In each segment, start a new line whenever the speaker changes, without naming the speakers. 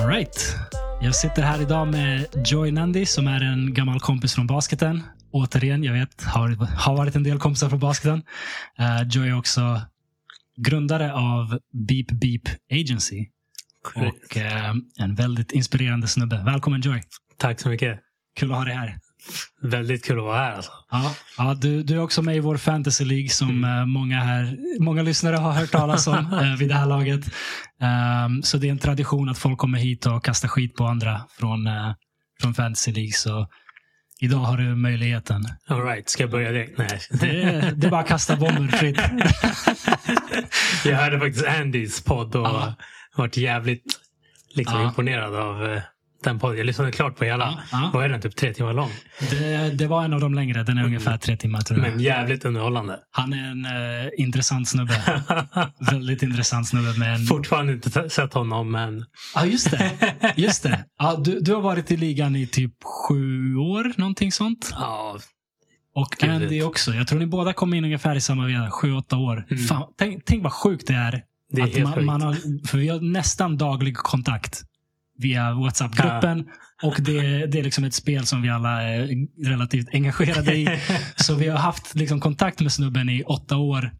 All right. Jag sitter här idag med Joy Nandi som är en gammal kompis från basketen. Återigen, jag vet, har, har varit en del kompisar från basketen. Eh, Joy är också grundare av Beep Beep Agency.
Korrekt.
Och eh, en väldigt inspirerande snubbe. Välkommen Joy!
Tack så mycket.
Kul att ha dig här.
Väldigt kul att vara här. Alltså.
Ja, ja du, du är också med i vår fantasy League som eh, många, här, många lyssnare har hört talas om eh, vid det här laget. Ehm, så det är en tradition att folk kommer hit och kastar skit på andra från, eh, från fantasy League. Så idag har du möjligheten.
All right, ska jag börja direkt? Nej.
Det är, det är bara att kasta bomber fritt.
Jag hörde faktiskt Andys podd och
Ja.
varit jävligt liksom,
Ja.
imponerad av eh, den podden. Jag lyssnade klart på hela.
Ja, Mm. ja.
Vad är den? Typ tre timmar lång.
Mm. Det, det var en av de längre. Den är ungefär tre timmar tror
Men
jag.
jävligt underhållande.
Han är en eh, intressant snubbe. Väldigt intressant snubbe med en
Fortfarande inte t- sett honom, men
Ja, just det. Just det. Ja, du, du har varit i ligan i typ sju år, någonting sånt.
ja,
Och
Gud,
Andy
vet.
också. Jag tror ni båda kom in ungefär i samma veva, sju, åtta år.
Mm.
Fan, tänk, tänk vad sjukt det är.
det är
att
helt
man,
sjukt.
man har, för vi har nästan daglig kontakt via WhatsApp-gruppen. Och det, det är liksom ett spel som vi alla är relativt engagerade i. Så vi har haft liksom kontakt med snubben i åtta år.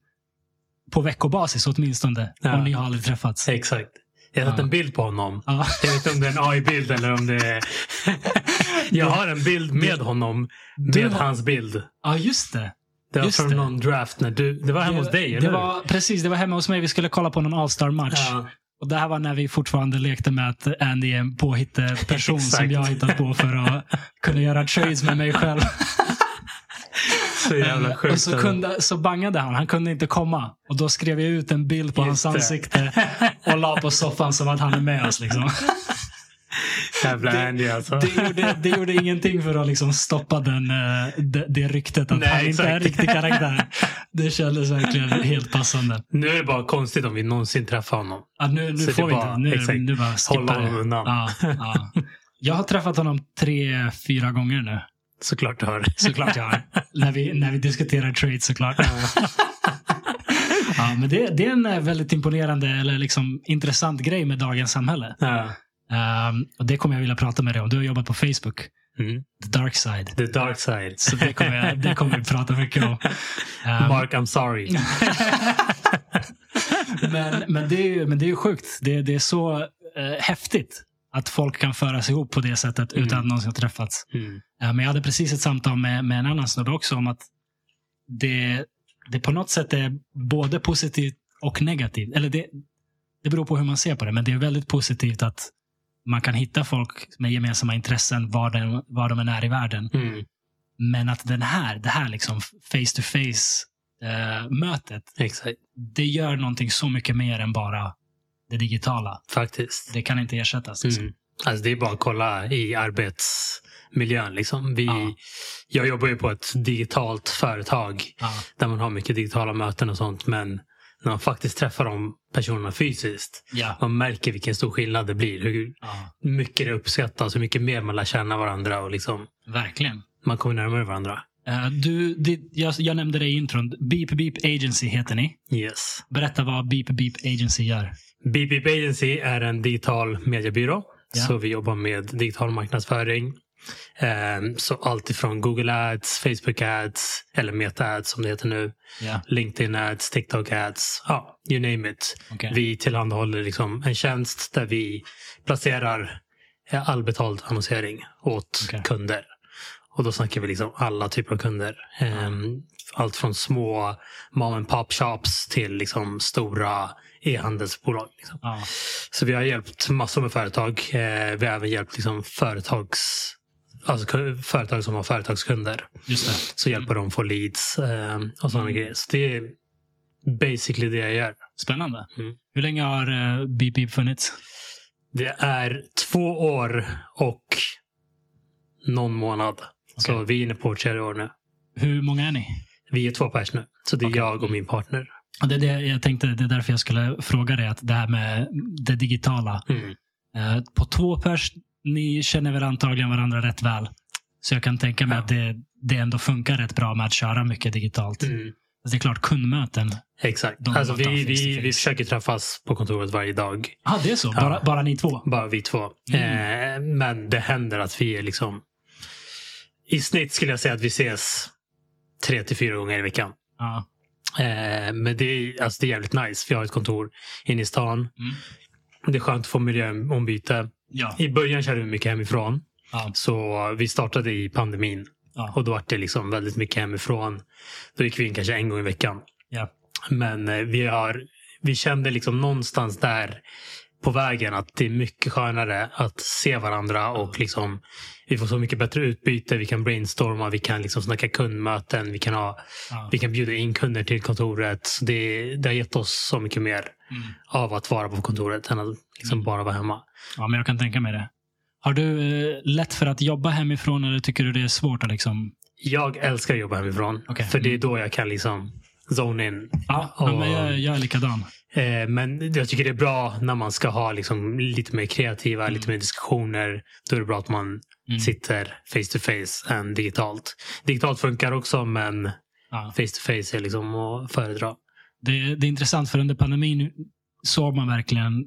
På veckobasis åtminstone.
Ja.
Och ni har Ah. aldrig träffats.
Exakt. Jag har sett
Ja.
en bild på honom.
Ja.
Jag vet inte om det är en AI-bild eller om det är... Jag har en bild med honom.
Du
Med
har-
hans bild.
ja, just det.
Det var
Just
från
det.
någon draft. När du, det var hemma hos dig,
det
eller hur?
var, Precis, det var hemma hos mig. Vi skulle kolla på någon All-star-match.
Ja,
Och det här var när vi fortfarande lekte med att Andy är en påhitteperson som
Exakt.
jag har hittat på för att kunna göra trades med mig själv.
så jävla sjukt.
och så, kunde, så bangade han. Han kunde inte komma. Och då skrev jag ut en bild på
Just
hans
det.
ansikte och la på soffan som att han är med oss. Liksom.
Jävla Andy alltså.
Det, gjorde, det gjorde ingenting för att liksom stoppa den, eh, det, det ryktet att
Nej,
han inte är en
exakt.
riktig karaktär. Det kändes verkligen helt passande.
Nu är det bara konstigt om vi någonsin träffar honom.
Ja, nu nu
Så det
får vi
bara-
inte. Nu,
exakt.
nu bara skippar
Hålla honom
det.
undan.
Ja, ja. Jag har träffat honom tre, fyra gånger nu.
Såklart du hör.
Såklart jag har. när, vi, när vi diskuterar trade såklart. ja, men det, det är en eh, väldigt imponerande eller liksom intressant grej med dagens samhälle.
Ja.
Ehm, och Det kommer jag vilja prata med dig om. Du har jobbat på Facebook,
Mm.
the dark side.
The dark side.
Så det kommer, jag, det kommer vi prata mycket om. Ehm,
Mark, I'm sorry.
men, men, det är ju, men det är ju sjukt. Det, det är så eh, häftigt att folk kan föras ihop på det sättet utan att
Mm.
någonsin ha träffats.
Mm.
Eh, men jag hade precis ett samtal med, med en annan snubbe också om att det, det på något sätt är både positivt och negativt. Eller det, det beror på hur man ser på det, men det är väldigt positivt att man kan hitta folk med gemensamma intressen var, den, var de än är i världen.
Mm.
Men att den här, det här liksom face to face eh, mötet
Exakt.
det gör någonting så mycket mer än bara det digitala.
Faktiskt.
Det kan inte ersättas. liksom.
Mm. Alltså det är bara att kolla i arbetsmiljön. Liksom. Vi,
Ja.
Jag jobbar ju på ett digitalt företag
Ja,
där man har mycket digitala möten och sånt. Men när man faktiskt träffar de personerna fysiskt,
ja,
man märker vilken stor skillnad det blir. Hur
ja,
mycket det uppskattas, hur mycket mer man lär känna varandra och liksom,
verkligen.
man kommer närmare varandra.
Eh, du, det, jag, jag nämnde det i intron. Beep Beep Agency heter ni.
Yes.
Berätta vad Beep Beep Agency gör.
BBB Agency är en digital mediebyrå.
Ja.
Så vi jobbar med digital marknadsföring. Ehm, Så allt ifrån Google Ads, Facebook Ads, eller Meta Ads som det heter nu.
Ja,
LinkedIn Ads, TikTok Ads, ja, you name it.
okej.
Vi tillhandahåller liksom en tjänst där vi placerar eh, all betald annonsering åt
Okej.
kunder. Och då snackar vi liksom alla typer av kunder. Ehm, Allt från små mom and pop shops till liksom stora e-handelsbolag. Liksom.
Ja,
Så vi har hjälpt massor med företag. Eh, Vi har även hjälpt liksom företags, alltså ku- företag som har företagskunder.
just det.
Så hjälper de få leads eh, och
Mm.
sådana grejer. Så det är basically det jag gör.
Spännande.
Mm.
Hur länge har eh, Beep Beep funnits?
Det är två år och någon månad. Så
Okej.
vi är inne på vårt tredje år nu.
Hur många är ni?
Vi är två pers nu. Så det är
Okej.
jag och min partner.
Och Det, är det, jag tänkte, det är därför jag skulle fråga dig, att det här med det digitala.
Mm.
Eh, På två pers, ni känner väl antagligen varandra rätt väl. Så jag kan tänka mig
Ja.
att det, det ändå funkar rätt bra med att köra mycket digitalt.
Mm.
Fast Det är klart, kundmöten.
Exakt.
De
Alltså,
har tagit
vi,
face to
vi,
face.
vi försöker träffas på kontoret varje dag.
Ja, ah, det är så.
Ja.
Bara, bara ni två?
Bara vi två.
Mm.
Eh, men det händer att vi är liksom... I snitt skulle jag säga att vi ses tre till fyra gånger i veckan.
Ja.
Eh, men det är, alltså, det är jävligt nice. Vi har ett kontor inne i stan.
Mm.
Det är skönt att få miljöombyte.
Ja.
I början körde vi mycket hemifrån.
ja.
Så vi startade i pandemin.
Ja.
Och då var det liksom väldigt mycket hemifrån. Då gick vi in kanske en gång i veckan.
ja.
Men eh, vi, har, vi kände liksom någonstans där på vägen att det är mycket skönare att se varandra och liksom vi får så mycket bättre utbyte. Vi kan brainstorma, vi kan liksom snacka kundmöten, vi kan, ha,
ja.
vi kan bjuda in kunder till kontoret. Så det, det har gett oss så mycket mer
Mm.
av att vara på kontoret än att liksom bara vara hemma.
ja, men jag kan tänka mig det. Har du eh, lätt för att jobba hemifrån eller tycker du det är svårt att liksom...
Jag älskar att jobba hemifrån
Okej.
för det är då jag kan liksom zone in.
Ja,
Och-
men jag, jag är likadan.
Eh, Men jag tycker det är bra när man ska ha liksom lite mer kreativa,
Mm.
lite mer diskussioner. Då är det bra att man
Mm.
sitter face to face än digitalt. Digitalt funkar också men
Ja.
face to face är liksom att föredra.
Det, det är intressant för under pandemin såg man verkligen,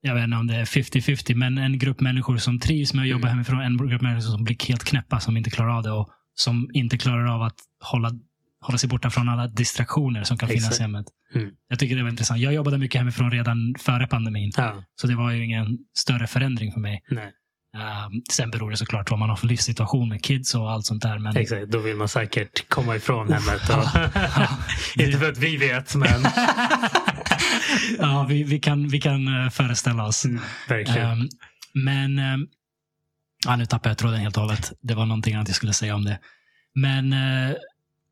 jag vet inte om det är 50-50, men en grupp människor som trivs med att jobba
Mm.
hemifrån, en grupp människor som blir helt knäppa, som inte klarar av det och som inte klarar av att hålla, hålla sig borta från alla distraktioner som kan finnas
Exakt.
i hemmet.
Mm.
Jag tycker det var intressant. Jag jobbade mycket hemifrån redan före pandemin,
Ja,
så det var ju ingen större förändring för mig.
nej.
Ehm, sen beror det såklart på vad man har för livssituation med kids och allt sånt där. Men
Exakt, då vill man säkert komma ifrån hemmet.
Ja,
Och inte för att vi vet men
ja, vi, vi, kan, vi kan eh, föreställa oss.
Mm, verkligen.
Ehm, men... ehm, ja, nu tappade jag tråden helt och hållet. Det var någonting annat jag skulle säga om det. Men eh,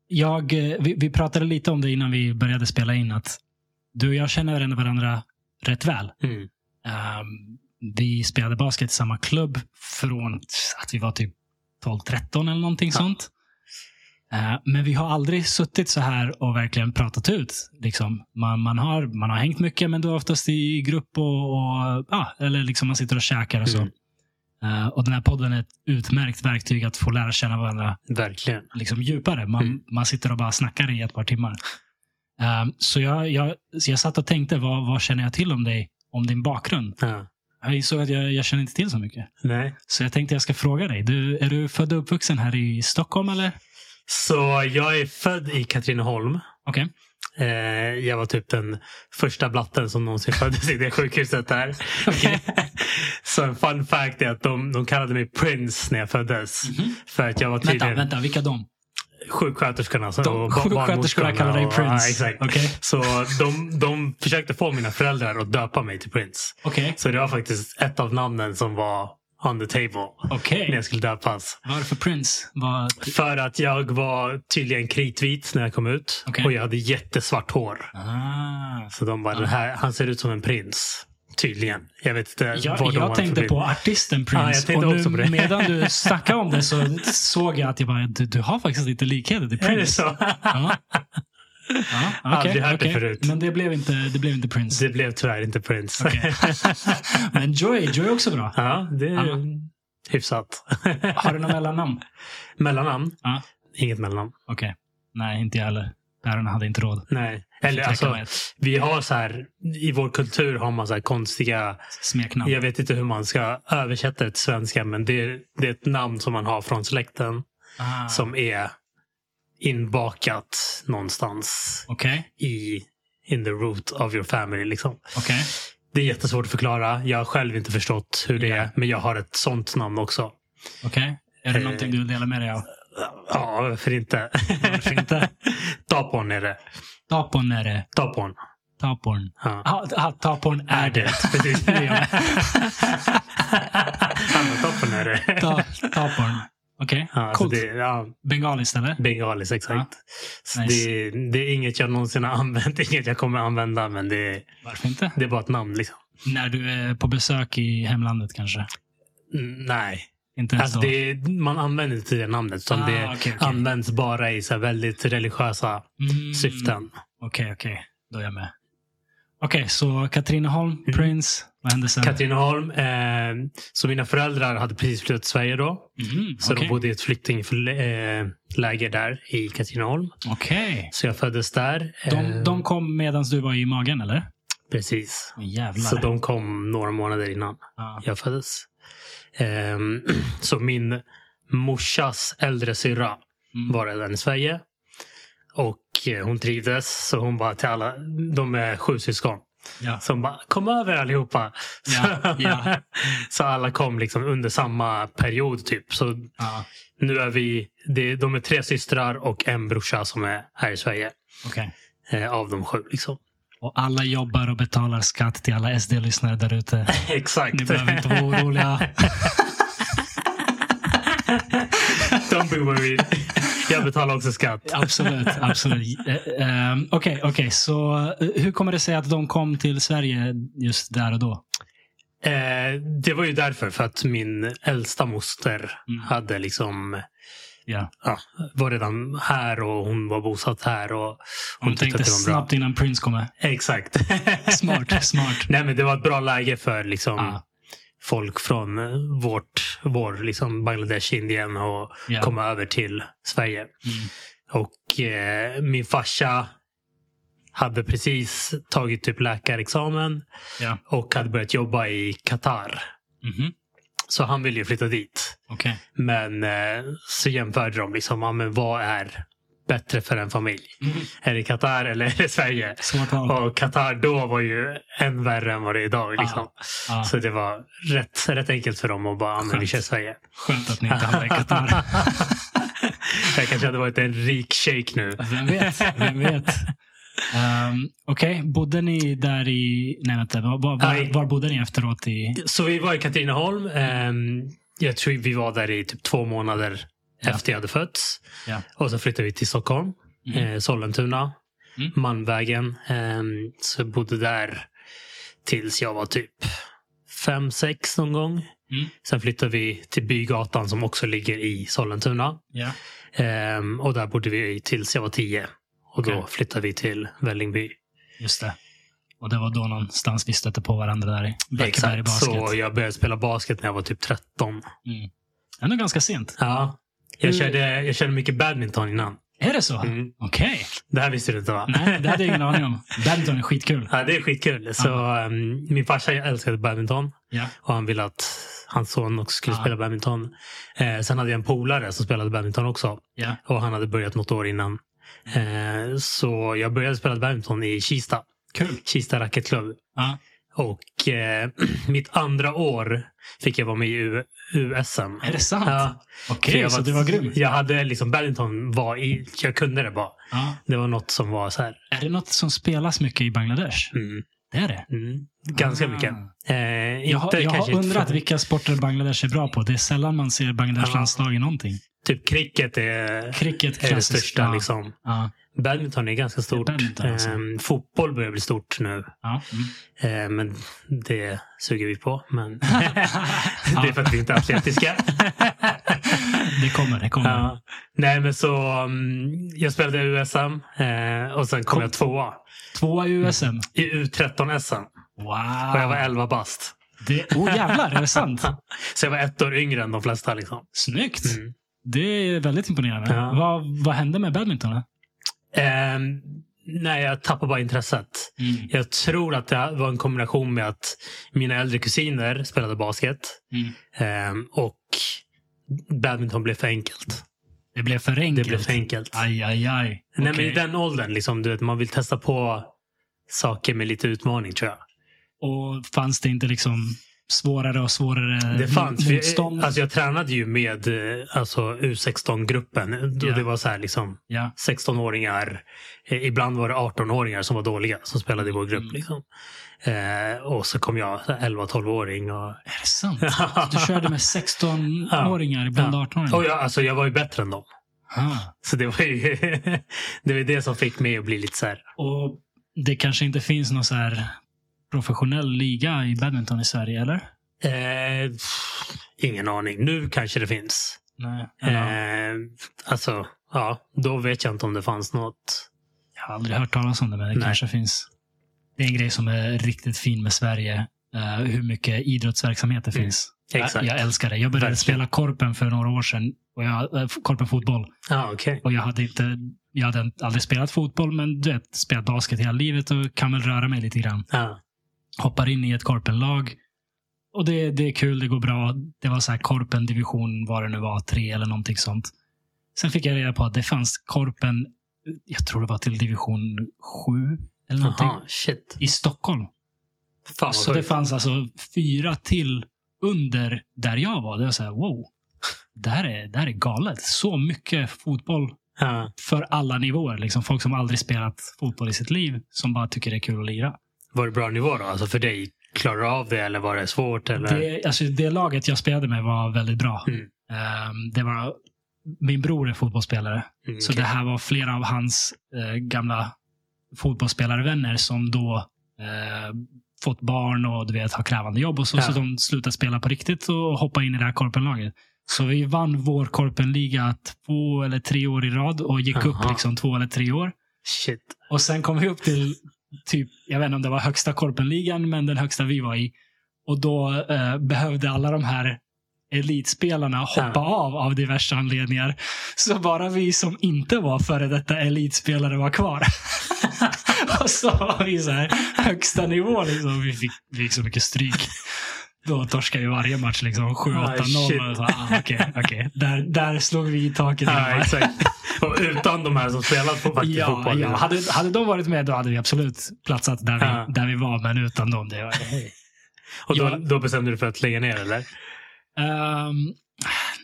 jag, eh, vi, vi pratade lite om det innan vi började spela in. att Du och jag känner ändå varandra rätt väl.
Mm,
Ehm, vi spelade basket i samma klubb från att vi var typ 12-13 eller någonting
Ja.
sånt. Eh, men vi har aldrig suttit så här och verkligen pratat ut. Liksom. Man, man, har, man har hängt mycket, men då oftast i grupp och, och ja, eller liksom man sitter och käkar och så.
Mm.
Eh, och den här podden är ett utmärkt verktyg att få lära känna varandra
verkligen.
liksom djupare. Man,
Mm.
man sitter och bara snackar i ett par timmar. Ehm, så, jag, jag, så jag satt och tänkte, vad, vad känner jag till om dig? Om din bakgrund?
Ja.
Jag insåg att jag, jag känner inte till så mycket.
Nej.
Så jag tänkte jag ska fråga dig. Du, är du född och uppvuxen här i Stockholm eller?
Så jag är född i Katrineholm.
Okej.
Eh, jag var typ den första blatten som någonsin föddes i det sjukhuset där.
Okej.
så en fun fact är att de, de kallade mig Prince när jag föddes. För att jag var
Mhm. Vänta,
tydligen
vänta, vilka de?
sjuksköterskorna. så-
De
och ba-
sjuksköterskorna
barnmorskorna
kallar dig
och-
Prince.
Ja, exakt.
Okej.
Så de, de försökte få mina föräldrar att döpa mig till Prince.
Okej.
Så det var faktiskt ett av namnen som var on the table
Okej.
när jag skulle döpas.
Varför Prince? Var...
För att jag var tydligen kritvit när jag kom ut.
Okej.
Och jag hade jättesvart hår.
Ah.
Så de bara, den här, han ser ut som en prins. Tydligen. Jag vet inte
Jag,
vad de har
jag
för
tänkte
bild.
på artisten
Ja, jag
Prince.
tänkte
och nu,
också på det.
medan du snackade om det så såg jag att jag bara, du, du har faktiskt lite likheter till
Är det
Prince.
så?
Ja. Ja,
Aldrig
okej,
hört det
okej.
förut.
Men det blev inte, det blev inte Prince.
Det blev tyvärr inte prins.
Okej. Men Joy, Joy är också bra.
Ja, det är
Ja.
hyfsat.
Har du något mellannamn?
mellannamn?
Ja.
Inget mellannamn.
Okej. Nej, inte jag heller. Päronen hade inte råd.
Nej. Eller
Fick tänka
alltså,
mig ett
vi har så här, i vår kultur har man så här konstiga,
Smeknamn.
jag vet inte hur man ska översätta det till svenska, men det är, det är ett namn som man har från släkten
Ah,
som är inbakat någonstans
Okej,
i in the root of your family. Liksom.
okej.
Det är jättesvårt att förklara. Jag har själv inte förstått hur det
Nej.
är, men jag har ett sånt namn också.
Okej. Är det
Eh.
någonting du vill dela med dig av?
Ja, varför inte?
Varför inte?
Tapon är det.
Tapon är det.
Tapon.
Taporn.
Ja.
Ah, ah, taporn är det.
Precis. Ja. Anna Tapon är det.
Ta, taporn. Okej,
Ja, alltså
coolt.
det är- ja,
Bengaliskt eller?
bengalis, exakt. Så
Nice.
det, är- det är inget jag någonsin har använt, inget jag kommer använda, men det, är-
Varför inte?
det är bara ett namn. Liksom.
När du är på besök i hemlandet kanske?
Mm, Nej,
Inte ens
Alltså
då?
det, man använder inte det namnet. Utan
Ah,
det
okej, okej.
används bara i så här väldigt religiösa
Mm,
syften.
Okej, okej. Då är jag med. Okej, så Katrineholm,
Mm.
Prince. Vad hände sen?
Katrineholm, eh, så mina föräldrar hade precis flyttat till Sverige då.
Mhm,
Så
okej.
de bodde i ett flyktingläger eh, läger där i Katrineholm.
Okej.
Så jag föddes där. eh,
De, de kom medan du var i magen, eller?
Precis.
Men Jävlar.
Så de kom några månader innan
ja.
jag föddes. Ehm, så min morsas äldre syrra
Mm.
var redan i Sverige. Och eh, hon trivdes. Så hon bara till alla, de är sju syskon.
Ja.
Som bara, kom över allihopa.
Ja, ja.
så alla kom liksom under samma period typ. Så
Ja.
nu är vi, det, de är tre systrar och en brorsa som är här i Sverige.
Okej.
Eh, av de sju liksom.
Och alla jobbar och betalar skatt till alla SD-lyssnare där ute.
Exakt.
Ni behöver inte vara oroliga.
Don't be worried. Jag betalar också skatt.
Absolut. absolut. Eh, ehm, Okej, okej. så eh, hur kommer det sig att de kom till Sverige just där och då?
Eh, det var ju därför, för att min äldsta moster
Mm.
hade liksom,
Ja.
ja, var redan här och hon var bosatt här. Och hon
Hon
tyckte
tänkte
att det var bra.
snabbt innan Prince kommer.
Exakt.
Smart, smart.
Nej, men det var ett bra läge för liksom,
Ah,
folk från eh, vårt, vår liksom Bangladesh, Indien och
ja.
komma över till Sverige.
Mm.
Och eh, min farsa hade precis tagit typ läkarexamen
Ja.
och hade börjat jobba i Qatar.
Mhm.
Så han ville ju flytta dit.
Okej.
Men eh, så jämförde de liksom, ja, men vad är bättre för en familj? Är det Qatar eller är det Sverige?
Mm-hmm. Smart val.
Och Qatar då var ju än värre än vad det är idag. Liksom.
Ah,
Så det var rätt, rätt enkelt för dem att bara, ja, men vi
Skönt.
kör Sverige.
skönt att ni inte hamnar i Qatar.
Jag kanske hade varit en rik shejk nu.
Vem vet? Vem vet? Um, Okej, bodde ni där i... Nej, vänta. Var, var,
Nej.
var, var bodde ni efteråt? I...
Så vi var i Katrineholm. Ehm, Jag tror vi var där i typ två månader
Ja.
efter jag hade fötts.
Ja.
Och så flyttade vi till Stockholm,
Mm.
eh, Sollentuna,
Mm.
Malmvägen. Ehm, Så jag bodde där tills jag var typ fem sex någon gång.
Mm.
Sen flyttade vi till Bygatan som också ligger i Sollentuna.
Ja.
Ehm, Och där bodde vi tills jag var tio. Och då
Okej.
flyttade vi till Vällingby.
Just det. Och det var då någonstans vi stötte på varandra där i Blackeberg Basket.
Så jag började spela basket när jag var typ 13.
Mm. Ändå ganska sent.
Ja.
Hur-
Jag körde, jag körde mycket badminton innan.
Är det så?
Mm.
Okej.
Det här visste du inte va?
Nej, det hade jag ingen aning om. Badminton är skitkul.
Ja, det är skitkul. Så, ehm, min farsa älskade badminton
Ja.
och han ville att hans son också skulle
Ja.
spela badminton. Eh, sen hade jag en polare som spelade badminton också
Ja.
och han hade börjat något år innan. Eh, så jag började spela badminton i Kista.
Kul.
Kista racketklubb.
Ja.
Och eh, mitt andra år fick jag vara med i U- USM.
Är det sant?
Ja,
Okej,
för jag
så du var grym.
Jag hade liksom badminton var i, jag kunde det bara.
Ja.
Det var något som var så här.
Är det något som spelas mycket i Bangladesh?
Mm,
Det är det.
mm, ganska
Ah.
mycket. Eh,
Jag har,
inte
jag har
kanske inte
undrat
för-
vilka sporter Bangladesh är bra på. Det är sällan man ser Bangladesh
Ja.
landslag i någonting.
Typ cricket är,
Cricket
är det
klassiskt,
största.
ja.
Liksom.
Ja.
Badminton är ganska stort.
badminton, alltså.
Ehm, fotboll börjar bli stort nu.
Ja. Mm.
Eh, men det suger vi på. Men det är för att vi inte är atletiska.
Det kommer, det kommer.
ja. Nej, men så mm, jag spelade i USM eh, och sen kom jag tvåa
Tvåa i USM.
i U13-SM.
Wow.
Och jag var 11 bast.
Det, oh jävlar, är det sant?
Så jag var ett år yngre än de flesta. Liksom.
Snyggt.
Mm.
Det är väldigt imponerande.
Ja.
Vad, vad hände med badminton? då?
Ehm, nej, jag tappade bara intresset. Jag tror att det var en kombination med att mina äldre kusiner spelade basket
Mm.
ehm, och badminton blev för enkelt.
Det blev för
Det
enkelt.
blev för enkelt.
Aj, aj, aj.
Nej, men
Okej.
I den åldern, liksom, du vet, man vill testa på saker med lite utmaning tror jag.
Och fanns det inte liksom svårare och svårare
Det fanns. För
Mm. motstånd?
jag, alltså, jag tränade ju med eh, alltså, U16-gruppen.
Ja.
och Det var så här liksom
ja.
16-åringar. eh, Ibland var det 18-åringar som var dåliga som spelade i vår grupp.
Mm.
Liksom. Eh, och så kom jag så här 11-12-åring. Och...
Är det sant? Du körde med 16-åringar, ibland 18-åringar?
och jag, alltså, jag var ju bättre än dem.
Ah.
Så det var ju det, var ju det som fick mig att bli lite så här.
Och det kanske inte finns någon så här professionell liga i badminton i Sverige, eller?
Eh, pff, ingen aning. Nu kanske det finns.
Nej, eller,
Eh, alltså, ja. Då vet jag inte om det fanns något.
jag har aldrig hört talas om det, men det
Nej.
kanske finns. Det är en grej som är riktigt fin med Sverige. eh, hur mycket idrottsverksamhet det
Mm,
finns. Jag,
Exakt.
jag älskar det. Jag började
Verkligen.
spela korpen för några år sedan. Och jag, eh, korpen fotboll.
ah, okej.
Och jag hade, inte, jag hade aldrig spelat fotboll, men du vet, spelat basket hela livet och kan väl röra mig lite grann.
Ja.
hoppar in i ett korpenlag. Och det, det är kul, det går bra. Det var så här korpen division, vad det nu var, tre eller någonting sånt. Sen fick jag reda på att det fanns korpen, jag tror det var till division sju eller någonting,
Jaha, shit.
i Stockholm.
Fan vad
så det
sjukt.
fanns alltså fyra till under där jag var. Det var så här, wow. Det här, är, det här är galet. Så mycket fotboll
Ja.
för alla nivåer. Liksom folk som aldrig spelat fotboll i sitt liv, som bara tycker det är kul att lira.
Var det bra nivå då? Alltså för dig? Klarar du av det eller var det svårt? Eller?
Det, alltså det laget jag spelade med var väldigt bra.
Mm.
Ehm, det var, min bror är fotbollsspelare,
Mm,
så
okej.
det här var flera av hans eh, gamla fotbollsspelarvänner som då eh, fått barn och du vet, har krävande jobb. och så,
Ja.
så de slutade spela på riktigt och hoppade in i det här korpenlaget. Så vi vann vår korpenliga två eller tre år i rad och gick upp
Aha.
liksom två eller tre år.
Shit.
Och sen kom vi upp till, typ, jag vet inte om det var högsta korpenligan, men den högsta vi var i. Och då eh, behövde alla de här elitspelarna hoppa
Ja.
av av diverse anledningar. Så bara vi som inte var före detta elitspelare var kvar. och så var vi så här, högsta nivå. Liksom. Vi, fick, vi fick så mycket stryk. Då torskade vi varje match liksom 7-8-0.
Ah, shit. Ah,
och så, ah, okej, okej. där, där slog vi i taket.
Ja,
grabbar.
exakt. Och utan de här som spelat på faktiskt
Ja,
fotboll.
ja. Hade, hade de varit med då hade vi absolut platsat där vi,
Ja.
där vi var, men utan dem. Det var,
Och då,
Ja.
då bestämde du för att lägga ner eller?
Ehm,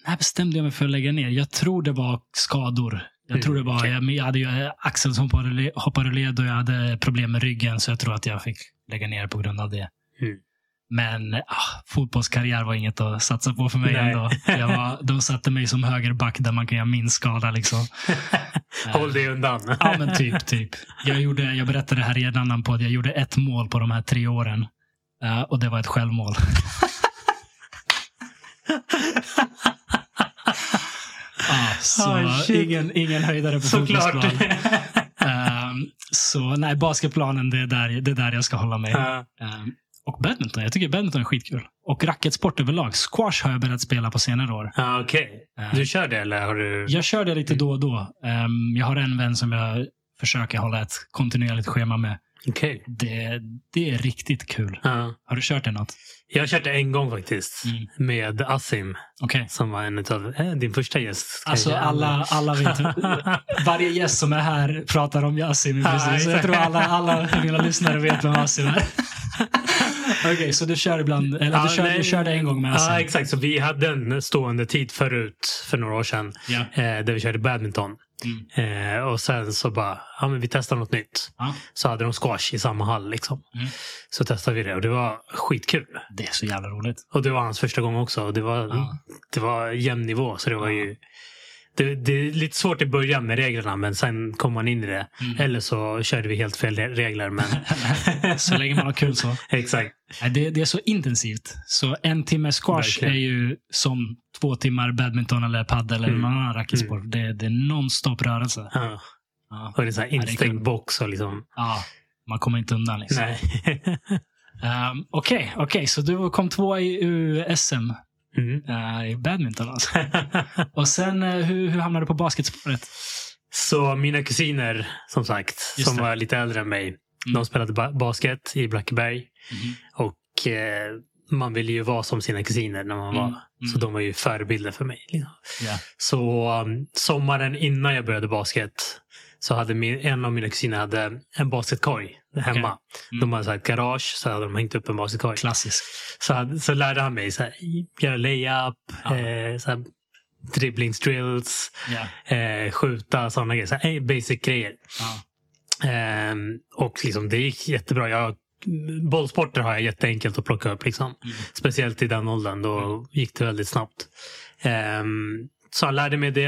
när bestämde jag mig för att lägga ner? Jag tror det var skador. Jag
Mm,
tror det var,
okej.
jag, men jag hade ju eh, axeln som hoppade- hoppade ur led och jag hade problem med ryggen så jag tror att jag fick lägga ner på grund av det.
Mm.
Men ah, fotbollskarriär var inget att satsa på för mig
Nej.
ändå. Jag var, de satte mig som högerback där man kan göra minst skada. Liksom. Eh.
Håll dig undan.
Ja, men typ. typ. Jag, gjorde, jag berättade det här i en annan podd. Jag gjorde ett mål på de här tre åren. Eh, och det var ett självmål. Ja, så
Ah, shit.
ingen, ingen höjdare på
Såklart.
fotbollsplan. Ehm, så nej, basketplanen, det är, där, det är där jag ska hålla mig.
Ja.
Ehm, och badminton. Jag tycker badminton är skitkul. Och racketsport överlag. Squash har jag börjat spela på senare år.
Ja, Okej.
Ehm,
Du kör det eller har du?
jag kör det lite då och då. Ehm, jag har en vän som jag försöker hålla ett kontinuerligt schema med.
Okej.
Det, det är riktigt kul.
Ja.
Har du kört det något?
Jag har kört det en gång faktiskt.
Mm.
Med Asim
Okej.
som var en av eh, din första gäst.
Alltså
kanske.
alla, alla vet, varje gäst som är här pratar om Yasin.
Ja,
Precis. Så jag
exakt.
tror alla, alla mina lyssnare vet vem Yasin är. Okej, så du kör ibland, eller
Ja,
du, kör,
nej.
du körde en gång med Yasin?
Ja, exakt. Så vi hade en stående tid förut, för några år sedan,
Ja.
eh, där vi körde badminton. Eh, och sen så bara, ja men vi testar något nytt.
Ja.
Så hade de squash i samma hall liksom.
Mm.
Så testade vi det och det var skitkul.
Det är så jävla roligt.
Och det var hans första gång också. Och det, var,
Ja.
det var jämn nivå. Så det var
Ja.
ju... Det, det är lite svårt i början med reglerna men sen kom man in i det.
Mm.
Eller så körde vi helt fel regler. Men
så länge man har kul så.
exakt.
Nej, Det, det är så intensivt. Så en timme squash
Verkligen.
är ju som två timmar badminton eller padel eller
Mm.
någon annan racketsport. Det, det är nonstop rörelse.
Ja.
Ja.
Och det är så här
Ja, det är
instängd
kul.
box och liksom.
Ja, man kommer inte undan. Liksom.
Nej.
Ehm, Okej, okej, så du kom tvåa i USM
Mm.
eh, i badminton. Alltså. Och sen eh, hur, hur hamnade du på basketspåret?
så mina kusiner, som sagt,
Just
som
det. Mm.
var lite äldre än mig. De spelade ba- basket i Blackeberg.
Mhm,
Och eh, man ville ju vara som sina kusiner när man var.
Mm, mm.
Så de var ju förebilder för mig. Liksom.
Ja.
Så um, sommaren innan jag började basket så hade min, en av mina kusiner hade en basketkorg hemma.
Mm.
De hade så här ett garage så hade de hängt upp en basketkorg.
Klassisk.
Så, hade, så lärde han mig så här, göra layup,
Ja.
eh, så här, dribbling drills,
Ja.
eh, skjuta sådana grejer. Så här, eh, basic grejer.
Ja.
Ehm, och liksom, det gick jättebra. Jag, bollsporter har jag jätteenkelt att plocka upp. Liksom.
Mm.
Speciellt i den åldern. Då gick det väldigt snabbt. Ehm, så jag lärde mig det.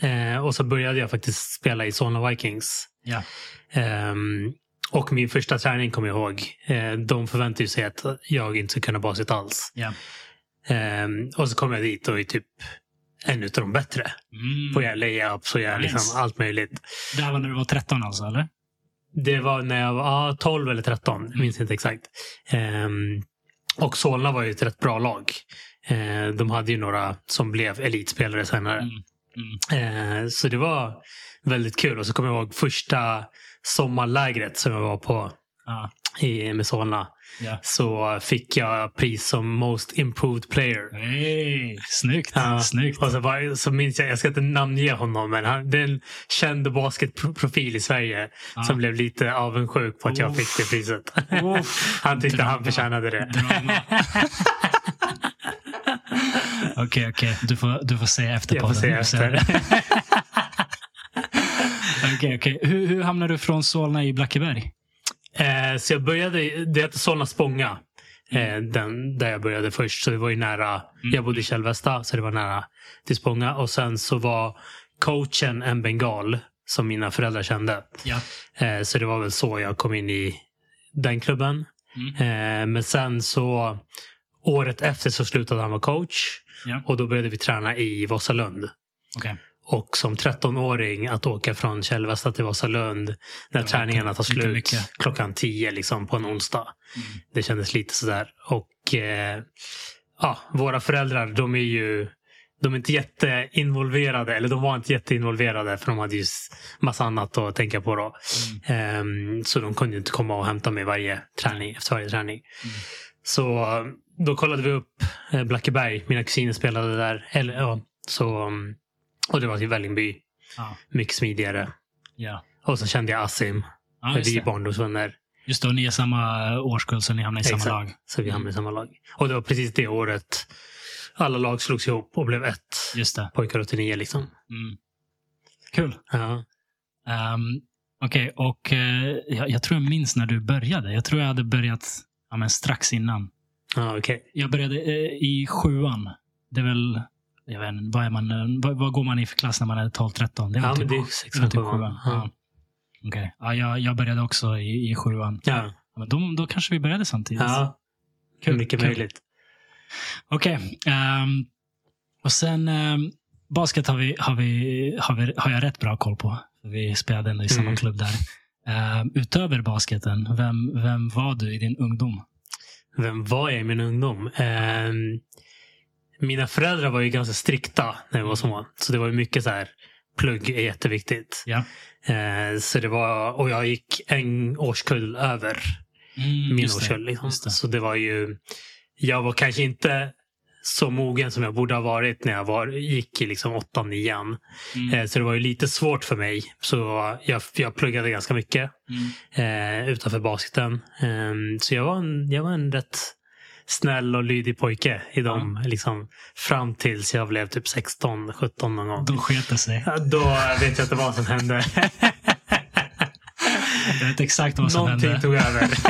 Ehm, Eh, och så började jag faktiskt spela i Solna Vikings.
Ja.
Ehm, Och min första träning kommer jag ihåg. Eh, de förväntade sig att jag inte skulle kunna basit alls.
Ja.
Ehm, och så kom jag dit och är typ en utav de bättre.
Mm.
På att göra layups och göra
Nice.
liksom allt möjligt.
Det här var när du var 13 alltså, eller?
Det var när jag var ja, 12 eller 13. Jag minns inte exakt. Ehm, och Solna var ju ett rätt bra lag. Ehm, de hade ju några som blev elitspelare senare.
Mm. Mm.
Eh, så det var väldigt kul. Och så kommer jag ihåg första sommarlägret som jag var på
Ja.
i, med Solna.
Ja.
Så fick jag pris som Most Improved Player.
Hey, snyggt.
Ja.
snyggt.
Och så, var, så minns jag, jag ska inte namnge honom, men han, det är en känd basketprofil i Sverige
Ja.
som blev lite avundsjuk på att jag
Uff.
fick det priset.
Uff.
han tyckte
Drama.
han förtjänade det.
Drama. Okej, okej. Du, får, du får se efter
Jag får
podden.
se
Du
efter.
Okej, okej. Hur, hur hamnade du från Solna i Blackeberg?
Eh, så jag började, i- det hette Solna Spånga. Eh, den, där jag började först. Så det var ju nära. Jag bodde i Kälvesta så det var nära till Spånga. Och sen så var coachen en bengal som mina föräldrar kände.
Ja.
Eh, så det var väl så jag kom in i den klubben.
Mm.
Eh, men sen så året efter så slutade han vara coach.
Ja.
Och då började vi träna i Vasalund.
Okej.
Och som 13-åring att åka från Kälvesta till Vasalund när
Ja,
träningarna tar
lite
slut
mycket.
klockan 10 liksom, på en onsdag.
Mm.
Det kändes lite sådär. Och eh, ja, våra föräldrar, de är ju de är inte jätteinvolverade. Eller de var inte jätteinvolverade för de hade ju s- massa annat att tänka på. Då.
Mm.
Ehm, så de kunde ju inte komma och hämta mig varje träning, efter varje träning.
Mm.
Så eh, då kollade vi upp eh, Blackeberg. Mina kusiner spelade där. Eller, ja, så, mm, och det var till Vällingby.
Ja.
Mycket smidigare.
Ja.
Och så kände jag Asim.
ja,
för vi
just
är
det.
barndomsvänner.
Just det, och ni är samma årskull så ni hamnar i samma
Exakt.
lag.
Så vi
Mm.
hamnade i samma lag. Och det var precis det året alla lag slogs ihop och blev ett.
Just det.
Pojkar 89 liksom.
Mm. Kul.
Ja.
Um, Okej, och eh, jag, jag tror jag minns när du började. Jag tror jag hade börjat ja, men strax innan.
Ja, okej.
Jag började eh, i sjuan. Det är väl, jag vet inte, vad, är man, eh, vad, vad går man i för klass när man är 12-13? Det är
Ja,
väl typ,
men
det
det är
är väl
sexan,
typ
sjuan.
sjuan.
Ja.
Ja. Okej. Ja, jag, jag började också i, i sjuan.
Ja.
Ja, men då, då kanske vi började samtidigt.
ja.
Kul,
Mycket
kul.
möjligt.
Okej. ehm, och sen ehm, basket har, vi, har, vi, har, vi, har jag rätt bra koll på. Vi spelade ändå i samma
Mm.
klubb där. Ehm, utöver basketen, vem, vem var du i din ungdom?
Vem var jag i min ungdom? Ehm, mina föräldrar var ju ganska strikta när jag var små. Så det var ju mycket så här, plugg är jätteviktigt.
Ja.
Eh, så det var, och jag gick en årskull över
Mm,
min
just det.
årskull. Liksom.
just det.
Så det var ju, jag var kanske inte så mogen som jag borde ha varit när jag var, gick i liksom åttan, nian.
Mm,
Eh, så det var ju lite svårt för mig. Så jag, jag pluggade ganska mycket
mm,
eh, utanför basketen. Eh, så jag var, en, jag var en rätt snäll och lydig pojke i dem. Liksom, fram tills jag blev typ 16, 17 någon gång.
Då sket det Eh, sig.
Då vet jag inte vad som hände.
Jag vet exakt vad som
Någonting
hände.
tog över.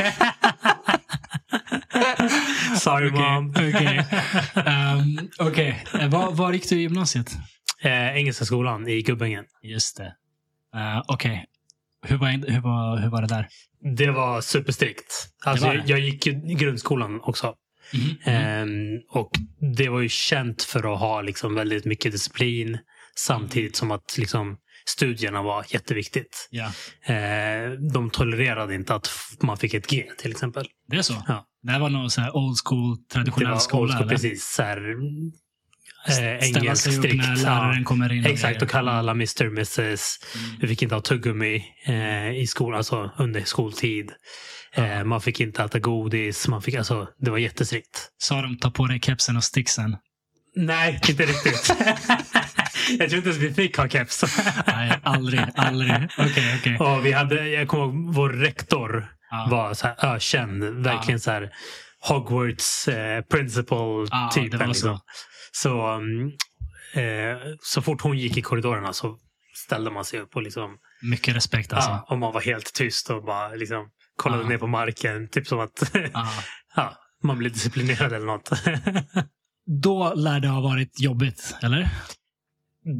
Sorry
Okej,
mom.
Okej. Ehm, okej. Eh, Var, var gick du i gymnasiet?
Eh, Engelska skolan i Gubbängen.
Just det. Eh, Okej. Hur, var, hur, var, hur var det där?
Det var superstrikt. Alltså,
Det var det.
Jag, jag gick ju i grundskolan också.
Mhm, mhm.
Ehm, och det var ju känt för att ha liksom, väldigt mycket disciplin. Samtidigt som att liksom, studierna var jätteviktigt.
Ja.
Eh, de tolererade inte att f- man fick ett G till exempel.
Det är så?
Ja.
Det här var någon så här old school,
Det
traditionell
var old
skola?
school,
eller?
precis. Så här, eh,
Ställa
engelsk
sig upp
strikt.
när
ja.
läraren kommer in. och
Exakt,
grejer. Mm.
och kalla alla Mr. Mrs. Vi fick inte ha tuggummi eh, i skolan, alltså under skoltid. Eh, man fick inte äta godis. Man fick, alltså, det var jättestrikt.
Sa de ta på dig kepsen och sticksen?
Nej, inte riktigt. jag tror inte ens vi fick ha keps.
Nej, aldrig. aldrig. Okej, okej.
och vi hade, jag kommer ihåg, vår rektor
Ja.
var så här ökänd. Verkligen så här Hogwarts eh, principal
Ja,
typen.
det var så.
liksom. Så, mm, eh, så fort hon gick i korridorerna så ställde man sig upp och liksom
Mycket respekt alltså.
Ja, och man var helt tyst och bara liksom kollade
Ja.
ner på marken. Typ som att
Ja.
ja, man blev disciplinerad eller något.
Då lär det ha varit jobbigt, eller?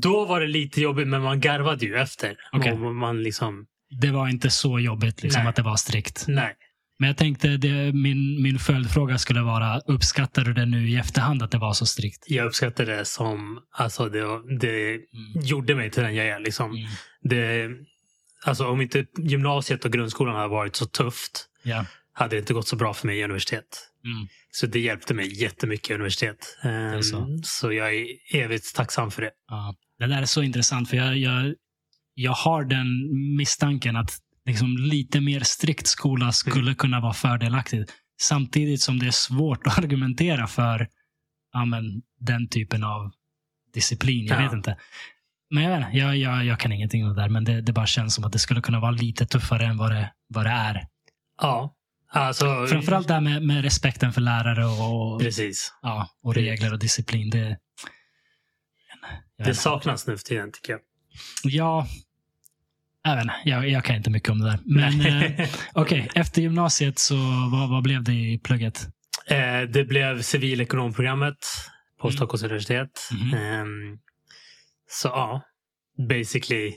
Då var det lite jobbigt, men man garvade ju efter.
Okej.
Man, man liksom
det var inte så jobbigt liksom,
Nej. Mm.
att det var strikt.
Nej.
Men jag tänkte, det, min, min följdfråga skulle vara, uppskattar du det nu i efterhand att det var så strikt?
Jag uppskattar det som, alltså det, det gjorde mig till den jag är. Liksom.
Mm.
Det, alltså om inte gymnasiet och grundskolan hade varit så tufft
Ja.
hade det inte gått så bra för mig i universitet.
Mm.
Så det hjälpte mig jättemycket i universitet. Ehm,
så.
så. jag är evigt tacksam för det.
Ja. Det där är så intressant, för jag, jag, jag har den misstanken att liksom lite mer strikt skola
Mm.
skulle kunna vara fördelaktigt. Samtidigt som det är svårt att argumentera för ja, men, den typen av disciplin. Jag
Ja.
vet inte. Men jag, vet inte, jag, jag, jag kan ingenting om det där, men det, det bara känns som att det skulle kunna vara lite tuffare än vad det, vad det är.
Ja. Alltså,
Framförallt det här med, med respekten för lärare och,
Precis.
ja, och regler och disciplin. Det, jag
Det
vet inte.
saknas nu för tiden tycker jag.
Ja, jag, vet inte, jag, jag kan inte mycket om det där. Men eh, okej, efter gymnasiet så vad, vad blev det i plugget?
Eh, det blev civilekonomprogrammet på
Mm.
Stockholms universitet.
Mhm.
Ehm, så ja, basically.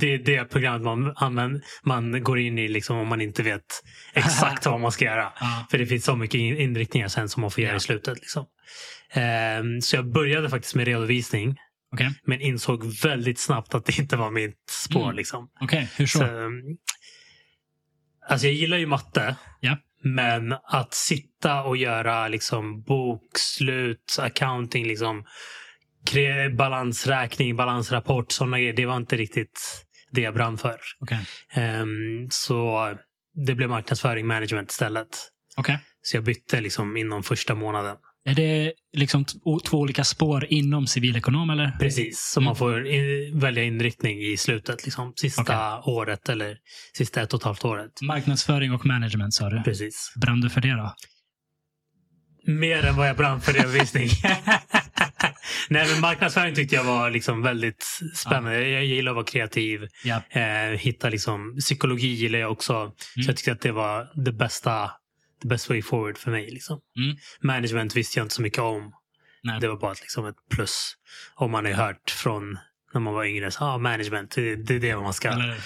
Det är det programmet man, använder, man går in i liksom om man inte vet exakt vad man ska göra.
Ja.
För det finns så mycket in- inriktningar sen som man får göra
Ja.
i slutet. Liksom. Ehm, så jag började faktiskt med redovisning.
Okej,
Men insåg väldigt snabbt att det inte var mitt spår.
Mm.
Liksom.
okej, hur så?
Så, ehm, alltså jag gillar ju matte.
Ja.
Men att sitta och göra liksom bokslut, accounting, liksom, kre- balansräkning, balansrapport, sådana grejer. Det var inte riktigt det jag brann för.
Okej.
Ehm, så det blev marknadsföring management istället.
Okej.
Så jag bytte liksom inom första månaden.
Är det liksom t- o- två olika spår inom civilekonom eller?
Precis, Mm. så man får in, välja inriktning i slutet. Liksom, sista året eller sista ett och ett halvt året.
Marknadsföring och management sa du.
Precis.
Brann du för det då?
Mer än vad jag brann för redovisning. Nej, men marknadsföring tyckte jag var liksom väldigt spännande. Jag gillar att vara kreativ.
Ja.
Eh, hitta liksom, psykologi gillar jag också.
Mm.
Så jag tyckte att det var det bästa the best way forward för mig. Liksom.
Mm.
Management visste jag inte så mycket om.
Nej.
Det var bara ett- liksom ett plus. Om man har hört från när man var yngre. Så, ah, management, det, det är det man ska.
Eller,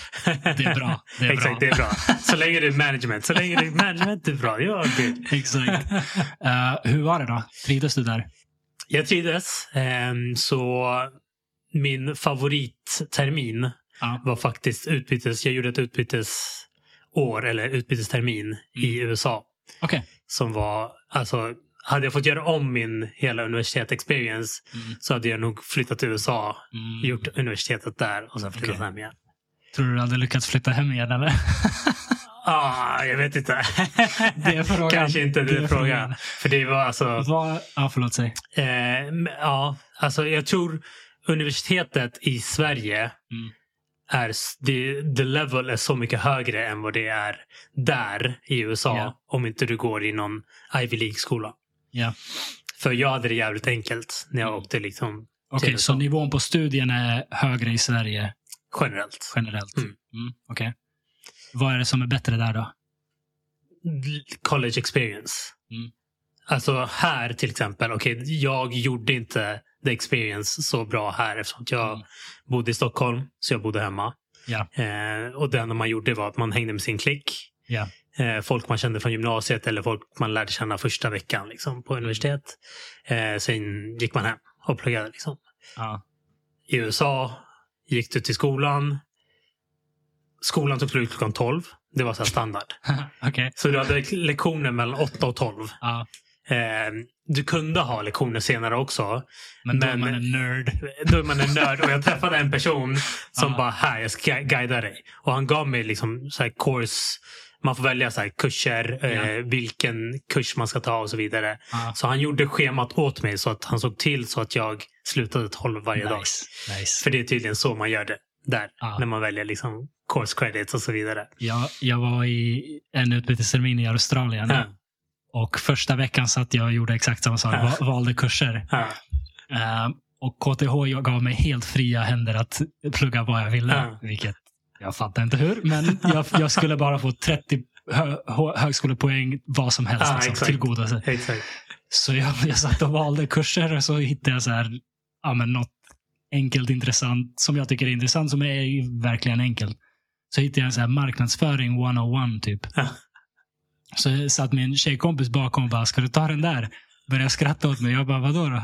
det är bra. Det är
Exakt,
bra.
det är bra. Så länge det är management. Så länge det är management det är bra. Ja, det.
Exakt. Eh, hur var det då? Trivdes du där?
Jag trivdes. Ehm, Så min favorittermin
Ja.
var faktiskt utbytes. Jag gjorde ett utbytesår eller utbytestermin
Mm.
i USA.
Okej.
Som var, alltså, hade jag fått göra om min hela universitet-experience
Mm.
så hade jag nog flyttat till USA,
Mm.
gjort universitetet där och sen flyttat
Okej.
hem igen.
Tror du du hade lyckats flytta hem igen eller?
Ah, jag vet inte.
Det är frågan.
Kanske inte det är frågan. För det var alltså...
Vad, ja, förlåt, säg.
Eh, men, ja, alltså jag tror universitetet i Sverige
Mm.
är, s- det, the level är så mycket högre än vad det är där i USA.
Ja.
Om inte du går i någon Ivy League-skola.
Ja.
För jag hade det jävligt enkelt när jag
Mm.
åkte liksom
Okej,
det
så
så.
nivån på studien är högre i Sverige
generellt.
generellt? Mm.
Mm.
Okej. Vad är det som är bättre där då?
L- College experience.
Mm.
Alltså här till exempel. Okej, jag gjorde inte the experience så bra här eftersom att jag
Mm.
bodde i Stockholm. Så jag bodde hemma.
Ja,
Eh, och det enda man gjorde var att man hängde med sin klick.
ja.
Eh, folk man kände från gymnasiet eller folk man lärde känna första veckan liksom,
Mm.
på universitet. Eh, sen gick man hem och pluggade. Liksom.
ja.
I USA gick du till skolan. Skolan tog slut klockan 12. Det var så här standard.
Okej.
Så du hade lektioner mellan 8 och 12.
Ja.
Eh, du kunde ha lektioner senare också.
Men då är
Men-
man en nörd.
Då är man en nörd och jag träffade en person som
Ja.
bara här, jag ska gui- guida dig. Och han gav mig liksom så här course, man får välja så här kurser, eh, vilken kurs man ska ta och så vidare.
Ja.
Så han gjorde schemat åt mig så att han såg till så att jag slutade 12 varje dag.
Nice. nice.
För det är tydligen så man gör det där.
Ja.
När man väljer liksom course credits och så vidare.
Jag, jag var i en utbytestermin i Australien
Ja.
och första veckan satt jag och gjorde exakt samma sak.
Ja.
Va- Valde kurser.
Ja.
Eh, och KTH jag gav mig helt fria händer att plugga vad jag ville.
Ja.
Vilket jag fattar inte hur. Men jag, jag skulle bara få 30 hö, hö, högskolepoäng, vad som helst,
Ja,
liksom,
exakt.
tillgoda sig.
Exakt.
Så jag, jag satt och valde kurser och så hittade jag så här, ja, men något enkelt intressant som jag tycker är intressant, som är verkligen enkelt. Så hittade jag en så här marknadsföring 101 typ.
Ja.
Så jag satt min tjejkompis bakom och bara, ska du ta den där? Började skratta åt mig. Jag bara, vadå då?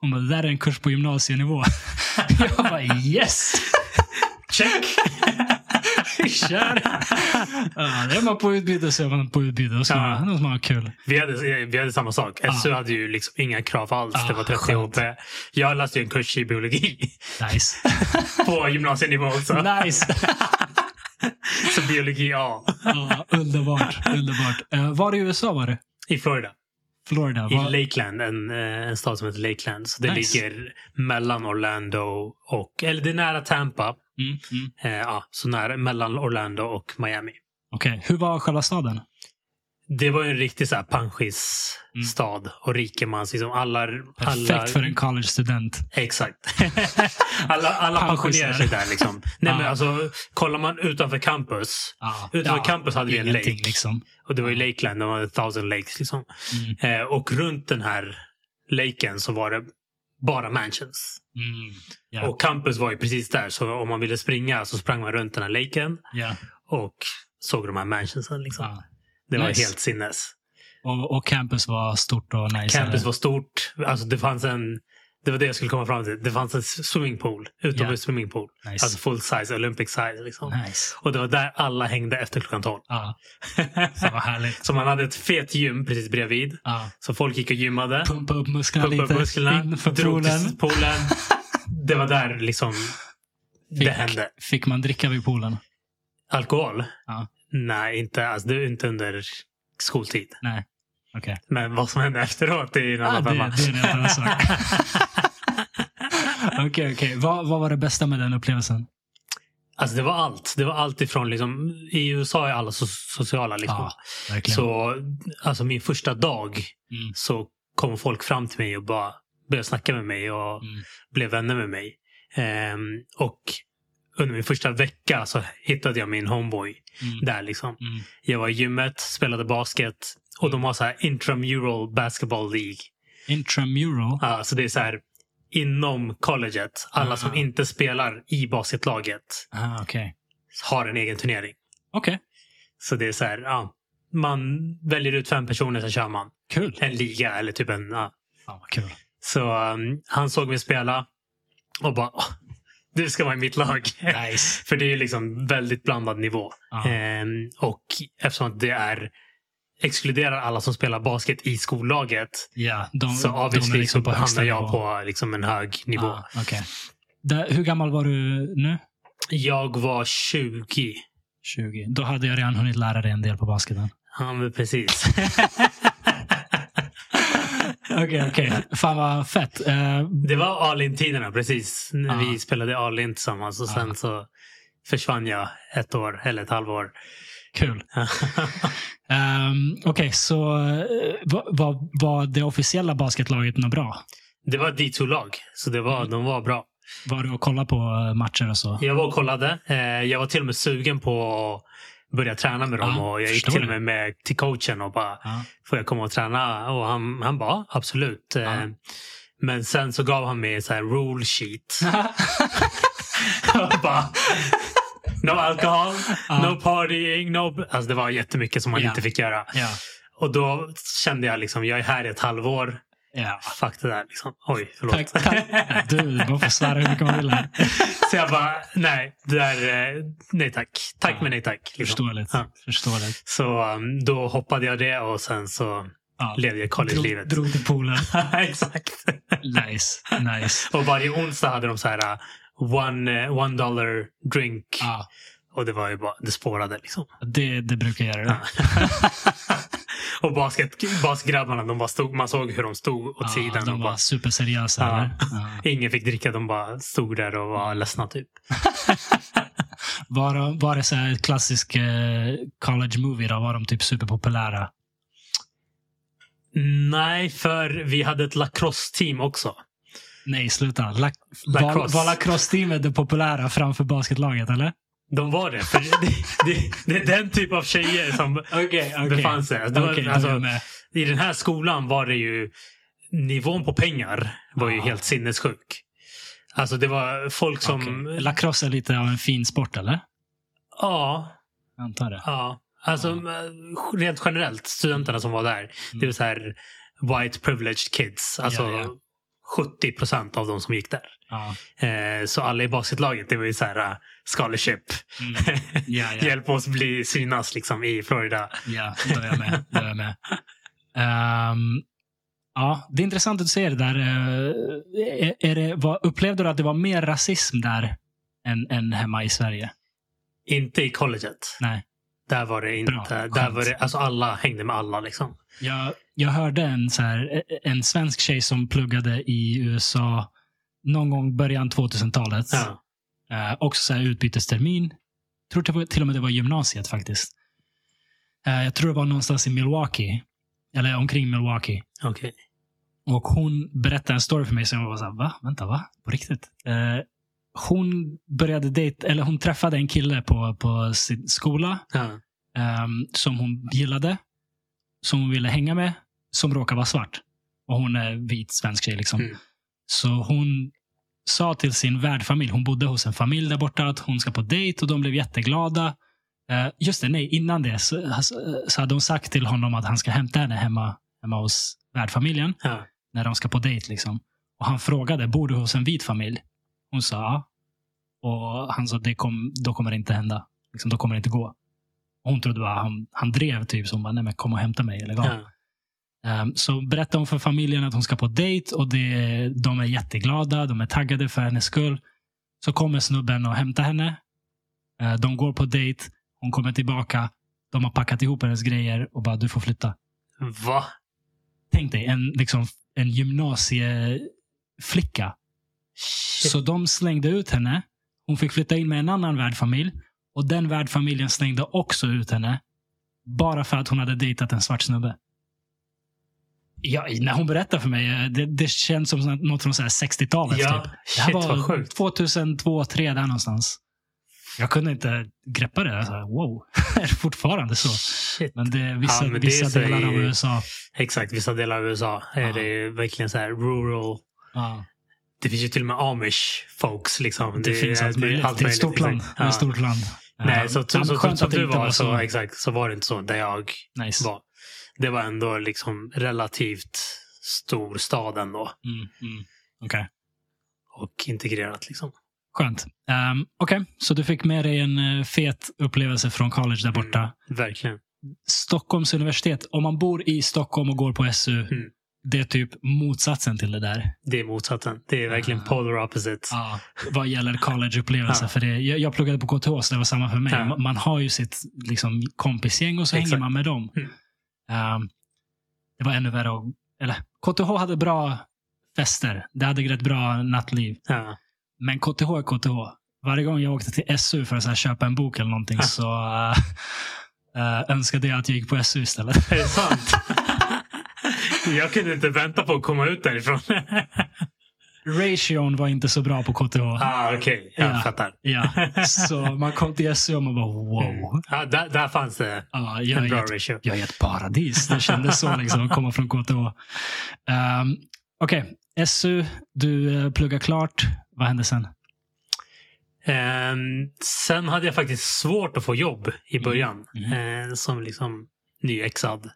Hon bara, det där är en kurs på gymnasienivå. jag bara, yes!
Check!
Vi kör! Ja, det är man på utbyte så är man på utbyte. Då ska
Ja.
man, då ska man ha kul.
Vi hade, vi hade samma sak.
Ja.
SU hade ju liksom inga krav alls.
Ja,
det var 30
Ah. skönt.
HP. Jag läste ju en kurs i biologi
Nice.
på gymnasienivå också.
nice!
Så biologi A
Ja, underbart. underbart. Eh, var i USA var det?
i Florida.
Florida?
I
Var...
Lakeland, en, eh, en stad som heter Lakeland. Så det
Nice.
ligger mellan Orlando och... Eller det är nära Tampa.
Mm, mm.
Eh, ja, så nära, mellan Orlando och Miami.
Okej, hur var själva staden?
Det var ju en riktig så här panschis-stad och rikemans. Liksom alla,
Mm. Perfekt
alla,
för en college-student.
Exakt. alla alla pensionerar sig där. Liksom. Nej,
Ja.
men alltså, kollar man utanför campus.
Ja.
Utanför campus hade vi en
ingenting,
lake.
Liksom.
Och det var ju Lakeland, de hade thousand lakes. Liksom.
Mm.
Eh, och runt den här laken så var det bara mansions.
Mm. Ja.
Och campus var ju precis där. Så om man ville springa så sprang man runt den här laken
ja.
och såg de här mansionsen. Liksom.
Ja.
Det var
Nice.
helt sinnes.
Och, och campus var stort och nice.
Campus var stort. Alltså, det fanns en... Det var det jag skulle komma fram till. Det fanns en swimmingpool. Utomhus
Ja.
swimmingpool.
nice.
Alltså full size, Olympic size. Liksom.
nice.
Och det var där alla hängde efter klockan 12.
Ja. Så vad härligt.
så man hade ett fet gym precis bredvid.
Ja.
Så folk gick och gymmade.
Pumpa upp musklerna
Pumpade upp
lite.
musklerna.
in för
Drog
poolen.
till poolen. Det var där liksom det hände.
Fick man dricka vid poolen?
Alkohol?
Ja.
Nej, inte, alltså, det är inte under skoltid.
Nej. Okej.
Men vad som hände efteråt det är en
Ah,
annan
det, det
femma.
är en annan sak. Okej, okej. Vad, vad var det bästa med den upplevelsen?
Alltså det var allt. Det var allt ifrån liksom, i USA är alla so sociala. Liksom.
Ja, verkligen.
så alltså min första dag
Mm.
så kom folk fram till mig och bara började snacka med mig och
Mm.
blev vänner med mig. Ehm, och under min första vecka så hittade jag min homeboy
Mm.
där. liksom.
Mm.
Jag var i gymmet, spelade basket och de har så här intramural basketball league.
Intramural.
Ja, så det är så här inom colleget. Alla som
Ah.
inte spelar i basketlaget
Ah, okej.
har en egen turnering.
Okej,
Så det är så här, ja, man väljer ut fem personer, sen kör man
kul.
en liga eller typ en... Ja.
Fan vad kul.
Så um, han såg mig spela och bara "Åh, du ska vara i mitt lag.
Nice. Ah.
För det är ju liksom väldigt blandad nivå.
Ja.
Ehm, och eftersom att det är exkluderar alla som spelar basket i skollaget
Ja, de,
så
de
obviously
är liksom på
så
högsta
hamnar jag
nivå.
på liksom en hög nivå.
Ah, okej. Där- hur gammal var du nu?
Jag var 20.
20. Då hade jag redan hunnit lära dig en del på basketen.
Ja, men precis.
Okej, okej. Fan vad fett. Eh,
Det var Alin-tiderna precis. När
Ah.
Vi spelade Alin tillsammans och sen
Ah.
så försvann jag ett år eller ett halvår.
kul. Ehm, okej, så eh, va- va- var det officiella basketlaget något bra?
Det var D2-lag, så det var, de var bra.
Var du och kollade på eh, matcher och så?
Jag var och kollade. Eh, Jag var till och med sugen på att börja träna med dem.
Ja,
och jag
Ah,
gick
förstår
till och
det.
med, med till coachen och bara,
Ja.
får jag komma och träna? Och han, han bara, "Ja, absolut. Eh,
Ja.
Men sen så gav han mig så här rule sheet. och bara, no alcohol,
Ja.
no partying, no... Alltså det var jättemycket som man
Ah. Ja.
inte fick göra.
ja.
Och då kände jag liksom, jag är här i ett halvår.
ja.
Fuck det där liksom. Oj, förlåt.
Tack, tack. Du, man får svära hur mycket man vill här.
Så jag bara, nej, det där, eh, nej tack. Tack
Ja.
men nej tack. Liksom.
Förståeligt.
Ja.
Förståeligt.
Så um, då hoppade jag det och sen så
Ja.
levde jag
Drog,
college-livet.
drog till poolen.
Exakt.
Nice, nice.
Och varje onsdag hade de så här uh, one, eh, one dollar drink.
Ja,
Och det var ju bara, det spårade liksom.
det, det brukar jag göra.
Ja. och basket, basketgrabbarna, de bara stod, man såg hur de stod åt
Ja,
sidan. och
de var
bara,
superseriösa.
Ja.
eller? Ja.
ingen fick dricka, de bara stod där och
Mm.
var ledsna typ.
Var, de- var det så här klassisk eh, college movie då? Var de typ superpopulära?
Nej, för vi hade ett lacrosse-team också.
Nej, sluta. La, var,
Lacrosse.
var lacrosse-teamet det populära framför basketlaget, eller?
De var det. För det, det, det är den typ av tjejer som
Okej,
befann sig. Alltså, det var,
Okej, då är jag
alltså,
med.
I den här skolan var det ju... Nivån på pengar var ju
Ja.
helt sinnessjuk. Alltså det var folk som...
Okej. Lacrosse är lite av en fin sport, eller?
Ja,
Jag antar det.
ja. Alltså
Mm.
men rent generellt, studenterna som var där. Det vill säga white privileged kids. Alltså
Ja, ja.
70 procent av de som gick där.
Ja.
Eh, så alla i basitlaget, det var ju så här eh, scholarship.
Mm. Ja, ja.
Hjälp oss bli synas liksom i Florida.
Ja, då är jag med. Då är jag med. Ehm, ja, det är intressant att du säger det där. Eh, är, är det, vad, upplevde du att det var mer rasism där än, än hemma i Sverige?
Inte i colleget.
Nej.
Där var det
Bra,
inte.
skönt.
Där var det, alltså alla hängde med alla liksom.
Jag, jag hörde en, så här, en svensk tjej som pluggade i USA någon gång början 2000-talet.
Ja.
Eh, också så här utbytestermin. Tror det var, till och med det var gymnasiet faktiskt. Eh, jag tror det var någonstans i Milwaukee. Eller omkring Milwaukee.
Okej.
Och hon berättade en story för mig som jag var så här, va? Vänta, va? På riktigt? Eh, hon började dejt, eller hon träffade en kille på, på sin skola
Ja.
ehm, som hon gillade, som hon ville hänga med, som råkar vara svart. Och hon är vit svensk tjej. Liksom.
Mm.
Så hon sa till sin värdfamilj, hon bodde hos en familj där borta, att hon ska på dejt och de blev jätteglada. Eh, just det, nej, innan det så, alltså, eh, så hade hon sagt till honom att han ska hämta henne hemma, hemma hos värdfamiljen
Ja.
när de ska på dejt. Liksom. Och han frågade, bor du hos en vit familj? Hon sa ja. Och han sa, det kom, då kommer det inte hända. Liksom, då kommer det inte gå. Och hon trodde bara han, han drev, typ. Så hon bara, nej men kom och hämta mig. Eller, ja.
Ja.
Ehm, så berättade hon för familjen att hon ska på dejt och det, de är jätteglada. De är taggade för hennes skull. Så kommer snubben och hämtar henne. Eh, de går på dejt. Hon kommer tillbaka. De har packat ihop hennes grejer och bara, du får flytta.
Va?
Tänk dig en, liksom, en gymnasieflicka.
Shit.
Så de slängde ut henne. Hon fick flytta in med en annan värdfamilj. Och den värdfamiljen slängde också ut henne. Bara för att hon hade dejtat en svart snubbe. Ja, när hon berättar för mig, eh, det, det känns som sånt- något från så här 60-talet.
Ja.
Typ. Det här
Shit vad
var
sjukt.
2002, 2003 där någonstans. Jag kunde inte greppa det. Jag sa, wow, är det fortfarande så?
Shit.
Men det är vissa,
Ja, men det är
vissa
så
delar av
i-
USA.
Exakt, vissa delar av USA
Ja.
är det ju verkligen så här rural.
Ja.
Det finns ju till och med amish folks. Liksom.
Det, finns
är-
allt
är
möjligt. det är ett stort land.
exakt.
Det är ett stort land.
Ja. Nej, så, så,
Ja, men
så, så,
skönt
som
att det
du
inte
var, så, exakt, så var det inte så där jag
Nice.
var. Det var ändå liksom relativt stor stad ändå.
Mm, mm. Okej.
Och integrerat liksom.
Skönt. Um, Okej, så du fick med dig en eh, fet upplevelse från college där borta.
Mm. Verkligen.
Stockholms universitet, om man bor i Stockholm och går på SU,
Mm.
det är typ motsatsen till det där.
Det är motsatsen. Det är verkligen
Ah.
polar opposites.
Ja, vad gäller collegeupplevelser.
Ja.
För det, jag, jag pluggade på KTH, så det var samma för mig.
Ja.
Ma- Man har ju sitt liksom, kompisgäng och så hänger
Exakt.
man med dem.
Mm.
Ehm, det var ännu värre. att- eller, KTH hade bra fester. Det hade rätt bra nattliv.
Ja.
Men KTH är KTH. Varje gång jag åkte till SU för att så här, köpa en bok eller någonting
Ja.
så eh, eh, önskade jag att jag gick på SU istället.
Är det sant? jag kunde inte vänta på att komma ut därifrån.
Ration var inte så bra på KTH.
ah, Okej, jag
Ja.
fattar.
Ja. Så man kom till SU och man bara wow.
Ja, där, där fanns det
Ja,
en
jag
bra
är
ratio.
jag är ett paradis. Det kändes så liksom, att komma från KTH. Um, Okej, SU, du eh, pluggar klart. Vad hände sen?
Ehm, sen hade jag faktiskt svårt att få jobb i
Mm.
början. eh, som liksom nyexad.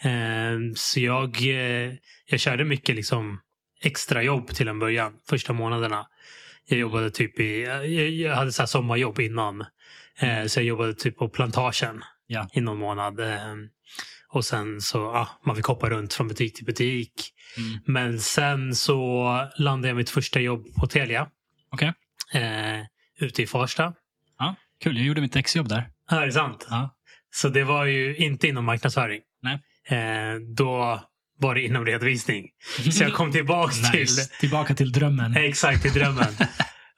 Ehm, så jag, eh, jag körde mycket liksom extra jobb till en början. Första månaderna. Jag
Mm.
jobbade typ i, jag, jag hade så här sommarjobb innan. Eh, så jag jobbade typ på plantagen
Mm. Ja.
i någon månad. Ehm, och sen så, ja, man fick hoppa runt från butik till butik.
Mm.
Men sen så landade jag mitt första jobb på Telia.
Okej.
Eh, ute i Farsta.
Kul, jag gjorde mitt exjobb där.
Ja, det är sant.
Ja.
Så det var ju inte inom marknadsföring.
Nej.
Eh, då var det inom redovisning. Så jag kom tillbaka
nice.
till
Tillbaka till drömmen.
exakt till drömmen.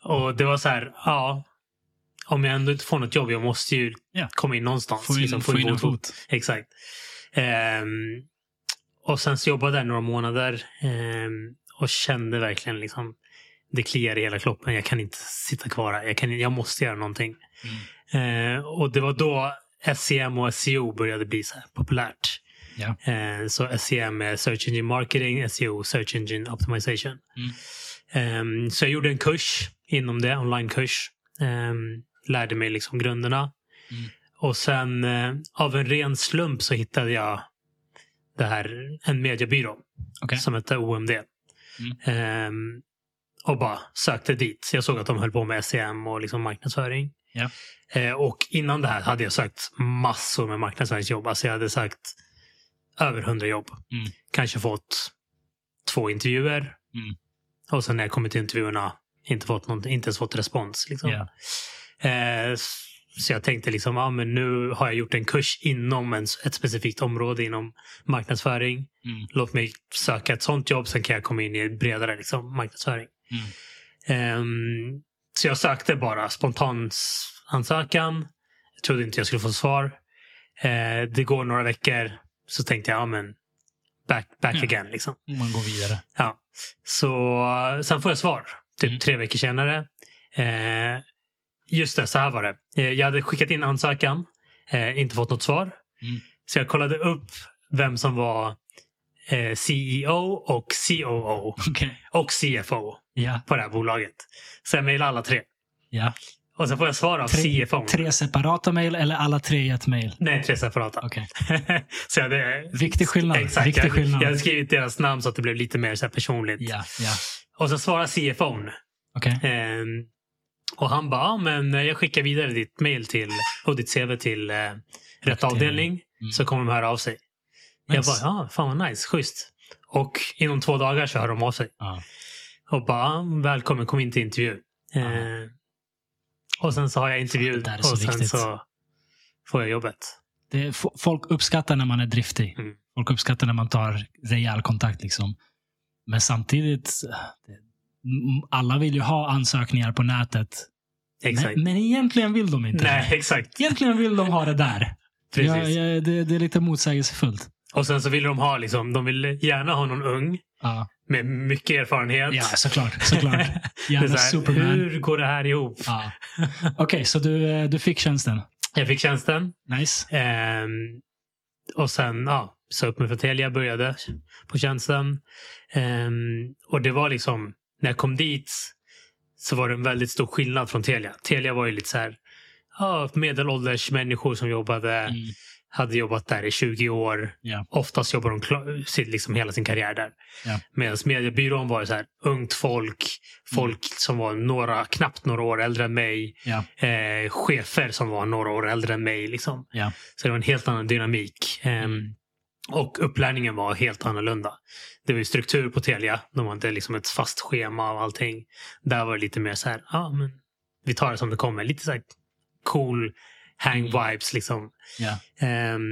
och det var så här, ja. Om jag ändå inte får något jobb, jag måste ju
Ja.
komma in någonstans.
Få in,
liksom,
få in en
vår
fot.
Exakt. Ehm, och sen så jobbade jag där några månader ehm, och kände verkligen liksom det kliar i hela kroppen. Jag kan inte sitta kvar här. Jag, kan, jag måste göra någonting. Eh, och det var då SEM och SEO började bli så här populärt.
Ja.
Eh, så SEM är Search Engine Marketing, SEO Search Engine Optimization.
Mm.
Ehm, så jag gjorde en kurs inom det, onlinekurs. Ehm, lärde mig liksom grunderna.
Mm.
Och sen eh, av en ren slump så hittade jag det här, en mediebyrå
Okej. Mm.
som hette OMD. Ehm, och bara sökte dit. Jag såg att de höll på med SEM och liksom marknadsföring.
Ja.
Eh, och innan det här hade jag sökt massor med marknadsföringsjobb. Alltså jag hade sökt över hundra jobb.
Mm.
Kanske fått två intervjuer.
Mm.
Och sen när jag kommit till intervjuerna inte, fått någon, inte ens fått respons. Liksom.
Ja.
Eh, s- så jag tänkte liksom, ah, men nu har jag gjort en kurs inom en, ett specifikt område inom marknadsföring.
Mm.
Låt mig söka ett sånt jobb, sen kan jag komma in i ett bredare liksom, marknadsföring.
Mm.
Ehm, så jag sökte bara spontansansökan. Jag trodde inte jag skulle få svar. Eh, det går några veckor, så tänkte jag, ja men back, back
Ja.
again. Liksom.
Och Mm. Man går vidare.
Ja. Så eh, sen får jag svar, typ
Mm.
tre veckor senare. Eh, just det, så här var det. Eh, jag hade skickat in ansökan, eh, inte fått något svar.
Mm.
Så jag kollade upp vem som var eh, CEO och COO
Okej.
och CFO
Ja.
på det här bolaget. Så jag mejlade alla tre.
ja.
Och sen får jag svar av
Tre-
CFO.
Tre separata mejl eller alla tre i ett mejl?
Nej, tre separata.
Okej.
så jag hade,
Viktig skillnad.
Exakt,
Viktig
jag,
skillnad.
jag hade skrivit deras namn så att det blev lite mer så här personligt.
Ja, ja.
Och sen svarar CFO'n.
Okej.
Ehm, och han bara, "Ja, men jag skickar vidare ditt mail till, och ditt CV till eh, rätt
till-
avdelning
Mm.
så kommer de höra av sig. Jag bara,
Nice.
ja, fan vad nice, schysst. Och inom två dagar så hör de av sig
Ja.
och bara, "Ja, välkommen, kom in till intervju. Eh, och sen så har jag intervju
Det där är
och
så
sen
viktigt.
så får jag jobbet.
Det är, fo- folk uppskattar när man är driftig.
Mm.
Folk uppskattar när man tar rejäl kontakt. Liksom. Men samtidigt, eh, det- m- alla vill ju ha ansökningar på nätet.
Exakt.
Men, men egentligen vill de inte.
Nej, exakt.
Egentligen vill de ha det där.
Precis.
Ja, ja, det, det är lite motsägelsefullt.
Och sen så vill de ha, liksom, de vill gärna ha någon ung
Ja,
med mycket erfarenhet.
ja såklart. såklart.
Det är
Gärna
så här,
Superman.
Hur går det här ihop?
Ja. Okej, så du, eh, du fick tjänsten.
Jag fick tjänsten.
Nice.
Ehm, och sen ja, sa upp mig för Telia, började på tjänsten. Ehm, och det var liksom, när jag kom dit så var det en väldigt stor skillnad från Telia. Telia var ju lite så här, ja, medelålders människor som jobbade,
Mm.
hade jobbat där i 20 år.
Ja.
Oftast jobbar de kla- sitt- liksom hela sin karriär där.
Ja. Mm.
Medan mediebyrån var ju så här, ungt folk, folk som var några, knappt några år äldre än mig
Ja.
eh, chefer som var några år äldre än mig. Liksom.
Ja.
Så det var en helt annan dynamik. Ehm, och upplärningen var helt annorlunda. Det var ju struktur på Telia. De hade liksom ett fast schema av allting. Där var det lite mer så här, ja men vi tar det som det kommer. Lite så här cool hang vibes liksom.
Mm. Ja.
Ehm,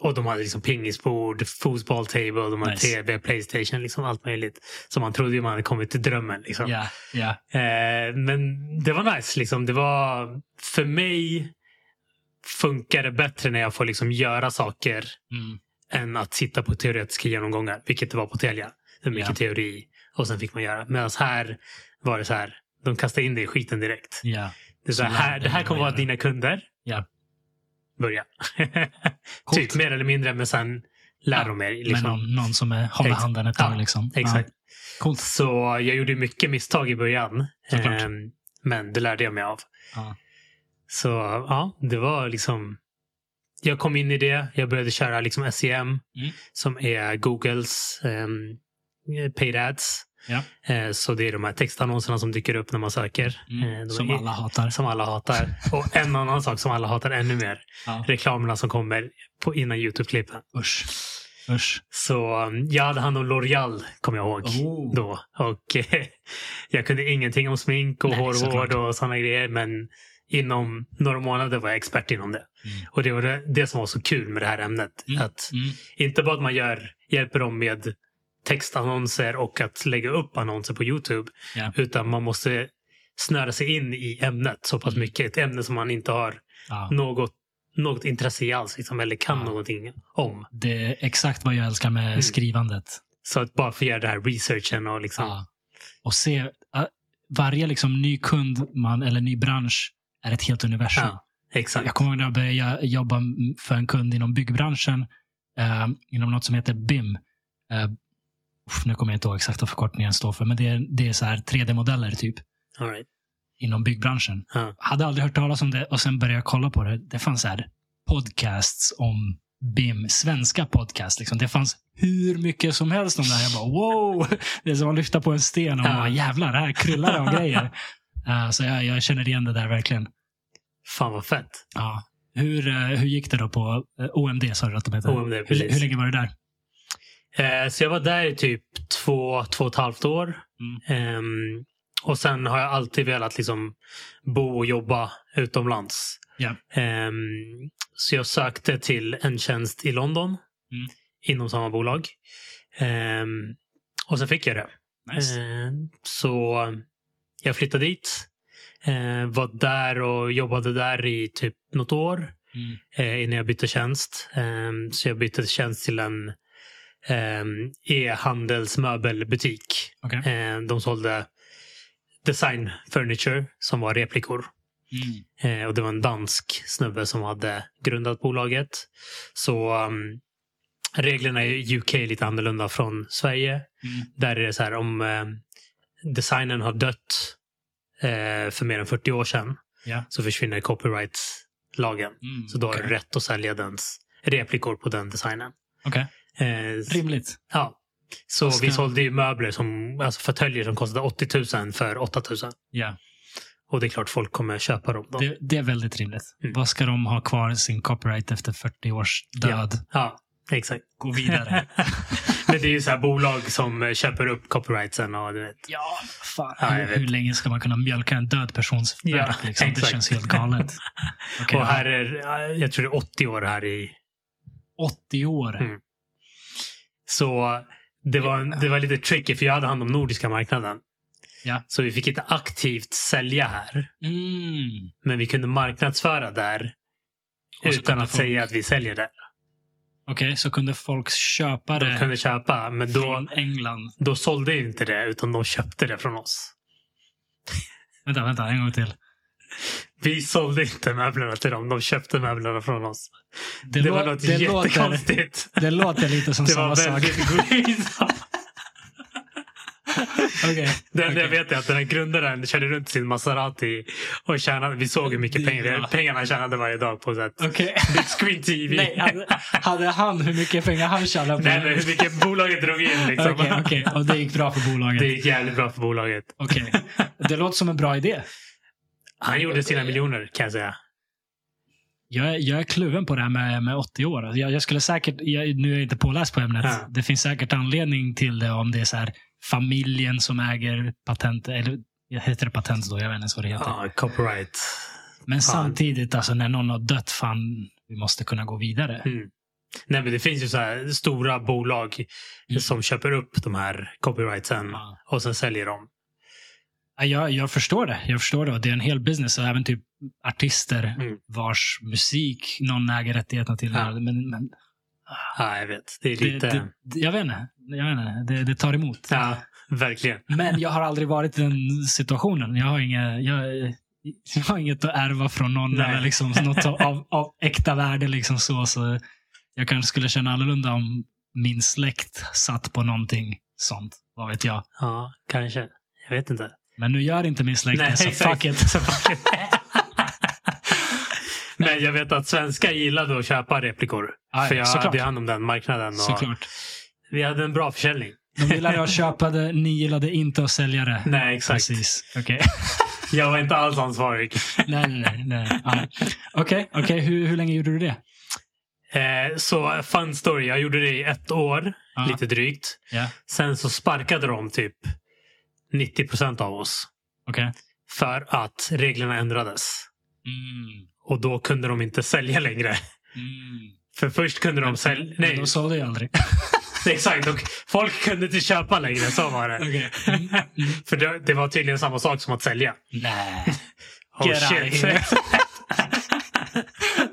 och de hade liksom pingisbord, fotbolltable, de hade
Nice.
tv, playstation, liksom allt möjligt. Så man trodde ju man hade kommit till drömmen. Liksom.
Ja. Ja.
Eh, men det var nice. Liksom. Det var, för mig funkar det bättre när jag får liksom göra saker
Mm.
än att sitta på teoretiska genomgångar, vilket det var på Telia. Det var mycket
Ja.
teori och sen fick man göra. Medan här var det så här, de kastade in dig i skiten direkt.
Ja.
Det, är så här,
Så lär
här,
dig
det här
vad
kommer vara
göra.
dina kunder.
Ja.
Börja.
Coolt.
typ mer eller mindre, men sen lär
Ja,
de er.
Med
Liksom.
någon, någon som är, håller
Ex-
handen ett
ja,
tag. liksom.
Exakt.
Ja. Coolt.
Så jag gjorde mycket misstag i början.
Såklart.
Ehm, men det lärde jag mig av.
Ja.
Så ja, det var liksom... Jag kom in i det. Jag började köra liksom SEM
Mm.
som är Googles ehm, paid ads.
Ja.
Eh, så det är de här textannonserna som dyker upp när man söker. Eh,
Mm.
de
Som
är-
alla hatar.
som alla hatar. Och en annan sak som alla hatar ännu mer.
Ja.
Reklamerna som kommer på, innan YouTube-klippen.
Usch. Usch.
Så um, jag hade hand om L'Oreal, kommer jag ihåg.
Oh.
Då. Och eh, jag kunde ingenting om smink och
Nej, såklart.
hårvård och sådana grejer. Men inom några månader var jag expert inom det.
Mm.
Och det var det, det som var så kul med det här ämnet.
Mm.
Att
Mm.
inte bara att man gör, hjälper dem med textannonser och att lägga upp annonser på YouTube.
Ja.
Utan man måste snöra sig in i ämnet så pass
Mm.
mycket. Ett ämne som man inte har
Ja.
något, något intresse i alls. Liksom, eller kan
Ja.
någonting om.
Det är exakt vad jag älskar med
Mm.
skrivandet.
Så att bara för att göra den här researchen och liksom.
Ja. Och se, äh, varje liksom ny kund man, eller ny bransch är ett helt universum.
Ja, exakt.
Jag kommer ihåg när jag började jobba m- för en kund inom byggbranschen. Eh, inom något som heter BIM. Eh, uff, nu kommer jag inte ihåg exakt vad förkortningen står för, men det är, det är så här 3D-modeller typ.
All right.
inom byggbranschen.
Ja.
Hade aldrig hört talas om det och sen började jag kolla på det. Det fanns så här podcasts om BIM, svenska podcasts. Liksom. Det fanns hur mycket som helst om det här. Jag bara wow! Det är som att lyfta på en sten och
Ja.
bara jävlar, det här kryllar av grejer. Eh, så jag, jag känner igen det där verkligen.
Fan vad fett.
Ja. Hur, eh, hur gick det då på eh, OMD sa du att de heter?
OMD,
hur,
precis.
hur länge var du där?
Eh, så jag var där i typ två, två och ett halvt år.
Mm.
Ehm, och sen har jag alltid velat liksom bo och jobba utomlands.
Ja.
Ehm, så jag sökte till en tjänst i London
Mm.
inom samma bolag. Ehm, och sen fick jag det.
Nice.
Eh, Så jag flyttade dit. eh, Var där och jobbade där i typ något år
Mm.
eh, innan jag bytte tjänst. Eh, Så jag bytte tjänst till en eh, e-handelsmöbelbutik.
Okej.
Eh, De sålde design furniture som var replikor.
Mm.
Eh, Och det var en dansk snubbe som hade grundat bolaget. Så um, reglerna i UK är lite annorlunda från Sverige.
Mm.
Där är det så här om eh, designen har dött eh, för mer än 40 år sedan
Ja.
så försvinner copyright-lagen.
Mm.
Så då har
Okej.
du rätt att sälja dens replikor på den designen.
Okej.
Eh, s-
Rimligt.
ja. Så
Vad ska-
vi sålde ju möbler, som, alltså fåtöljer som kostade 80 000 för 8 000.
Ja.
Och det är klart folk kommer köpa dem. Då.
Det, det är väldigt rimligt.
Mm.
Vad ska de ha kvar sin copyright efter 40 års död?
Ja, exakt.
Gå vidare.
Men det är ju så här bolag som eh, köper upp copyrightsen och du vet.
ja, fan.
Ja, jag
hur,
vet.
hur länge ska man kunna mjölka en död persons
Ja,
verk? liksom? Det
exakt.
känns helt galet. Okej,
och här är, eh, jag tror det är 80 år här i
80 år.
Mm. Så det var, en- det var lite tricky för jag hade hand om nordiska marknaden.
Ja.
Så vi fick inte aktivt sälja här.
Mm.
Men vi kunde marknadsföra där
Och så
utan
kunde
att
folk-
säga att vi säljer där.
Okej, så kunde folk köpa
De
det
kunde köpa, men då,
från England?
då sålde ju inte det utan de köpte det från oss.
Vänta, vänta, en gång till.
Vi sålde inte möblerna till dem, de köpte möblerna från oss. Det,
lå-
var något
det låter,
jättekonstigt.
det låter lite som
Det
samma
var
sak.
väldigt weird.
Okej.
Den,
Okej.
Jag vet är att den här grundaren körde runt sin Maserati och tjänade. Vi såg hur mycket
Ja.
pengar, pengarna han tjänade varje dag på så här
Okej.
big screen TV.
Nej, hade, hade han hur mycket pengar han tjänade på
Nej, men hur mycket bolaget drog in liksom.
Okej, okej. Och det gick bra för bolaget.
Det gick jävligt bra för bolaget.
Okej. Det låter som en bra idé.
Han gjorde sina miljoner kan jag säga.
Jag är, jag är kluven på det här med, med 80 år. Alltså Jag, jag skulle säkert, jag, nu är jag inte påläst på ämnet.
Ja.
Det finns säkert anledning till det om det är så här familjen som äger patent. Eller heter det patent då? Jag vet inte ens vad det heter.
Ja, copyright.
Men
fan.
samtidigt, alltså när någon har dött, fan, vi måste kunna gå vidare.
Mm. Nej, men det finns ju så här stora bolag som köper upp de här copyrightsen
Ja.
och sen säljer dem.
Ja, Jag, jag förstår det. Jag förstår det. Och Det är en hel business. Och även typ artister
Mm.
vars musik någon äger rättigheterna till.
Ja.
Men, men
Ja, jag vet. Det är
det,
lite...
det, jag vet inte. Jag vet inte. Det, det tar emot.
Ja, verkligen.
Men jag har aldrig varit i den situationen. Jag har, inga, jag, jag har inget att ärva från någon
Nej.
eller liksom något av, av äkta värde. Liksom så, så jag kanske skulle känna annorlunda om min släkt satt på någonting sånt. Vad vet jag.
Ja, kanske. Jag vet inte.
Men nu gör inte min släkt det, så
exakt.
fuck it.
Så fuck it. Men jag vet att svenskar gillade att köpa replikor.
Ja,
för jag
såklart.
hade ju hand om den marknaden. Och
Såklart.
vi hade en bra försäljning.
De gillade att köpa det, ni gillade inte att sälja det.
Nej, exakt.
Precis. Okej,
Jag var inte alls ansvarig.
nej, nej, nej. nej. Ja. Okej, okej. hur, hur länge gjorde du det?
Eh, så fun story. Jag gjorde det i ett år,
Ja.
lite drygt.
Ja.
Sen så sparkade de typ 90 procent av oss.
Okej.
För att reglerna ändrades.
Mm.
Och då kunde de inte sälja längre.
Mm.
För först kunde de sälja...
Men
Nej,
Mm. De sålde ju aldrig.
exakt. Och folk kunde inte köpa längre. Så var det.
Okej. Mm.
För det, det var tydligen samma sak som att sälja.
Nej.
Oh,
Get out of here.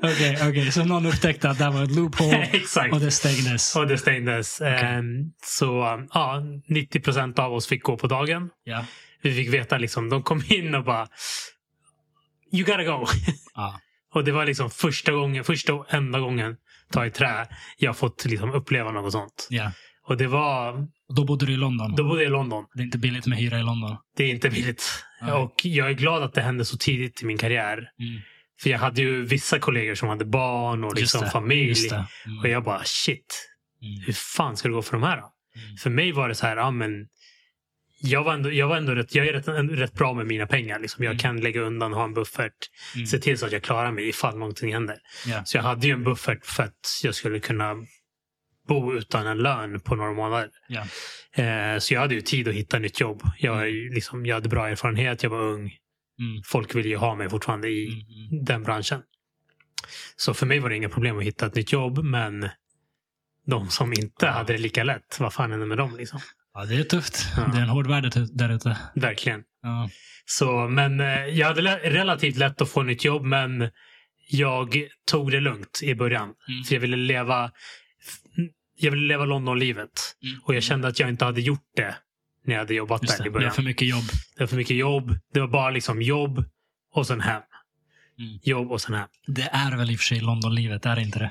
Okej, okej. Så någon upptäckte att det här var ett loophole
Exakt.
och det stängdes.
Och det stängdes. Ehm, så um, ja, 90 procent av oss fick gå på dagen.
Ja.
Vi fick veta liksom, de kom in och bara You gotta go.
Ja.
Och det var liksom första gången, första och enda gången ta i trä jag fått liksom uppleva något sånt.
Ja.
Och det var
Och då bodde du i London.
Då Mm. bodde jag i London.
Det är inte billigt med hyra i London.
Det är inte billigt.
Nej.
Och jag är glad att det hände så tidigt i min karriär.
Mm.
För jag hade ju vissa kollegor som hade barn och liksom
det,
familj.
Just det. Mm.
Och jag bara shit,
Mm.
hur fan ska det gå för de här? Då?
Mm.
För mig var det så här, ja men jag var ändå, jag var ändå rätt, jag är rätt, ändå rätt bra med mina pengar. Liksom. Jag
Mm.
kan lägga undan, ha en buffert,
Mm.
se till så att jag klarar mig ifall någonting händer.
Ja.
Så jag hade ju en buffert för att jag skulle kunna bo utan en lön på några månader.
Ja.
Eh, så jag hade ju tid att hitta nytt jobb. Jag, är ju liksom, jag hade bra erfarenhet, jag var ung.
Mm.
Folk ville ju ha mig fortfarande i
Mm. Mm.
den branschen. Så för mig var det inga problem att hitta ett nytt jobb, men de som inte
Ja.
hade det lika lätt, vad fan hände med dem? Liksom?
Ja, det är tufft.
Ja.
Det är en hård värld ut- där ute.
Verkligen.
Ja.
Så, men eh, jag hade lä- relativt lätt att få nytt jobb, men jag tog det lugnt i början.
Mm.
För jag ville leva, jag ville leva London-livet. Och jag kände att jag inte hade gjort det när jag hade jobbat
Mm. Just
där
det.
i
Det är
början.
för mycket jobb.
Det var för mycket jobb. Det var bara liksom jobb och sen hem.
Mm.
Jobb och sen hem.
Det är väl i och för sig Londonlivet, är det inte det?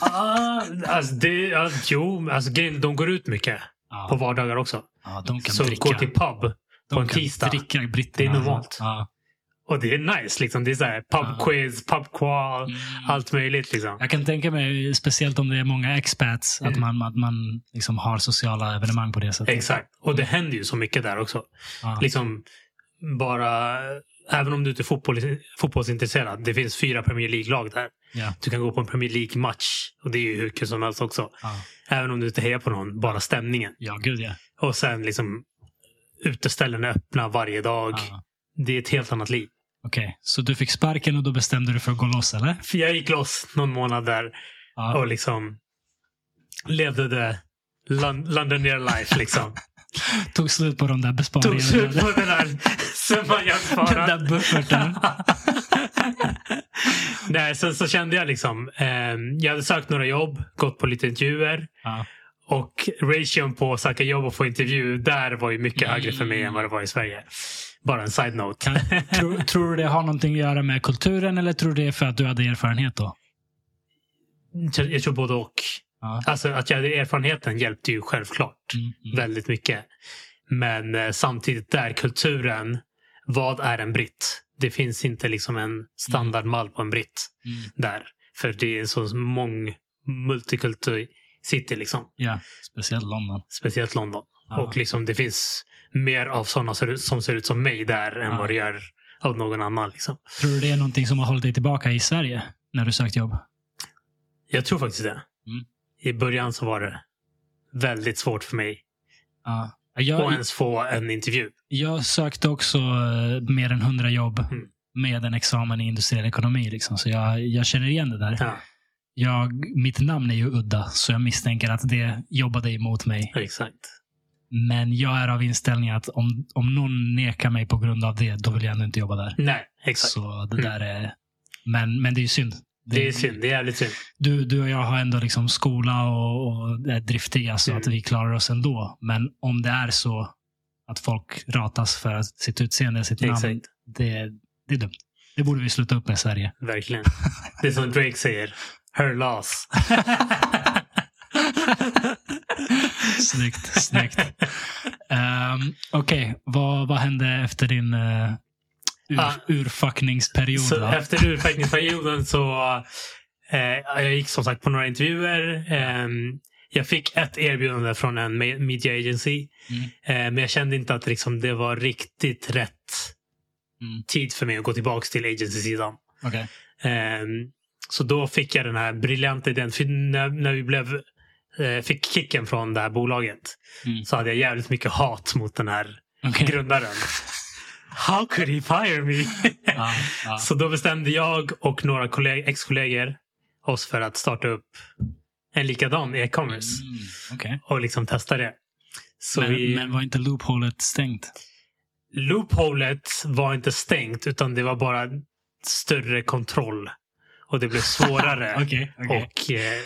Ah, alltså det, ah, jo, alltså grejen, de går ut mycket
Ja.
på vardagar också.
Ja, de kan
Så
dricka.
gå till pub.
de
på en
kan
tisdag.
dricka britterna.
Det är normalt.
Ja.
Och det är nice. Liksom. Det är så här
Ja.
pubquiz, pubqual,
Mm.
allt möjligt. Liksom.
Jag kan tänka mig, speciellt om det är många expats, att
Mm.
man, att man liksom har sociala evenemang på det sättet.
Exakt. Och det händer ju så mycket där också.
Ja.
Liksom bara... Även om du inte är fotboll, fotbollsintresserad. Det finns fyra Premier League-lag där.
Ja.
Du kan gå på en Premier League-match. Och det är ju hur kul som helst också.
Ja.
Även om du inte hejar på någon, bara stämningen.
ja, gud ja.
Och sen liksom uteställen är öppna varje dag.
ja.
Det är ett helt annat liv.
Okej, så du fick sparken och då bestämde du för att gå loss, eller?
För jag gick loss någon månad där
Ja.
och liksom levde det Lon- Londoner life liksom.
Tog slut på de där besparingarna.
Tog slut på den där summan jag
den
sparat.
där bufferten.
Nej, sen så kände jag liksom. ehm, jag hade sökt några jobb, gått på lite intervjuer.
Ja.
Och ration på att söka jobb och få intervju, där var ju mycket
Mm.
högre för mig än vad det var i Sverige. Bara en side-note.
Kan, tror, tror du det har någonting att göra med kulturen eller tror du det är för att du hade erfarenhet då?
Jag tror både och.
Ja.
Alltså att jag hade erfarenheten hjälpte ju självklart
Mm, mm.
väldigt mycket. Men eh, samtidigt där kulturen, vad är en britt? Det finns inte liksom en standardmall på en britt
Mm.
där. För det är en så mång multikultur city liksom.
Ja, speciellt London.
Speciellt London.
Ja.
Och liksom det finns mer av sådana ser ut- som ser ut som mig där än
Ja.
vad det gör av någon annan. Liksom.
Tror du det är någonting som har hållit dig tillbaka i Sverige när du sökt jobb?
Jag tror faktiskt det.
Mm.
I början så var det väldigt svårt för mig
Ja.
att
Jag,
ens få en intervju.
jag sökte också eh, mer än 100 jobb
Mm.
med en examen i industriell ekonomi. Liksom. Så jag, jag känner igen det där.
Ja,
Jag, mitt namn är ju udda, så jag misstänker att det jobbade emot mig.
exakt.
Men jag är av inställningen att om, om någon nekar mig på grund av det, då vill jag ändå inte jobba där.
Nej, exakt.
Så det
Mm.
där är... Men, men det är ju synd.
Det är synd. Det är jävligt synd.
Du, du och jag har ändå liksom skola och, och är driftiga så
Mm.
att vi klarar oss ändå. Men om det är så att folk ratas för sitt utseende, sitt namn,
Exakt.
det, det är dumt. Det borde vi sluta upp med i Sverige.
Verkligen. Det är som Drake säger. Her loss.
Snyggt, snyggt. Um, Okej, vad, vad hände efter din eh, ur,
Ah.
urfuckningsperiod?
Så
va?
efter utvecklingsperioden så eh, jag gick som sagt på några intervjuer. Ehm, jag fick ett erbjudande från en me- media agency.
Mm.
Eh, men jag kände inte att liksom, det var riktigt rätt
Mm.
tid för mig att gå tillbaka till agency-sidan.
Okej.
Ehm, så då fick jag den här briljanta idén. För när, när vi blev, eh, fick kicken från det här bolaget
Mm.
så hade jag jävligt mycket hat mot den här
Okej.
grundaren. How could he fire me?
Ja, ja.
Så då bestämde jag och några kolleg- ex-kollegor oss för att starta upp en likadan e-commerce
Mm, okej.
och liksom testa det. Så
men,
vi,
men var inte loopholet stängt?
loopholet var inte stängt utan det var bara större kontroll. Och det blev svårare att
Okej. okej.
eh,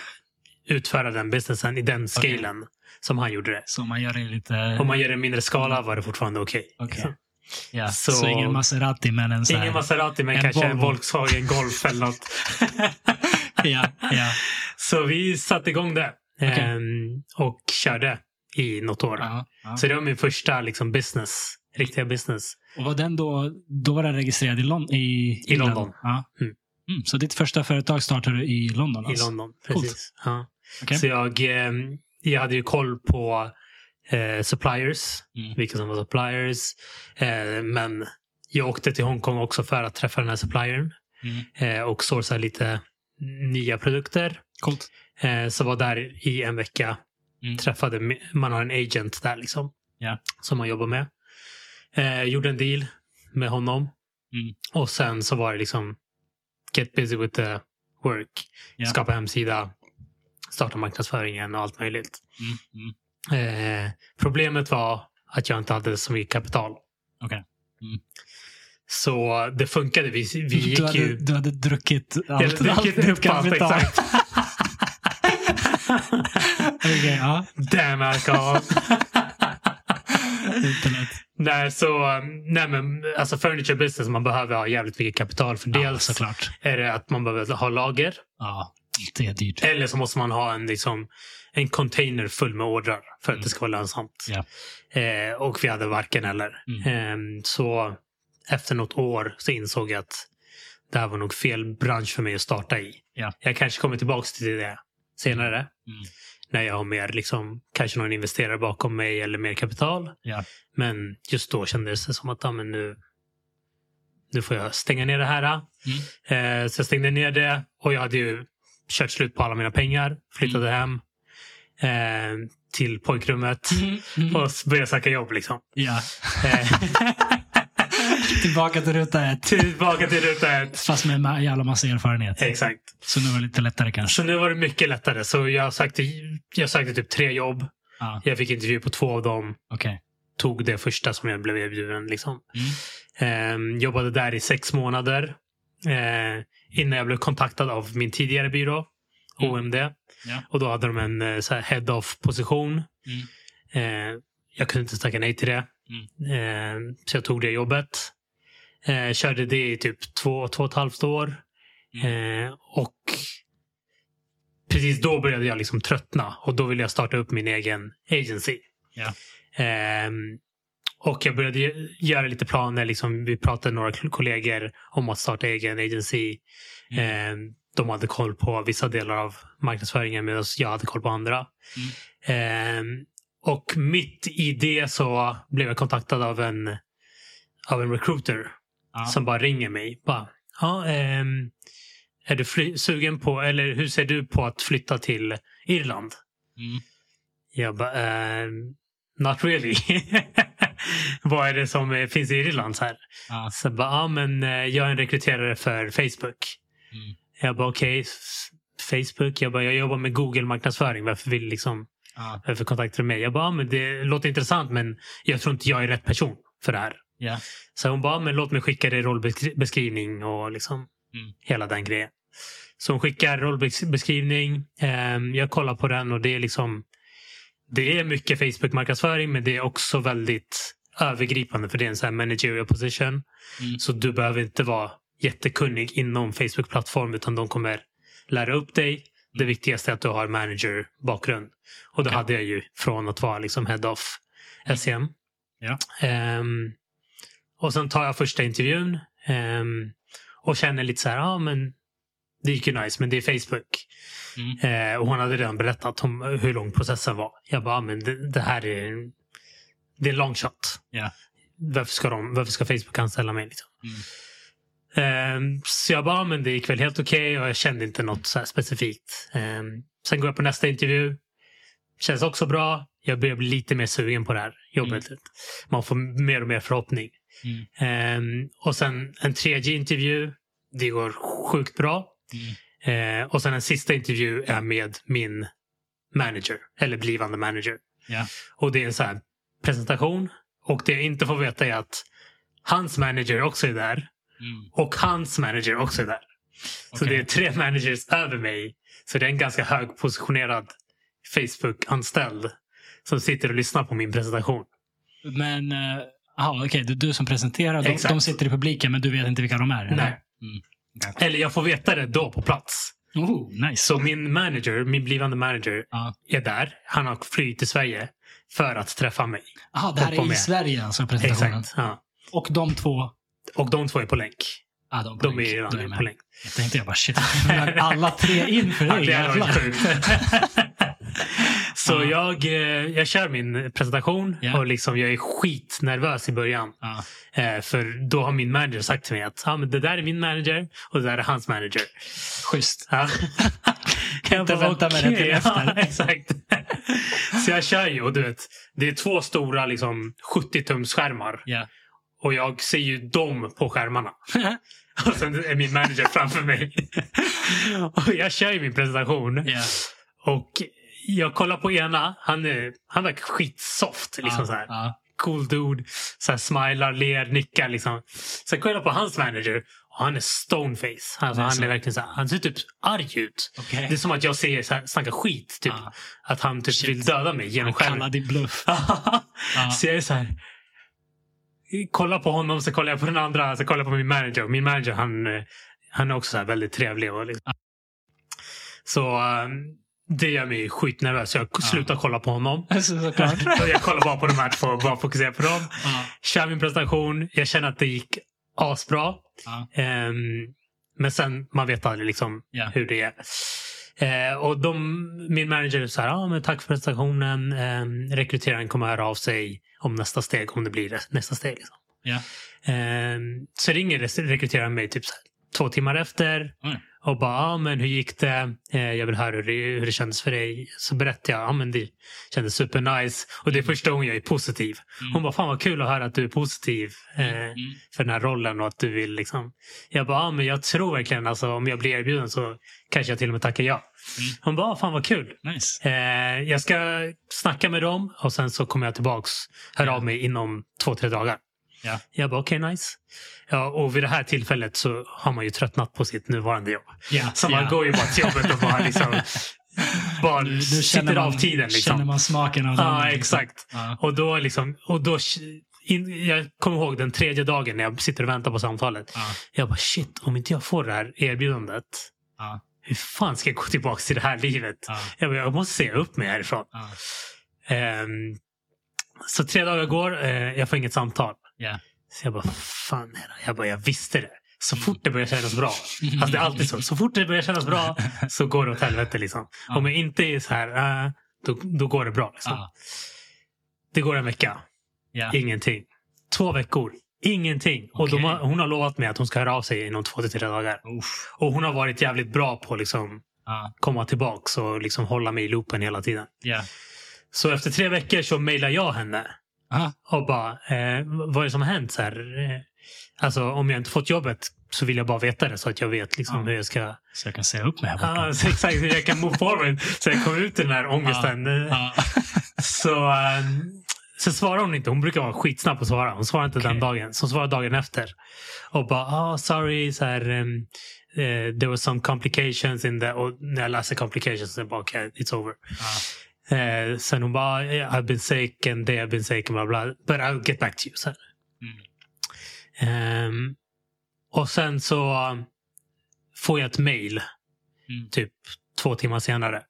utföra den businessen i den scalen som han gjorde det.
Så man gör det lite...
Om man gör det i mindre skala var det fortfarande okej.
Eh. Okej.
Så-
Ja. Så...
Så-
ingen Maserati, men en så här...
Ingen Maserati men
En
kanske en
Volvo.
Volkswagen Golf eller något.
ja, ja.
Så vi satte igång det.
Okej.
Ehm, och körde i något år.
Ja, ja.
Så det var min första liksom, business, riktiga business.
Och var den då, då var den registrerad i, Lon- i, Irland?
London.
Ja.
Mm.
Mm, så ditt första företag startade du i London? Alltså.
I London.
Coolt.
Precis. Ja.
Okej.
Så jag, eh, jag hade ju koll på eh, suppliers,
Mm.
vilka som var suppliers. Eh, men jag åkte till Hongkong också för att träffa den här suppliern
Mm.
eh, och sourca lite nya produkter.
Coolt.
Eh, så var där i en vecka.
Mm.
Träffade, me- man har en agent där liksom.
Ja.
Som man jobbar med. Eh, gjorde en deal med honom.
Mm.
Och sen så var det liksom get busy with the work.
Ja.
Skapa hemsida. Starta marknadsföringen och allt möjligt.
Mm. Mm.
Eh, problemet var att jag inte hade så mycket kapital.
Okej. Mm.
Så det funkade. Vi, vi gick
Du, hade,
ju...
du hade druckit
Jag
allt,
hade
allt
druckit
ditt
upp allt,
kapital.
exakt.
Okej, ja.
Damn alcohol.
Internet.
nej, så, eh, nej, men alltså furniture business, man behöver ha jävligt mycket kapital. För
Ja,
dels
såklart.
är det att man behöver ha lager.
Ja, det är dyrt.
Eller så måste man ha en, liksom, en container full med ordrar för att
Mm.
det ska vara lönsamt.
Ja.
Eh, och vi hade varken eller.
Mm,
Eh, så efter något år så insåg jag att det här var nog fel bransch för mig att starta i.
Ja.
Jag kanske kommer tillbaka till det senare.
Mm.
När jag har mer, liksom, kanske någon investerare bakom mig eller mer kapital.
Ja.
Men just då kändes det som att ja, men nu, nu får jag stänga ner det här. Eh, så jag stängde ner det och jag hade ju kört slut på alla mina pengar. Flyttade hem eh, till pojkrummet
Mm.
och började söka jobb. Liksom.
Ja.
Eh,
Tillbaka till ruta ett.
tillbaka till ruta ett.
Fast med en jävla massa erfarenhet.
Exakt.
Så nu var det lite lättare kanske.
Så nu var det mycket lättare. Så jag sökte, jag sökte typ tre jobb.
Ja,
Jag fick intervju på två av dem.
okej.
Tog det första som jag blev erbjuden. Liksom.
Mm.
Eh, jobbade där i sex månader. Eh, innan jag blev kontaktad av min tidigare byrå.
Mm.
OMD.
Ja.
Och då hade de en eh, så här head off position.
mm,
Eh, jag kunde inte tacka nej till det. Eh, så jag tog det jobbet. Eh, körde det i typ två, två och ett halvt år. Eh, och precis då började jag liksom tröttna och då ville jag starta upp min egen agency.
Ja.
Eh, och jag började gö- göra lite planer. Liksom, vi pratade några kol- kollegor om att starta egen agency. Eh, de hade koll på vissa delar av marknadsföringen medan jag hade koll på andra. Eh, och mitt i det så blev jag kontaktad av en, av en recruiter
Ja.
som bara ringer mig. Bara, ja, ehm, är du fly- sugen på, eller hur ser du på att flytta till Irland?
Mm.
Jag bara, ehm, not really. Vad är det som eh, finns i Irland? Så här?
Ja.
Så jag bara, ja men eh, jag är en rekryterare för Facebook.
Mm.
Jag bara, okej, s- Facebook. Jag bara, jag jobbar med Google-marknadsföring. Varför vill liksom,
Ja.
varför kontaktar du mig? Jag bara, ja, men det låter intressant men jag tror inte jag är rätt person för det här.
Ja.
Så hon bara, "Ah, men låt mig skicka dig rollbeskrivning och liksom
Mm.
hela den grejen. Så hon skickar rollbeskrivning. Ehm, Jag kollar på den och det är liksom det är mycket Facebook-marknadsföring men det är också väldigt övergripande för det är en sån här managerial position.
Mm.
Så du behöver inte vara jättekunnig inom Facebook-plattform utan de kommer lära upp dig. Det
Mm.
viktigaste är att du har manager-bakgrund. Och det
Okej.
hade jag ju från att vara liksom head-off SEM.
Mm. Ja.
E Ehm, och sen tar jag första intervjun ehm, och känner lite så här, ja men det gick ju nice men det är Facebook.
Mm.
Eh, och hon hade redan berättat om hur lång processen var. Jag bara, "Ah, men det, det här är, en- det är en long shot.
Ja.
Varför, ska de, varför ska Facebook anställa mig? Liksom?
Mm.
Eh, så jag bara, "Ah, men det gick väl helt okej och jag kände inte något så här specifikt. Eh, sen går jag på nästa intervju. Känns också bra. Jag börjar bli lite mer sugen på det här jobbet. Man får mer och mer förhoppning.
Mm.
Eh, och sen en tredje intervju. Det går sjukt bra.
Mm.
Eh, och sen en sista intervju är med min manager, eller blivande manager.
Ja.
Och det är en så här presentation. Och det jag inte får veta är att hans manager också är där.
Mm.
Och hans manager också är där. Så
Okej.
det är tre managers över mig. Så det är en ganska högpositionerad Facebook-anställd som sitter och lyssnar på min presentation.
Men, eh, ja, okej, det är du som presenterar. De,
Exakt.
de sitter i publiken, men du vet inte vilka de är? eller?
Nej. Eller jag får veta det då på plats.
Oh, nice.
Så min manager, min blivande manager,
Ja.
är där. Han har flytt till Sverige. för att träffa mig.
Aha, det här
Hoppa
är i
med.
Sverige alltså presentationen.
Exakt. Ja.
Och de två,
Och de två är på länk.
ah, de, på
De är
länk. Då
redan
jag med.
på länk.
Jag tänkte jag bara shit, nu är alla tre in för dig.
det hade varit
jävlar.
sjukt. Så
Ja.
jag, eh, jag kör min presentation
Ja.
och liksom jag är skitnervös i början.
Ja.
Eh, För då har min manager sagt till mig att ah, men det där är min manager och det där är hans manager.
Schysst.
Ja. Kan
inte vänta med det till efter.
Ja, exakt. Så jag kör ju och du vet, det är två stora liksom, 70-tums skärmar
Ja.
och jag ser ju dem på skärmarna. Och sen är min manager framför mig. Och jag kör ju min presentation.
Ja.
Och jag kollar på ena. Han, är, han verkar skitsoft. Liksom
Ja,
så här.
ja.
Cool dude. Så här, smilar, ler, nickar. Liksom. Sen kollar jag på hans manager. Och han är stoneface. Alltså,
Det är
han,
så.
är verkligen så här, han ser typ arg ut.
Okej.
Det är som att jag ser så här, snackar skit. Typ.
Ja.
Att han typ
Ah. Shit.
vill döda mig genom
Han Ah.
skärmen.
kallar din bluff. Ja.
Så jag är så här. Kollar på honom, så kollar jag på den andra, så kollar jag på min manager. Min manager han, eh, han är också så här väldigt trevlig. Och
Ah.
liksom. Så eh, det gör mig skitnervös. Jag
Ah.
slutar kolla på honom.
Alltså, såklart.
Så jag kollar bara på de här två och bara fokuserar på dem.
Ja.
Kör min presentation. Jag känner att det gick asbra.
Ja.
Ehm, men sen, man vet aldrig liksom
Ja.
hur det är. Eh, och de, min manager sa ah, men tack för presentationen. Ehm, rekryteraren kommer höra av sig om nästa steg, om det blir det- nästa steg. Liksom.
Ja.
Ehm, så ringer res- rekryteraren mig typ så här, två timmar efter
Mm.
och bara, ah, men hur gick det? Eh, jag vill höra hur det, hur det kändes för dig. Så berättar jag, ah, men det kändes supernice. Och det är första gången jag är positiv.
Mm.
Hon bara, fan vad kul att höra att du är positiv. Eh,
Mm.
för den här rollen och att du vill liksom. Jag bara, ah, men jag tror verkligen alltså om jag blir erbjuden så kanske jag till och med tackar ja.
Mm.
Hon bara, ah, fan vad kul.
Nice.
Eh, jag ska snacka med dem och sen så kommer jag tillbaks, hör av mig inom två, tre dagar.
Ja.
Jag bara, okej nice. Ja, och vid det här tillfället så har man ju tröttnat på sitt nuvarande jobb.
Ja.
Så man
ja.
går ju bara till jobbet och bara liksom bara
Nu, nu
sitter
känner man,
av tiden. Liksom.
känner man smaken av den.
Ja,
liksom.
exakt.
Ja.
Och då liksom, och då, in, jag kommer ihåg den tredje dagen när jag sitter och väntar på samtalet.
Ja.
Jag bara shit, om inte jag får det här erbjudandet.
Ja.
Hur fan ska jag gå tillbaka till det här livet?
Ja.
Jag, bara, jag måste säga upp mig härifrån.
Ja.
Ehm, så tre dagar går, eh, jag får inget samtal.
Ja.
Så jag bara, fan är det? Jag bara, jag visste det. Så fort det börjar kännas bra. Alltså det är alltid så. Så fort det börjar kännas bra så går det åt helvete. Liksom.
Ja.
Om jag inte är så här, eh, då, då går det bra. Liksom.
Ja.
Det går en vecka.
Ja.
Ingenting. Två veckor. Ingenting. Och de
Okej.
har, hon har lovat mig att hon ska höra av sig inom två till tre dagar.
Uff.
Och hon har varit jävligt bra på att liksom
Ja.
komma tillbaks och liksom hålla mig i loopen hela tiden.
Ja.
Så efter tre veckor så mejlar jag henne
Aha.
och bara, eh, vad är det som har hänt? Så här, eh, alltså om jag inte fått jobbet så vill jag bara veta det så att jag vet liksom
Ja.
hur jag ska...
Så jag kan säga upp mig här
Ah,
borta.
så exakt, hur jag kan move forward. Så jag kommer ut ur den här ångesten.
Ja.
Så, eh, så svarar hon inte. Hon brukar vara skitsnabb på att svara. Hon svarar inte den
Okej.
dagen. Så hon svarar dagen efter. Och bara, ah sorry, så här, ehm, eh, there was some complications in the... Och när jag läser complications så är jag bara, okay, it's over.
Ja.
Eh, sen hon bara, "Yeah, I've been sick and they have been sick and bla bla. But I'll get back to you. Så här.
Mm.
Ehm, och sen så eh, får jag ett mail
Mm.
typ två timmar senare.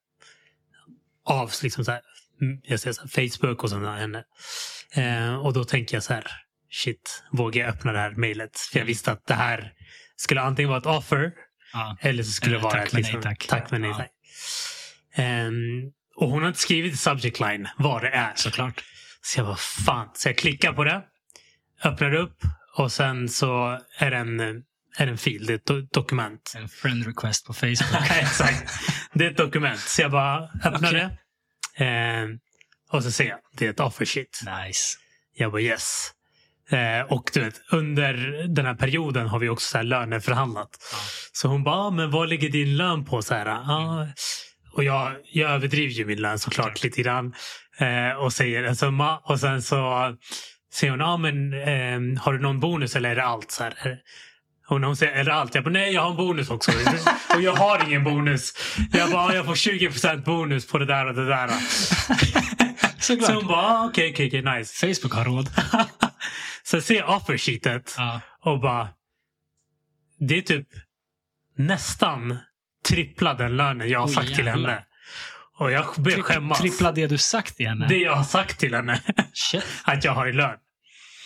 Av liksom så här, mm, jag ser så här, Facebook och sådana henne. Eh, och då tänker jag så här, shit, vågar jag öppna det här mejlet? För jag visste att det här skulle antingen vara ett offer
Ja.
eller så skulle
Eller
det vara
Eh, tack
ett liksom
men nej tack.
tack men nej
Ja.
tack. Ehm, och hon har inte skrivit i subject line vad det är.
Såklart.
Så jag bara fan. Så jag klickar på det. Öppnar upp. Och sen så är det en, är det en fil. Det är ett do- dokument.
En friend request på Facebook.
Exakt. Det är ett dokument. Så jag bara öppnar
Okej.
det. Ehm, och så ser jag. Det är ett offer sheet.
nice.
Jag bara yes. Eh, och du vet, under den här perioden har vi också så här löneförhandlat.
Ja.
Så hon bara, ah, men vad ligger din lön på? Så här, ah. Och jag, jag överdriver ju min lön såklart lite grann. Eh, och säger en summa. Och sen så säger hon, ah, men, ehm, har du någon bonus eller är det allt? Så här, och när hon säger, är det allt? Jag bara, nej jag har en bonus också. och jag har ingen bonus. Jag bara, ah, jag får 20% bonus på det där och det där.
Såklart.
Så hon bara, ah, okej, okej, okej, nice.
Facebook har råd.
Sen ser jag offersheetet
Ja.
och bara... Det är typ nästan trippla den lönen jag har
Oj,
sagt till
jävlar.
henne. Och jag börjar skämmas.
Trippla det du sagt till henne.
Det jag har sagt till henne
Shit.
att jag har i lön.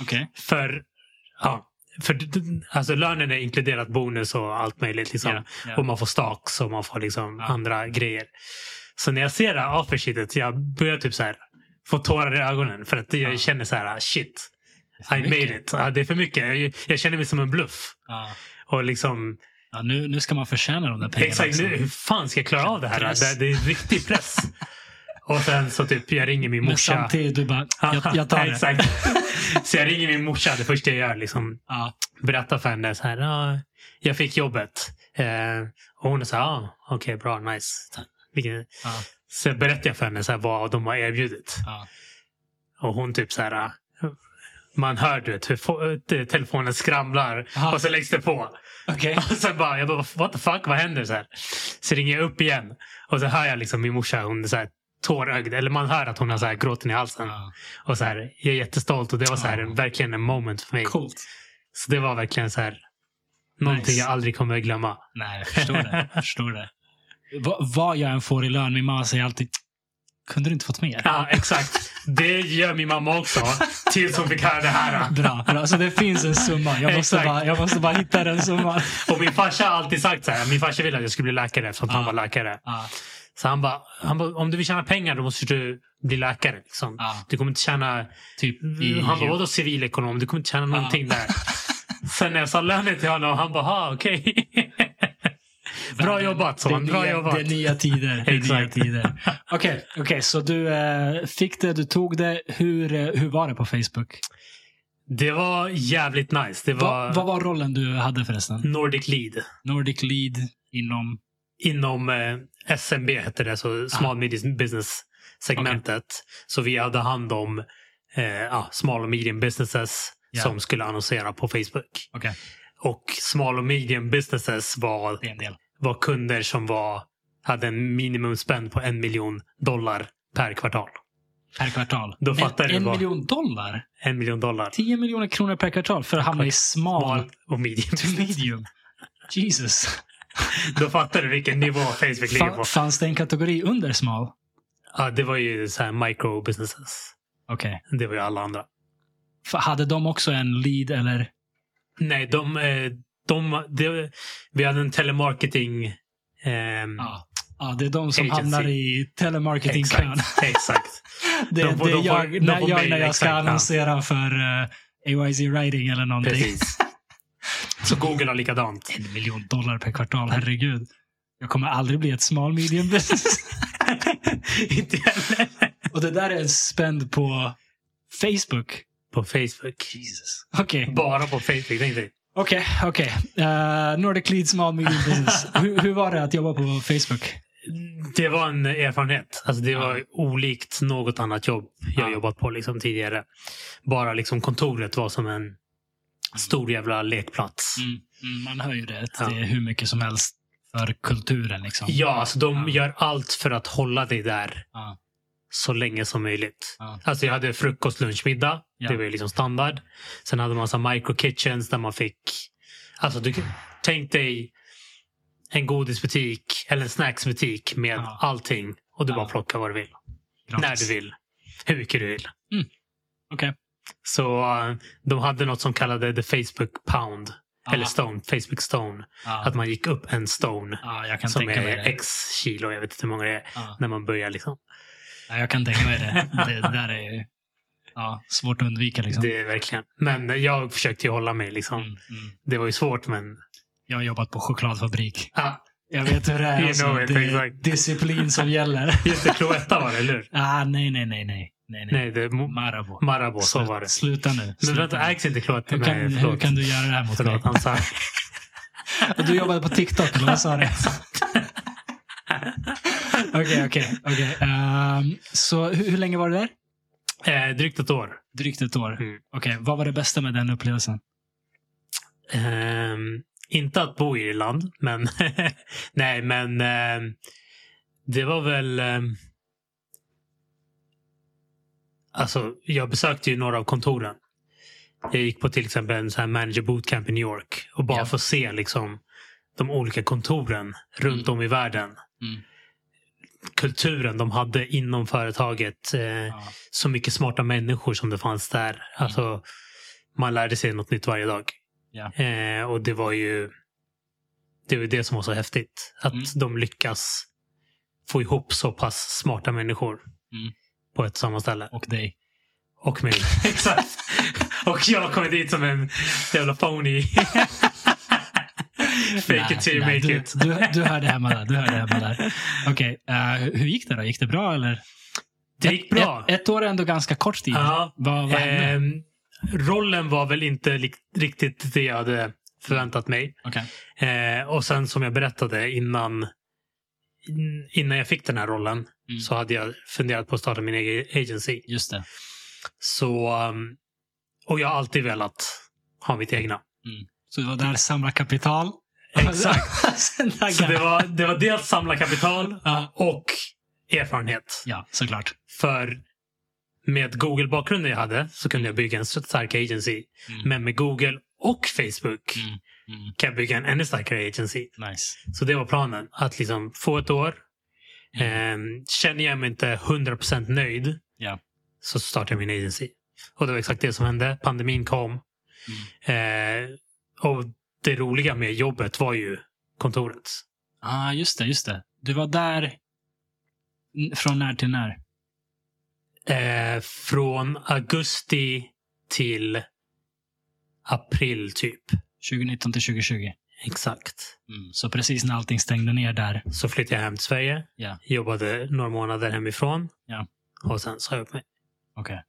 Okej.
För, ja, för d- d- alltså lönen är inkluderat bonus och allt möjligt. Liksom.
Ja, ja.
Och man får stocks och man får liksom
Ja.
andra grejer. Så när jag ser det här offersheetet, jag börjar typ så här få tårar i ögonen. För att jag
Ja.
känner så här, "Ah, shit,
Det är för
I
mycket.
made it. Ja, det är för mycket. Jag, jag känner mig som en bluff.
Ja.
Och liksom,
Ja, nu, nu ska man förtjäna de där pengarna.
exakt,
också.
nu, hur fan ska jag klara av det här?
Press.
Det, det är riktig press. och sen så typ, jag ringer min
Men
morsa.
samtidigt, du bara, jag, jag tar det.
Exakt. Så jag ringer min morsa, det första jag gör. Liksom,
Ja.
berättar för henne så här, ah, jag fick jobbet. Eh, och hon sa, ah, okej bra, nice. Vilken-
Ja.
Så berättar jag för henne så här, vad de har erbjudit.
Ja.
Och hon typ så här, ah, man hör du vet, hur fo- eh, telefonen skramlar
Aha.
och så läggs det på.
Okej.
Och sen bara, jag bara, what the fuck, vad händer? Så, här. så ringer jag upp igen och så hör jag liksom min morsa, hon är så här tårögd. Eller man hör att hon har så här gråten i halsen.
Ja.
Och så här, jag är jättestolt och det var så här,
Ja.
en, verkligen en moment för mig.
Coolt.
Så det var verkligen så här, någonting
Nice.
jag aldrig kommer att glömma.
Nej, jag förstår det. Jag förstår det. Va, vad jag än får i lön, min mamma säger alltid, kunde du inte fått mer?
Ja, exakt. Det gör min mamma också. Tills hon fick höra det här.
Bra, bra. Så det finns en summa. Jag måste,
Exakt.
bara, jag måste bara hitta den summan.
Och min farsa har alltid sagt så här. Min farsa ville att jag skulle bli läkare eftersom
Ja.
han var läkare.
Ja,
Så han bara, han bara, om du vill tjäna pengar då måste du bli läkare. Liksom.
ja,
Du kommer inte tjäna...
typ i...
han bara, vadå civilekonom? Du kommer inte tjäna någonting där. Sen när jag sa lönen till honom, han bara, "Ha, okej. bra jobbat, sa
det, är
han. Bra
nya,
jobbat.
det är nya tider. Det är nya
Exakt.
tider. Okej, okej, så du eh, fick det, du tog det. Hur, eh, hur var det på Facebook?
Det var jävligt nice. Det var
Va, vad var rollen du hade förresten?
Nordic Lead.
Nordic lead inom...
Inom eh, SMB hette det, så
Ah.
Small Medium Business-segmentet. Så vi hade hand om eh, ja, Small och Medium Businesses
Ja.
som skulle annonsera på Facebook.
Okej,
Och Small och Medium Businesses var,
det är en del.
var kunder som var, hade en minimumspend på en miljon dollar per kvartal.
Per kvartal.
Då fattar
en
du
en
vad-
miljon dollar?
En miljon dollar.
10 miljoner kronor per kvartal för att hamna i
Small
smal
och medium.
to medium. Jesus.
Då fattar du vilken nivå Facebook ligger på.
Fan, fanns det en kategori under smal?
Ja, det var ju så här micro businesses.
Okej.
Det var ju alla andra.
F- Hade de också en lead eller?
Nej, de, eh, de, de, vi hade en telemarketing... ehm,
Ja. ja, det är de som
Agency.
hamnar i telemarketingkön.
exakt, exakt.
Det,
De får-
det
de får-
jag,
de
när,
får
jag
mail,
när jag ska
exakt, ja.
annonsera för eh, AYZ Writing eller någonting.
Precis. Så Google har likadant.
En miljon dollar per kvartal, herregud. Jag kommer aldrig bli ett small medium business.
Inte heller.
Och det där är en spänd på Facebook.
På Facebook.
Jesus. Okej.
Bara på Facebook. Tänk dig.
Okej, okej. Eh, Nordic Lead Small Medium Business. hur, hur var det att jobba på Facebook?
Det var en erfarenhet. Alltså det var
Ja.
olikt något annat jobb jag
Ja.
jobbat på liksom tidigare. Bara liksom kontoret var som en stor jävla lekplats.
Mm. man hör ju det. att
Mm. Ja.
Det är hur mycket som helst för kulturen. Liksom.
Ja, alltså de
Ja.
gör allt för att hålla dig där
Ja.
så länge som möjligt.
Ja.
Alltså jag hade frukost, lunch, middag.
Ja.
Det var ju liksom standard. Sen hade man så här micro kitchens där man fick... Alltså du, tänk dig en godisbutik eller en snacksbutik med
Ja.
allting. Och du
Ja.
bara plockar vad du vill. När
Gratis.
du vill. Hur mycket du vill.
Okej.
Så eh, de hade något som kallade the Facebook pound.
Ja.
Eller stone. Facebook stone.
Ja.
Att man gick upp en stone.
ja, jag kan
Som
tänka mig
är
det.
x kilo. Jag vet inte hur många det är.
Ja.
När man börjar liksom.
Ja, jag kan tänka mig det. Det, det där är ju ja, svårt att undvika. Liksom.
Det är verkligen. Men jag försökte ju hålla mig liksom.
Mm, mm.
Det var ju svårt men...
Jag har jobbat på chokladfabrik.
Ah,
Jag vet hur det är.
You
Alltså,
know it,
det är
exakt.
disciplin som gäller.
just det, Cloetta var det, eller hur?
ah, nej, nej, nej, nej. nej, nej.
Nej, det är Mo-
Marabou.
Marabou. Så
Slut-
var det.
Sluta nu.
Men
Sluta
vänta,
nu.
ägs inte Cloetta?
Hur kan,
Nej,
hur
förlåt.
kan du göra det här mot
Förlåt,
mig?
han sa...
Du jobbade på TikTok, eller vad sa du? Okej, okej. okej. Ehm, Så hur, hur länge var du där?
Eh, drygt ett år.
Drygt ett år.
Mm.
Okej, vad var det bästa med den upplevelsen?
Ehm, inte att bo i Irland, men... nej, men... ehm, det var väl... ehm, alltså, jag besökte ju några av kontoren. Jag gick på till exempel en sån här manager bootcamp i New York. Och bara
Ja.
få se liksom de olika kontoren runt om i världen.
Mm.
kulturen de hade inom företaget. Eh,
Ja.
Så mycket smarta människor som det fanns
Mm.
där. Alltså, man lärde sig något nytt varje dag.
Ja.
Eh, och det var ju det, var ju det som var så häftigt. Att
Mm.
de lyckas få ihop så pass smarta människor
Mm.
på ett samma ställe.
Och dig.
Och mig. Exakt. Och jag kommer dit som en jävla phony. Fake
Nej,
it till you
nej,
make
du,
it.
Du, du hörde hemma där. Du hörde hemma där. Okej, eh, hur gick det då? Gick det bra eller?
Det gick bra.
Ett, ett år är ändå ganska kort tid.
Ja.
Vad, vad hände?
Ehm, rollen var väl inte lik- riktigt det jag hade förväntat mig.
Okej.
Eh, och sen som jag berättade innan, in- innan jag fick den här rollen
Mm.
så hade jag funderat på att starta min egen agency.
Just det.
Så, ehm, och jag har alltid velat ha mitt egna.
Så du var där och samlade kapital.
Exakt.
Sen
Så det
taggade.
var, det var dels samla kapital
Ja.
och erfarenhet.
Ja, såklart.
För med Google-bakgrunden jag hade så kunde jag bygga en stark agency.
Mm.
Men med Google och Facebook
Mm. Mm.
kan jag bygga en ännu starkare agency.
Nice.
Så det var planen. Att liksom få ett år.
Mm.
Ehm, känner jag mig inte 100% nöjd
Ja.
så startar jag min agency. Och det var exakt det som hände. Pandemin kom.
Mm.
Eh, och det roliga med jobbet var ju kontoret.
Ah, just det, just det. Du var där n- från när till när?
Eh, från augusti till april typ.
2019 till 2020.
Exakt.
Mm. Så precis när allting stängde ner där.
Så flyttade jag hem till Sverige.
Ja.
Jobbade några månader hemifrån.
Ja.
Och sen sa jag upp mig.
Okej.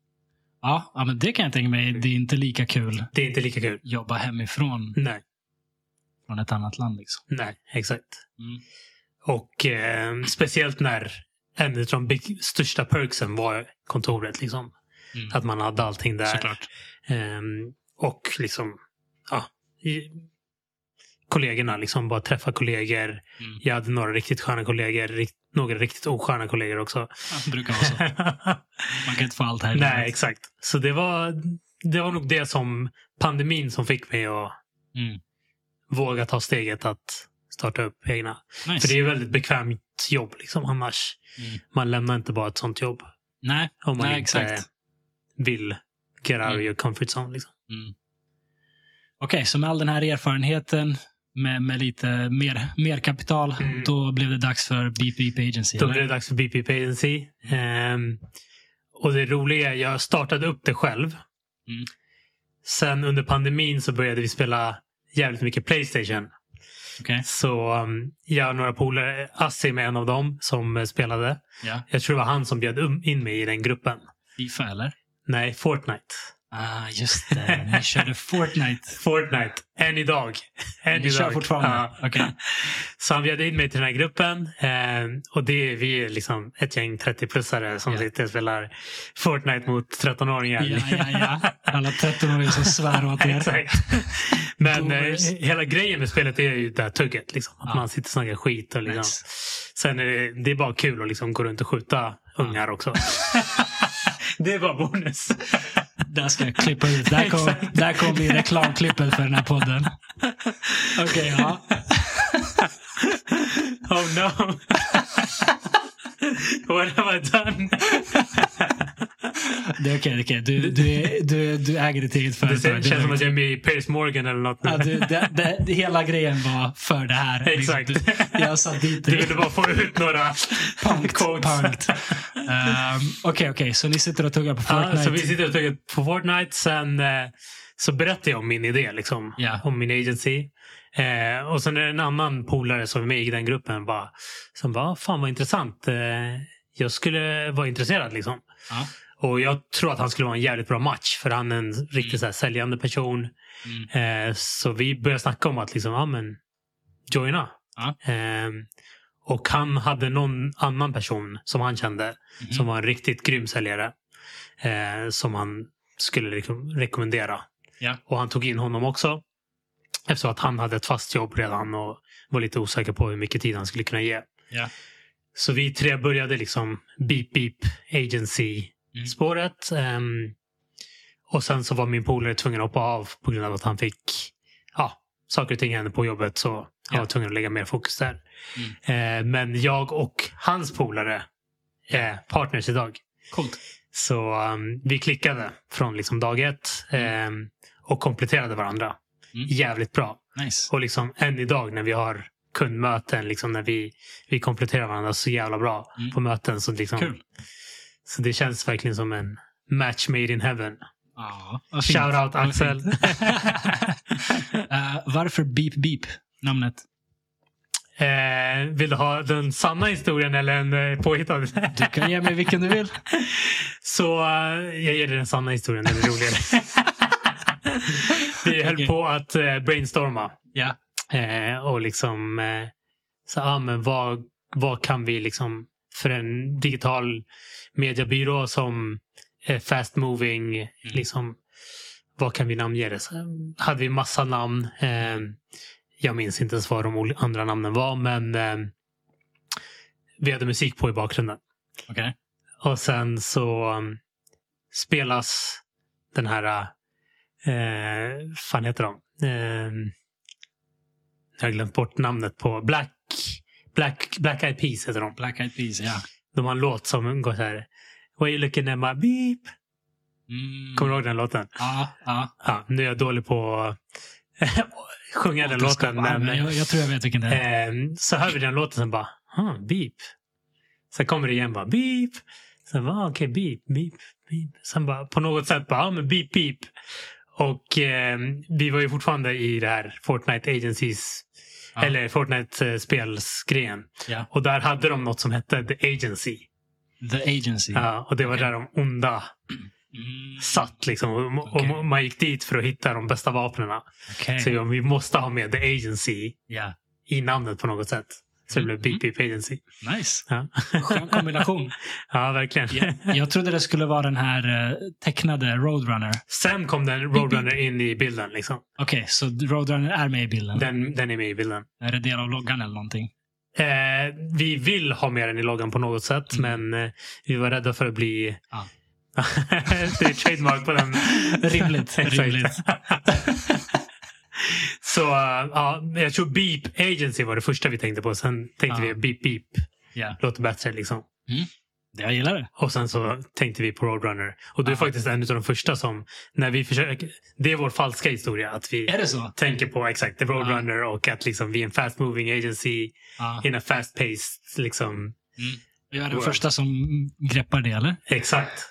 Ja, ja, men det kan jag tänka mig. Det är inte lika kul
Det är inte lika kul.
jobba hemifrån
Nej,
från ett annat land. Liksom.
nej, exakt.
Mm.
Och eh, speciellt när en av de big, största perksen var kontoret. Liksom.
Mm.
Att man hade allting där.
Såklart.
Ehm, och liksom, ja. I, kollegorna, liksom bara träffa kollegor.
Mm.
Jag hade några riktigt sköna kollegor. Rikt, några riktigt osköna kollegor också.
Ja, det brukar vara så. Man kan inte få allt här. i
Nej,
livet.
exakt. Så det var, det var nog det som pandemin som fick mig att
Mm.
våga ta steget att starta upp egna.
Nice.
För det är väldigt bekvämt jobb liksom annars.
Mm.
Man lämnar inte bara ett sånt jobb
Nej,
om man
nej
inte
exakt.
vill get out
Mm.
of your comfort zone. Liksom.
Mm. Okej, så med all den här erfarenheten med, med lite mer, mer kapital,
Mm.
då blev det dags för Beep Beep Agency.
Då
eller?
blev det dags för BPP Agency. Ehm, och det roliga, är jag startade upp det själv.
Mm.
Sen under pandemin så började vi spela jävligt mycket
Mm.
Playstation.
Okej.
Så um, jag och några polare, Assi är med en av dem som eh, spelade.
Ja.
Jag tror det var han som bjöd um- in mig i den gruppen.
Fifa eller?
Nej, Fortnite.
Ah, just det. Ni körde Fortnite.
Fortnite, än idag. Än
Ni kör
idag.
fortfarande?
Ja.
Okej.
Så han bjöd in mig till den här gruppen. ehm, och det är vi är liksom ett gäng 30-plussare som
Ja.
sitter och spelar Fortnite mot 13-åringar.
Ja, ja, ja. Alla 13-åringar som svär åt er.
Exakt. Men eh,
Boomers.
hela grejen med spelet är ju det här tugget. Liksom. Att
Ja.
man sitter och snackar skit. Och, liksom.
Nice.
Sen är det, det är bara kul att liksom gå runt och skjuta ungar också. det är bara bonus.
Där ska jag klippa ut. Där kommer
Exakt.
där kom bli reklamklippet för den här podden. Okej, ja.
oh no. What have I done?
Det är okej. det är okej. Du, du, är- du, du äger ditt eget
Det
företag.
känns
är
som
lugnt.
att jag är med i Pierce Morgan eller något. nu.
Ja, du, det, det, det, hela grejen var för det här.
Exakt.
Liksom, du- Jag sa dit
Du
dig.
ville bara få ut några
Punkt,
quotes.
punkt. Ehm, Okej, okej. Så ni sitter och tuggar på
Ja, så vi
Fortnite.
sitter och tuggar på Fortnite. Sen eh, så berättar jag om min idé, liksom,
Ja.
om min agency. Eh, och sen är det en annan polare som är med i den gruppen bara, som bara, fan vad intressant. Eh, jag skulle vara intresserad liksom.
Ja.
Och jag tror att han skulle vara en jävligt bra match för han är en riktigt så här, säljande person.
Mm.
Eh, så vi började snacka om att liksom, ja men, joina.
Ja.
Eh, och han hade någon annan person som han kände
Mhm.
som var en riktigt grym säljare. Eh, som han skulle rekom- rekommendera.
Ja.
Och han tog in honom också. Eftersom att han hade ett fast jobb redan och var lite osäker på hur mycket tid han skulle kunna ge.
Ja.
Så vi tre började liksom beep beep
Mm.
agency-spåret. Ehm, och sen så var min polare tvungen att hoppa av på grund av att han fick ja, saker och ting händer på jobbet så jag var
Ja. Mm.
tvungen att lägga mer fokus där. Eh, men jag och hans polare är partners idag.
Coolt.
Så um, vi klickade från liksom dag ett ehm, och kompletterade varandra
Mm.
jävligt bra.
Nice.
Och liksom än idag när vi har kundmöten, liksom när vi, vi kompletterar varandra så jävla bra
Mm.
på möten. Så, liksom,
Kul.
så det känns verkligen som en match made in heaven.
Ja, vad fint.
Shout out
Vad
Axel.
fint. Eh, varför Beep Beep? Namnet.
eh, vill du ha den sanna historien eller en eh, påhittad?
Du kan ge mig vilken du vill.
Så eh, jag ger dig den sanna historien, den är roligare. vi höll
Okej.
på att eh, brainstorma.
Ja.
Eh, och liksom, eh, så, ja, men vad, vad kan vi liksom för en digital mediebyrå som är fast moving, liksom, vad kan vi namnge det? Så hade vi massa namn. Eh, jag minns inte ens vad de ol- andra namnen var, men eh, vi hade musik på i bakgrunden.
Okej.
Och sen så um, spelas den här, eh, fan heter de? Eh, jag har glömt bort namnet på Black, Black, Black Eyed Peas heter de.
Black Eyed Peas, ja.
De har en låt som går så här. Why you looking at my beep?
Mm.
Kommer du ihåg den låten?
Ja, ja.
Ja, nu är jag dålig på att sjunga den
Återskapa.
låten. Men,
Ja, jag, jag tror jag vet vilken det är.
Ehm, så hör vi den låten sen bara, huh, beep. Sen kommer det igen bara, beep. Sen bara, ah, okej, beep, beep, beep. Sen bara, på något sätt bara, ah, men beep, beep. Och ehm, vi var ju fortfarande i det här Fortnite Agencies,
Ja.
eller Fortnite-spelsgren.
Ja.
Och där hade de något som hette The Agency.
The Agency.
Ja, och det var
Mm. Okej.
där de onda
Mm.
satt liksom. Och,
Okej.
och man gick dit för att hitta de bästa vapnen.
Okej.
Så ja, vi måste ha med The Agency
Ja.
i namnet på något sätt. Så det blev
Mm.
Beep Beep Agency.
Nice.
Ja,
Skön kombination.
ja verkligen.
jag, jag trodde det skulle vara den här eh, tecknade Roadrunner.
Sen kom den Roadrunner in i bilden. Liksom.
Okej, så Roadrunner är med i bilden.
Den, den är med i bilden.
Är det del av loggan eller någonting?
Eh, vi vill ha med den i loggan på något sätt,
Mm.
men eh, vi var rädda för att bli...
Ja.
det är trademark på den.
Rimligt.
Exakt.
rimligt.
Så eh, ja, jag tror Beep Agency var det första vi tänkte på. Sen tänkte
Ja.
vi Beep Beep
Ja.
låter bättre. Liksom.
Det jag gillar det.
Och sen så tänkte vi på Roadrunner. Och du är
Ja.
faktiskt en av de första som, när vi försöker... Det är vår falska historia. att vi...
Är det så?
tänker på exakt The Roadrunner och att liksom, vi är en fast moving agency
Ja.
in a fast paced. Liksom.
Jag är den
World.
första som greppar det, eller?
Exakt.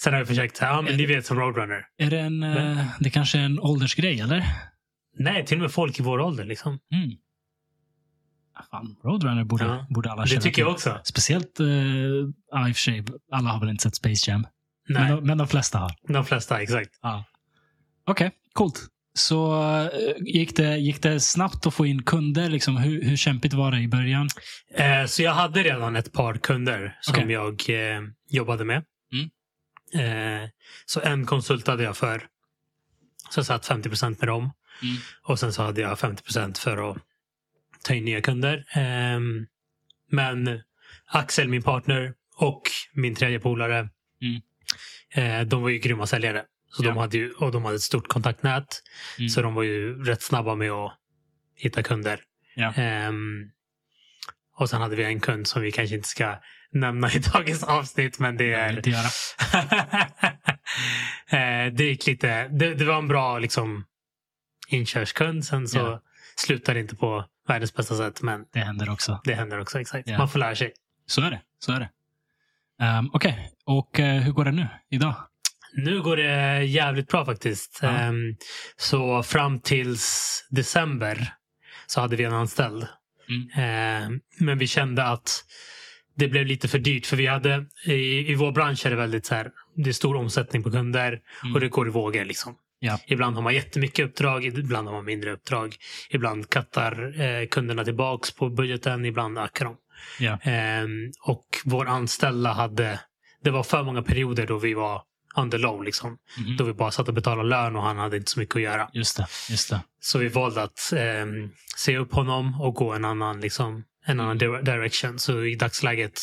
Sen har vi försökt, så här, ja men ni vet som Roadrunner.
Är det en... eh, Det kanske är en åldersgrej, eller?
Nej, till och med folk i vår ålder. Liksom.
Mm. Ah, Fan, Roadrunner borde,
Ja.
borde alla
Det
känna
tycker
till.
jag också.
Speciellt, eh, ja i och för sig, alla har väl inte sett Space Jam. Men
Nej,
de, men de flesta har.
de flesta exakt.
Okej, coolt. Så eh, gick det, gick det snabbt att få in kunder? Liksom, hur, hur kämpigt var det i början?
Eh, så jag hade redan ett par kunder som
Okej.
jag eh, jobbade med.
Mm.
Eh, så en konsultade jag för. Så jag satt 50 med dem.
Mm.
Och sen så hade jag 50 för att ta in nya kunder. Ehm, Men Axel, min partner och min tredje polare,
Mm.
eh, de var ju grymma säljare. Så de
Ja.
hade ju, och de hade ett stort kontaktnät.
Mm.
Så de var ju rätt snabba med att hitta kunder.
Ja.
Ehm, och sen hade vi en kund som vi kanske inte ska nämna i dagens avsnitt, men det
Jag vill
är...
inte göra.
Eh, det gick lite... Det, det var en bra liksom, inkörskund. Sen så
Ja.
slutade det inte på världens bästa sätt. Men
Det händer också.
det händer också. exakt.
Ja.
Man får lära sig.
Så är det. Så är det. Um, Okej, och eh, hur går det nu? Idag?
Nu går det jävligt bra faktiskt.
Ja.
Ehm, så fram tills december så hade vi en anställd.
Mm.
Ehm, men vi kände att det blev lite för dyrt. För vi hade, i, i vår bransch är det väldigt så här, det är stor omsättning på kunder
Mm.
och det går i vågor. Liksom.
Ja.
Ibland har man jättemycket uppdrag, ibland har man mindre uppdrag. Ibland kattar eh, kunderna tillbaks på budgeten, ibland ökar de.
Ja.
Ehm, och vår anställda hade, det var för många perioder då vi var under low. Liksom.
Mhm.
Då vi bara satt och betalade lön och han hade inte så mycket att göra.
Just det. Just det.
Så vi valde att ehm, se upp honom och gå en annan, liksom, en annan di- direction. Så i dagsläget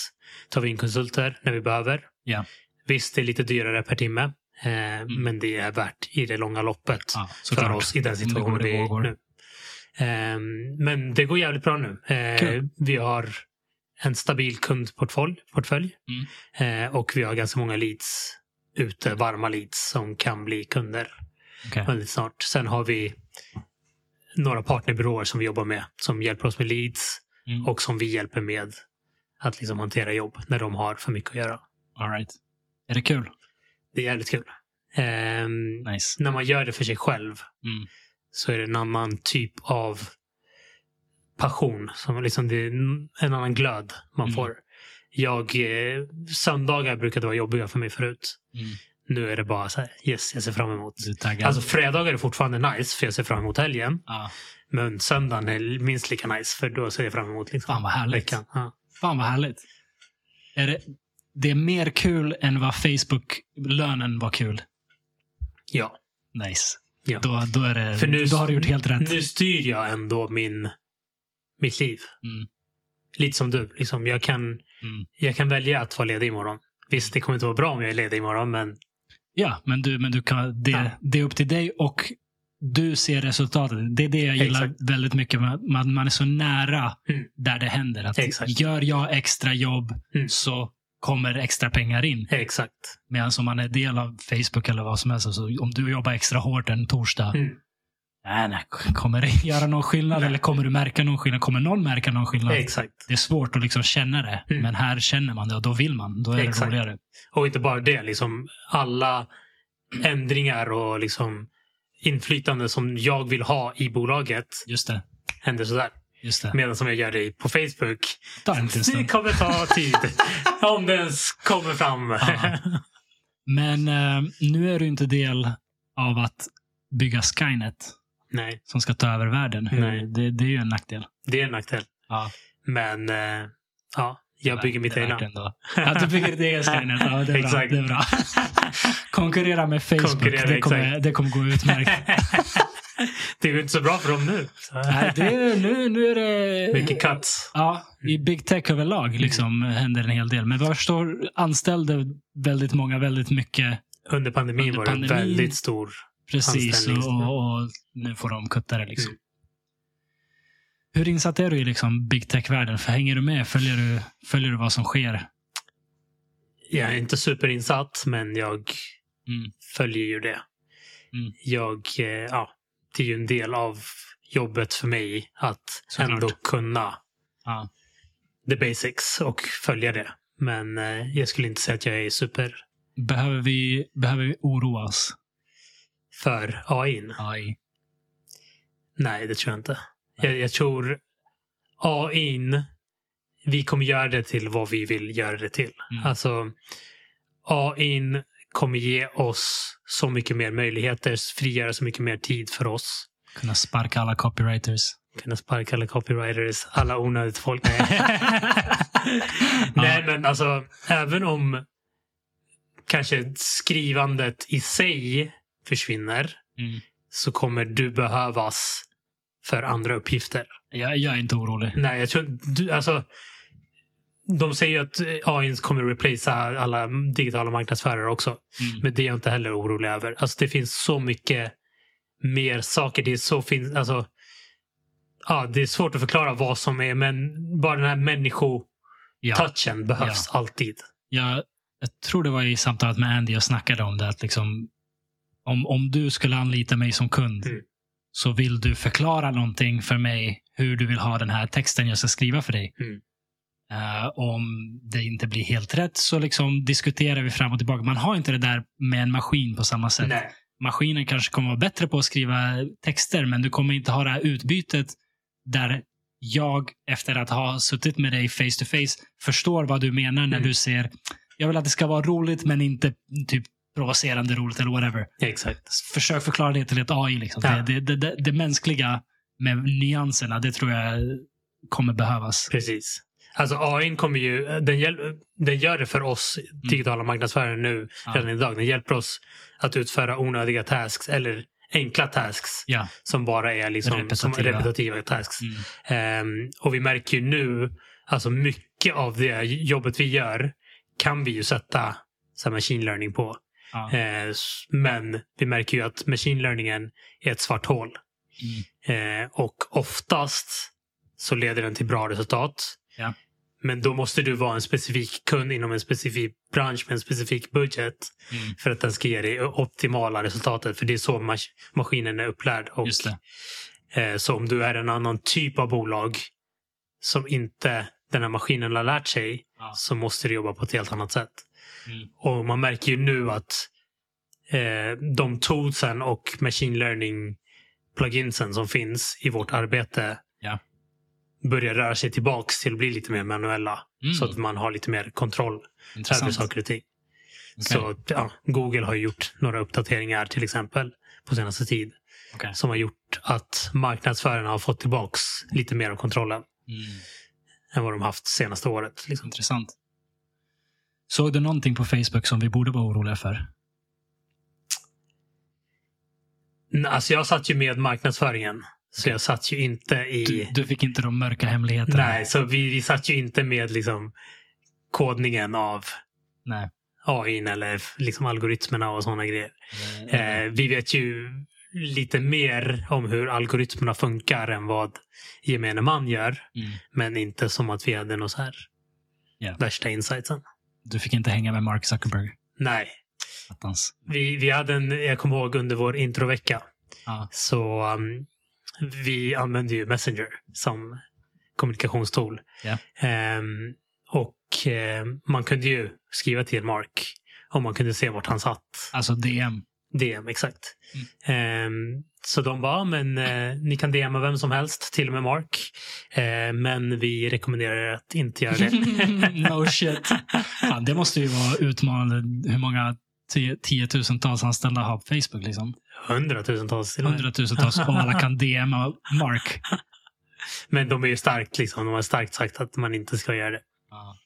tar vi in konsulter när vi behöver.
Ja. Mm.
Visst, det är lite dyrare per timme. Eh, Men det är värt i det långa loppet
Ja,
för
såklart.
oss i den
Om det går
situationen
i
vi är i
vågor.
nu. Ehm, men det går jävligt bra nu. Eh,
Kul.
Vi har en stabil kundportfölj portfölj.
Mm.
Eh, och vi har ganska många leads ute, varma leads som kan bli kunder
Okej.
väldigt snart. Sen har vi några partnerbyråer som vi jobbar med som hjälper oss med leads
Mm.
och som vi hjälper med att liksom hantera jobb när de har för mycket att göra.
All right. Är det kul?
Det är jävligt kul. Ehm,
Nice.
när man gör det för sig själv
Mm.
så är det en annan typ av passion. Som liksom det är n- en annan glöd man
Mm.
får. Jag, eh, söndagar brukade vara jobbiga för mig förut.
Mm.
Nu är det bara så här, yes, jag ser fram emot.
Du är taggad?
Alltså fredagar är fortfarande nice för jag ser fram emot helgen.
ja.
Men söndagen är minst lika nice för då ser jag fram emot liksom,
Fan vad härligt.
veckan. Ja.
Fan vad härligt. Är det, det är mer kul än vad Facebook-lönen var kul.
ja.
Nice.
Ja.
Då, då, är det,
För nu-
då har du gjort helt rätt.
Nu styr jag ändå min, mitt liv.
Mm.
Lite som du. Liksom, jag, kan,
Mm.
jag kan välja att vara ledig imorgon. Visst, det kommer inte vara bra om jag är ledig imorgon, men
Ja, men, du, men du kan, det,
Ja.
det är upp till dig och du ser resultatet. Det är det jag gillar
Exakt.
väldigt mycket. med att Man, man är så nära
Mm.
där det händer. Att
Exakt.
Gör jag extra jobb
Mm.
så kommer extra pengar in.
Exakt.
Medan om man är del av Facebook eller vad som helst. Så om du jobbar extra hårt en torsdag.
Mm.
Nej, nej, kommer det göra någon skillnad?
Nej.
Eller kommer du märka någon skillnad? Kommer någon märka någon skillnad?
Exakt.
Det är svårt att liksom känna det.
Mm.
Men här känner man det och då vill man. Då är
Exakt.
det roligare.
Och inte bara det, liksom alla ändringar och liksom inflytande som jag vill ha i bolaget
Just det.
händer sådär.
Just det.
Medan som jag gör det på Facebook.
Ta en liten stund.
Det kommer ta tid. om det ens kommer fram.
Ja. Men eh, nu är du inte del av att bygga Skynet
Nej,
som ska ta över världen. Hur-
Nej.
Det, det är ju en nackdel.
det är en nackdel.
Ja,
Men eh, ja, jag bygger mitt
det är värt
egna.
ändå. Ja, du bygger ditt eget Skynet. Ja, det, är bra,
Exakt.
det är bra. Konkurrera med Facebook.
Konkurrera,
det, kommer,
exakt.
det kommer gå utmärkt.
det är ju inte så bra för dem nu. Så.
Nej, det är, nu, nu är det...
Mycket cuts.
Ja,
Mm.
i big tech överlag liksom, händer en hel del. Men vad jag förstår anställde väldigt många väldigt mycket.
Under pandemin
Under
var det en
pandemin.
väldigt stor
Precis, och,
Anställnings-
och, och nu får de kutta det. Liksom.
Mm.
Hur insatt är du i liksom, big tech-världen? För hänger du med? Följer du, följer du vad som sker?
Jag är inte superinsatt, men jag
Mm.
följer ju det.
Mm.
Jag, eh, ja, det är ju en del av jobbet för mig att
Såklart.
ändå kunna
Ja.
the basics och följa det. Men eh, jag skulle inte säga att jag är super
Behöver, vi, behöver vi oroa oss?
för AI.
AI.
Nej, det tror jag inte. Jag, jag tror AI, vi kommer göra det till vad vi vill göra det till.
Mm.
Alltså, AI kommer ge oss så mycket mer möjligheter, frigöra så mycket mer tid för oss.
Kunna sparka alla copywriters.
kunna sparka alla copywriters, alla onödigt folk. Nej. Nej, men alltså även om kanske skrivandet i sig försvinner
Mm.
så kommer du behövas för andra uppgifter.
Jag, jag är inte orolig.
Nej, jag tror du, alltså de säger ju att AI kommer replacea alla digitala marknadsförare också.
Mm.
Men det är jag inte heller orolig över. Alltså det finns så mycket mer saker. Det är så finns, alltså, ja, det är svårt att förklara vad som är, men bara den här människotouchen
Ja.
behövs alltid.
jag, jag tror det var i samtalet med Andy jag snackade om det. Att liksom, om, om du skulle anlita mig som kund
Mm.
så vill du förklara någonting för mig hur du vill ha den här texten jag ska skriva för dig.
Mm.
Eh, om det inte blir helt rätt så liksom diskuterar vi fram och tillbaka. Man har inte det där med en maskin på samma sätt.
Nej.
Maskinen kanske kommer vara bättre på att skriva texter men du kommer inte ha det här utbytet där jag efter att ha suttit med dig face to face förstår vad du menar när
Mm.
du ser jag vill att det ska vara roligt men inte typ provocerande roligt eller whatever.
Exakt.
Försök förklara det till ett AI. Liksom.
Ja.
Det, det, det, det mänskliga med nyanserna, det tror jag kommer behövas.
Precis. Alltså AI kommer ju, den, hjäl- den gör det för oss digitala marknadsförare nu
Ja.
redan idag. Den hjälper oss att utföra onödiga tasks eller enkla tasks
Ja.
som bara är liksom, Som
Repetitiva.
repetitiva tasks.
Mm.
Ehm, och vi märker ju nu, alltså mycket av det jobbet vi gör kan vi ju sätta så här, machine learning på.
Ja.
Eh. Ehm, s- men vi märker ju att machine learningen är ett svart hål.
Mm.
Eh, och oftast så leder den till bra resultat.
Ja.
Men då måste du vara en specifik kund inom en specifik bransch med en specifik budget
Mm.
för att den ska ge dig optimala resultatet. För det är så mas- maskinen är upplärd. Och,
Just det.
eh, så om du är en annan typ av bolag som inte den här maskinen har lärt sig
Ja.
så måste du jobba på ett helt annat sätt.
Mm.
Och man märker ju nu att eh, de toolsen och machine learning pluginsen som finns i vårt arbete
Ja.
börjar röra sig tillbaks till att bli lite mer manuella.
Mm.
Så att man har lite mer kontroll över
Intressant.
saker och ting.
Okej.
Så ja, Google har gjort några uppdateringar till exempel på senaste tid
Okej.
som har gjort att marknadsförarna har fått tillbaks lite mer av kontrollen
Mm.
än vad de haft senaste året. Liksom.
Intressant. Såg du någonting på Facebook som vi borde vara oroliga för?
Nej, Alltså jag satt ju med marknadsföringen. Så jag satt ju inte i...
Du, du fick inte de mörka hemligheterna?
Nej, så vi, vi satt ju inte med liksom kodningen av
Nej.
AI eller liksom algoritmerna och sådana grejer.
Mm.
Eh, vi vet ju lite mer om hur algoritmerna funkar än vad gemene man gör.
Mm.
Men inte som att vi hade något så här
Ja.
värsta insightsen.
Du fick inte hänga med Mark Zuckerberg?
Nej,
Attans.
vi, vi hade en, jag kommer ihåg under vår introvecka
Ja.
så um, vi använde ju Messenger som kommunikationstool.
Ja.
Ehm, och ehm, man kunde ju skriva till Mark om man kunde se vart han satt.
Alltså DM.
DM, exakt.
Mm.
Ehm, så de bara, "Ja, men eh, ni kan DMa vem som helst, till och med Mark. Eh, men vi rekommenderar att inte göra det.
no shit. Fan, det måste ju vara utmanande hur många tio- tiotusentals anställda har på Facebook. Liksom.
Hundratusentals till och med.
Hundratusentals och alla kan DMa Mark.
Men de är ju starkt liksom. De har starkt sagt att man inte ska göra det.
Ja.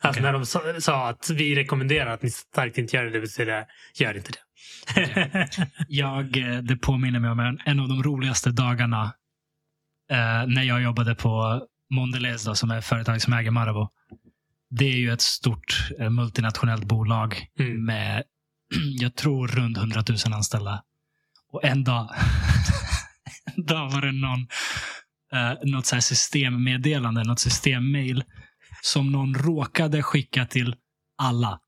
Alltså
Okej.
när de sa, sa att vi rekommenderar att ni starkt inte gör det, det betyder det, gör inte det.
Jag, eh, det påminner mig om en, en av de roligaste dagarna eh, när jag jobbade på Mondelez då, som är ett företag som äger Marabou. Det är ju ett stort eh, multinationellt bolag
Mm.
med, jag tror, runt 100 000 anställda. Och en dag, en dag var det någon, eh, något så här systemmeddelande, något systemmail som någon råkade skicka till alla.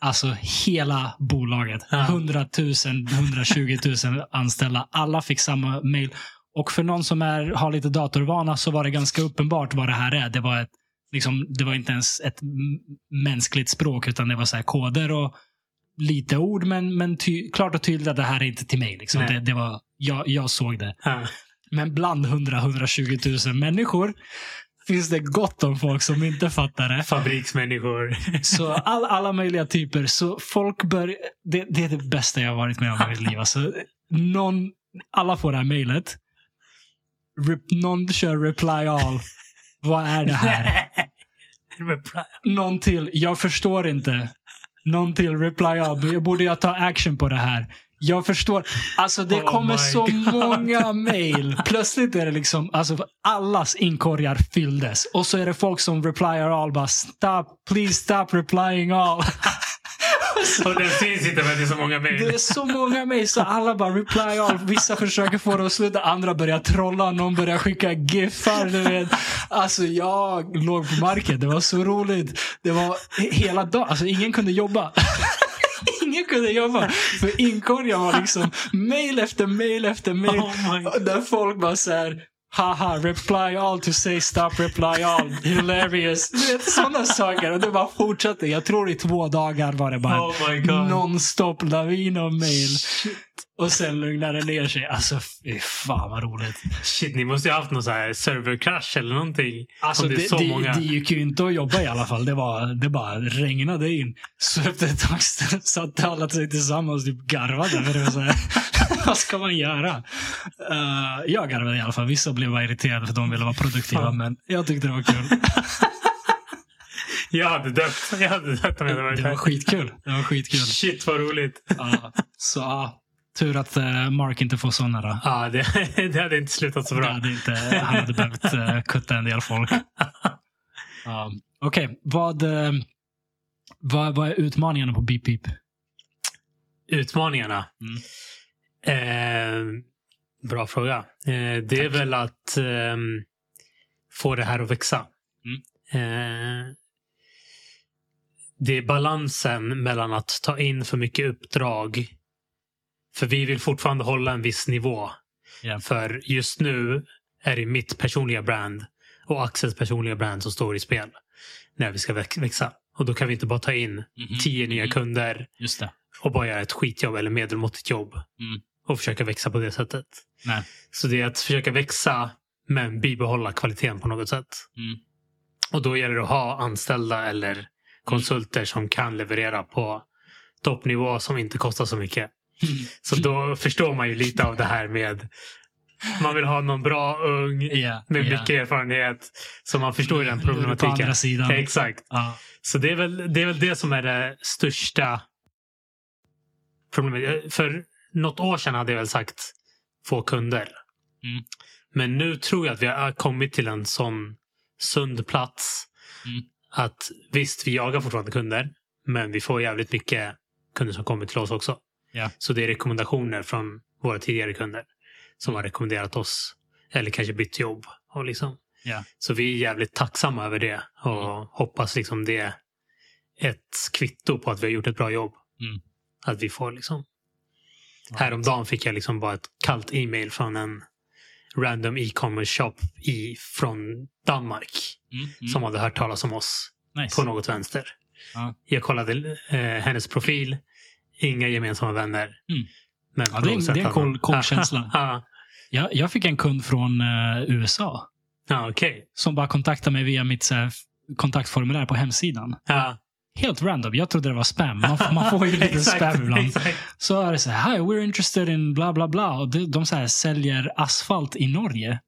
Alltså hela bolaget.
Ja.
100 000, 120 000 anställda. Alla fick samma mail. Och för någon som är, har lite datorvana så var det ganska uppenbart vad det här är. Det var, ett, liksom, det var inte ens ett m- mänskligt språk utan det var så här koder och lite ord. Men, men ty, klart och tydligt att det här är inte till mig. Liksom.
Nej.
Det, det var, jag, jag såg det.
Ja.
Men bland 100-120 000 människor finns det gott om folk som inte fattar det.
Fabriksmänniskor.
Så all, alla möjliga typer. Så folk bör, det, det är det bästa jag har varit med om i mitt liv. Alltså, någon, alla får det här mejlet. Rep- Någon kör reply all. Vad är det här? Någon till. Jag förstår inte. Någon till reply all. Men Borde jag ta action på det här? Jag förstår. Alltså det
Oh
kommer
my
så
God.
många mejl. Plötsligt är det liksom, alltså allas inkorgar fylldes. Och så är det folk som replyar all bara stop, please stop replying all.
Och det syns inte men det är så många
Det är
mejl.
så många mejl så alla bara reply all. Vissa försöker få det att sluta, andra börjar trolla, någon börjar skicka giffar. Du vet. Alltså jag låg på marken, det var så roligt. Det var he- hela dagen, alltså ingen kunde jobba. Ingen kunde jobba. För inkorgen var liksom mail efter mail efter mail.
Oh my
Och Där folk bara såhär Haha, reply all to say stop reply all. Hilarious. Du vet, sådana saker. Och det bara fortsatte. Jag tror i två dagar var det bara en
Oh my god.
nonstop lavin av mail. Och sen lugnade det ner sig. Alltså fy fan vad roligt.
Shit, ni måste ju ha haft någon så här servercrash eller någonting.
Alltså,
Om
det,
det är
det,
så många.
det gick ju inte att jobba i alla fall. Det, var, det bara regnade in. Så efter ett tag st- satt alla sig tillsammans och typ garvade. För det var så här, vad ska man göra? Eh, jag garvade i alla fall. Vissa blev bara irriterade för att de ville vara produktiva.
Fan.
Men jag tyckte det var kul.
Jag hade dött. Jag hade dött om jag hade varit
Det var
där.
skitkul. Det var skitkul.
Shit vad roligt.
Ja, så ja, tur att eh, Mark inte får sådana då.
Ja, det, det hade inte slutat så
Det
bra.
hade inte, han hade behövt eh, kutta en del folk. Ja, Okej, vad, eh, vad, vad är utmaningarna på Mhm. Beep Beep?
Utmaningarna.
Mm.
Eh, Bra fråga. Eh, det är väl att ehm, få det här att växa. Eh, det är balansen mellan att ta in för mycket uppdrag. För vi vill fortfarande hålla en viss nivå.
Ja.
För just nu är det mitt personliga brand och Axels personliga brand som står i spel. När vi ska väx- växa. Och då kan vi inte bara ta in
Mhm.
tio nya
Mhm.
kunder
Just det.
och bara göra ett skitjobb eller medelmåttigt jobb.
Mm.
Och försöka växa på det sättet.
Nej.
Så det är att försöka växa men bibehålla kvaliteten på något sätt.
Mm.
Och då gäller det att ha anställda eller konsulter som kan leverera på toppnivå som inte kostar så mycket. Så då förstår man ju lite av det här med man vill ha någon bra ung
Ja,
med
ja.
mycket erfarenhet. Så man förstår ju den
Då är det På
problematiken.
andra sidan.
Ja, exakt.
Ja.
Så det är, väl, det är väl det som är det största problemet. Eh, För något år sedan hade jag väl sagt få kunder.
Mm.
Men nu tror jag att vi har kommit till en sån sund plats.
Mm.
Att visst, vi jagar fortfarande kunder. Men vi får jävligt mycket kunder som kommer till oss också.
Ja.
Så det är rekommendationer från våra tidigare kunder. Som har rekommenderat oss. Eller kanske bytt jobb. Och liksom.
Ja.
Så vi är jävligt tacksamma över det. Och
Mm.
hoppas liksom det är ett kvitto på att vi har gjort ett bra jobb.
Mm.
Att vi får liksom Häromdagen fick jag liksom bara ett kallt e-mail från en random e-commerce shop i, från Danmark
Mm, mm.
som hade hört talas om oss
nice.
på något vänster.
Ja.
Jag kollade eh, hennes profil. Inga gemensamma vänner.
Mm.
Men
Ja,
på
det är-
något
det är
sätt
en
hade
cool-
man-
cool känsla.
Ja,
jag, jag fick en kund från eh, USA
ja, okej.
som bara kontaktade mig via mitt så här, kontaktformulär på hemsidan.
Ja.
Helt random. Jag trodde det var spam. Man, får- man får ju lite
Exakt,
spam ibland.
Exakt.
Så är det så här, hi we're interested in bla bla bla. Och de, de så här, säljer asfalt i Norge.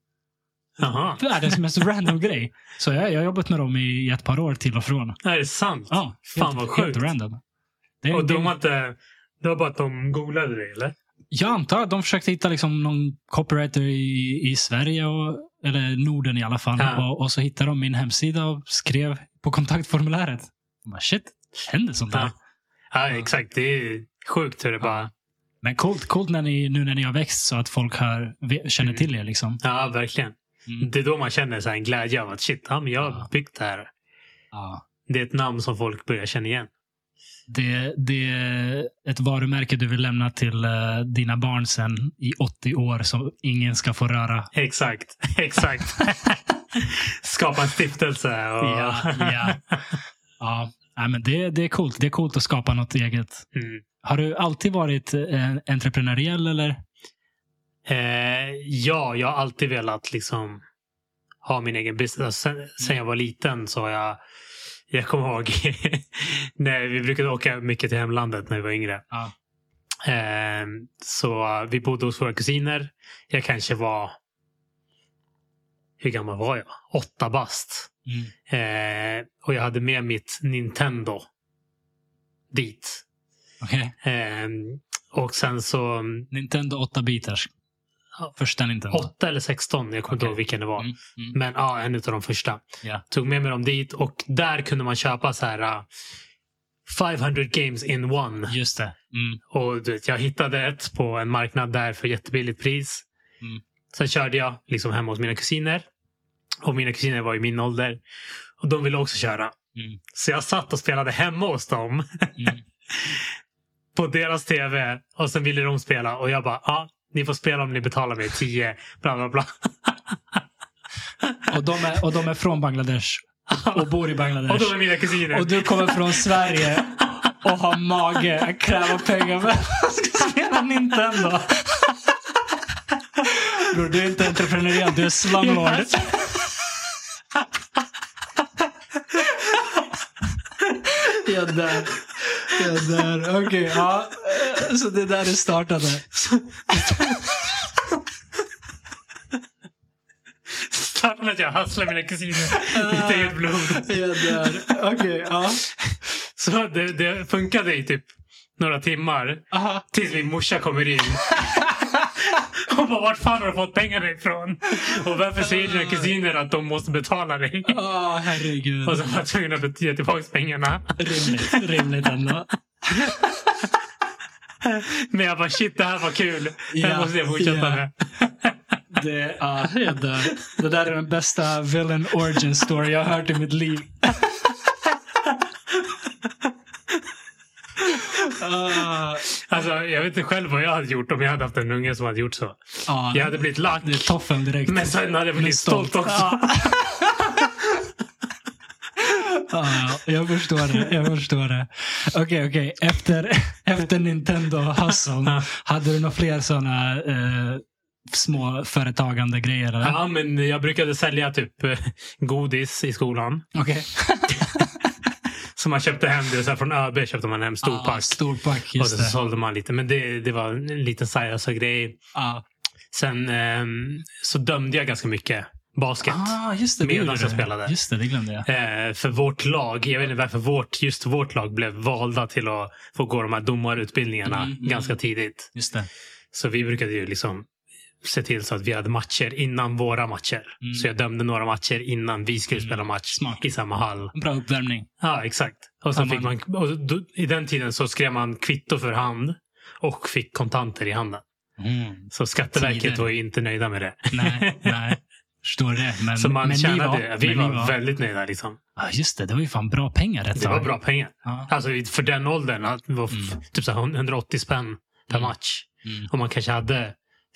Jaha.
Världens mest random grej. Så jag, jag har jobbat med dem i ett par år till och från.
Är det sant?
Ja,
Fan,
helt,
vad
Helt
sjukt.
random. Det,
Och
det,
de har inte... Det var bara att de googlade det, eller?
jag antar att de försökte hitta liksom någon copywriter i, i Sverige, och, eller Norden i alla fall.
Ja.
Och, och så hittade de min hemsida och skrev på kontaktformuläret. Jag Bara, Shit, händer sånt där?
Ja. Ja, exakt. Det är sjukt hur det bara...
Men coolt, coolt när ni, nu när ni har växt så att folk hör, ve- känner
Mm.
till er. Liksom.
Ja, verkligen.
Mm.
Det är då man känner så här en glädje av att shit, ja, men jag har
Ja.
byggt det här.
Ja.
Det är ett namn som folk börjar känna igen.
Det, det är ett varumärke du vill lämna till eh, dina barn sen i 80 år som ingen ska få röra.
Exakt, exakt. Skapa en stiftelse. Och...
Ja, ja. ja. Nej, men det, det är coolt. Det är coolt att skapa något eget. Har
Mm.
du alltid varit eh, entreprenöriell eller?
Eh, ja, jag har alltid velat liksom ha min egen business. Alltså, sen, sen jag var liten så har jag... Jag kommer ihåg när vi brukade åka mycket till hemlandet när vi var yngre.
Ja.
Eh, så vi bodde hos våra kusiner. Jag kanske var... Hur gammal var jag? Åtta bast.
Mm.
Eh, och jag hade med mitt Nintendo dit.
Okej.
Eh, och sen så
Nintendo 8-bitars.
Ja.
Första Nintendo.
8 eller 16, jag kommer inte
Okej.
ihåg vilken det var.
Mm, mm.
Men ja, en av de första.
Ja.
Tog med mig dem dit och där kunde man köpa så här eh, 500 games in one.
Just det. Mm.
Och du vet, jag hittade ett på en marknad där för jättebilligt pris.
Mm.
Sen körde jag liksom hemma hos mina kusiner. Och mina kusiner var i min ålder. Och de ville också köra.
Mm.
Så jag satt och spelade hemma hos dem.
Mm.
på deras tv och sen ville de spela och jag bara ja, ah, ni får spela om ni betalar mig 10 bla bla bla.
Och, de är, och de är från Bangladesh. Och bor i Bangladesh.
Och då är mina kusiner.
Och du kommer från Sverige och har mage att kräva pengar för att ska spela Nintendo. Bror, du är inte entreprenöriell, du är slumlord. Jag dör. Jag dör. Okej, ja. Så det är där det startade.
Starkt med att jag hasslar mina kusiner i mitt eget blod.
Jag dör. Okej, ja.
Så det, det funkade i typ några timmar.
Aha.
Tills min morsa kommer in. Hon bara, vart fan har du fått pengarna ifrån? Och varför säger dina kusiner att de måste betala dig?
Åh, Ah, herregud.
Och så var jag tvungen att ge tillbaka pengarna.
Rimligt, rimligt ändå.
Men jag bara shit, det här var kul. Det här
Ja,
måste jag fortsätta
ja.
med.
Det, ja, jag dör. det där är den bästa villain origin story jag har hört i mitt liv. Ah,
Alltså, jag vet inte själv vad jag hade gjort om jag hade haft en unge som hade gjort så.
ja,
Jag hade blivit lack.
ah, det är toffen direkt.
Men sen hade jag blivit stolt också.
Ja. Ah, Ja, jag förstår det. Jag förstår det. Okej, okej. Efter, efter Nintendo Hustle, hade du några fler sådana eh, små företagande grejer? Eller?
Ja, men jag brukade sälja typ eh, godis i skolan.
Okej.
Så man köpte hem det. Så här, från ÖB köpte man hem
Ah,
storpack.
storpack,
och så
just det.
sålde man lite. Men det, det var en liten seriösa grej.
Ja.
Sen ehm, så dömde jag ganska mycket basket.
Ah, just det. det
Medan
gjorde
jag
du.
spelade.
Just det, det glömde jag.
Eh, för vårt lag, jag vet inte varför vårt, just vårt lag blev valda till att få gå de här domarutbildningarna
Mm, mm.
ganska tidigt.
Just det.
Så vi brukade ju liksom se till så att vi hade matcher innan våra matcher.
Mm.
Så jag dömde några matcher innan vi skulle
Mm.
spela match
Smart.
i samma hall.
Bra uppvärmning.
Ja, exakt. Och sen
Ja,
fick man, och då, I den tiden så skrev man kvitto för hand och fick kontanter i handen. Så Skatteverket
Tider.
var ju inte nöjda med det.
Nej, nej. Förstår det. Men,
så man
men
tjänade,
ni var,
vi
men
var,
ni var
väldigt nöjda. Liksom.
Ja, just det. Det var ju fan bra pengar ett
Det var
tag.
bra pengar.
Ja.
Alltså för den åldern, att det var f-
Mm.
typ så här 180 spänn per
Mm.
match.
Mm.
Och man kanske hade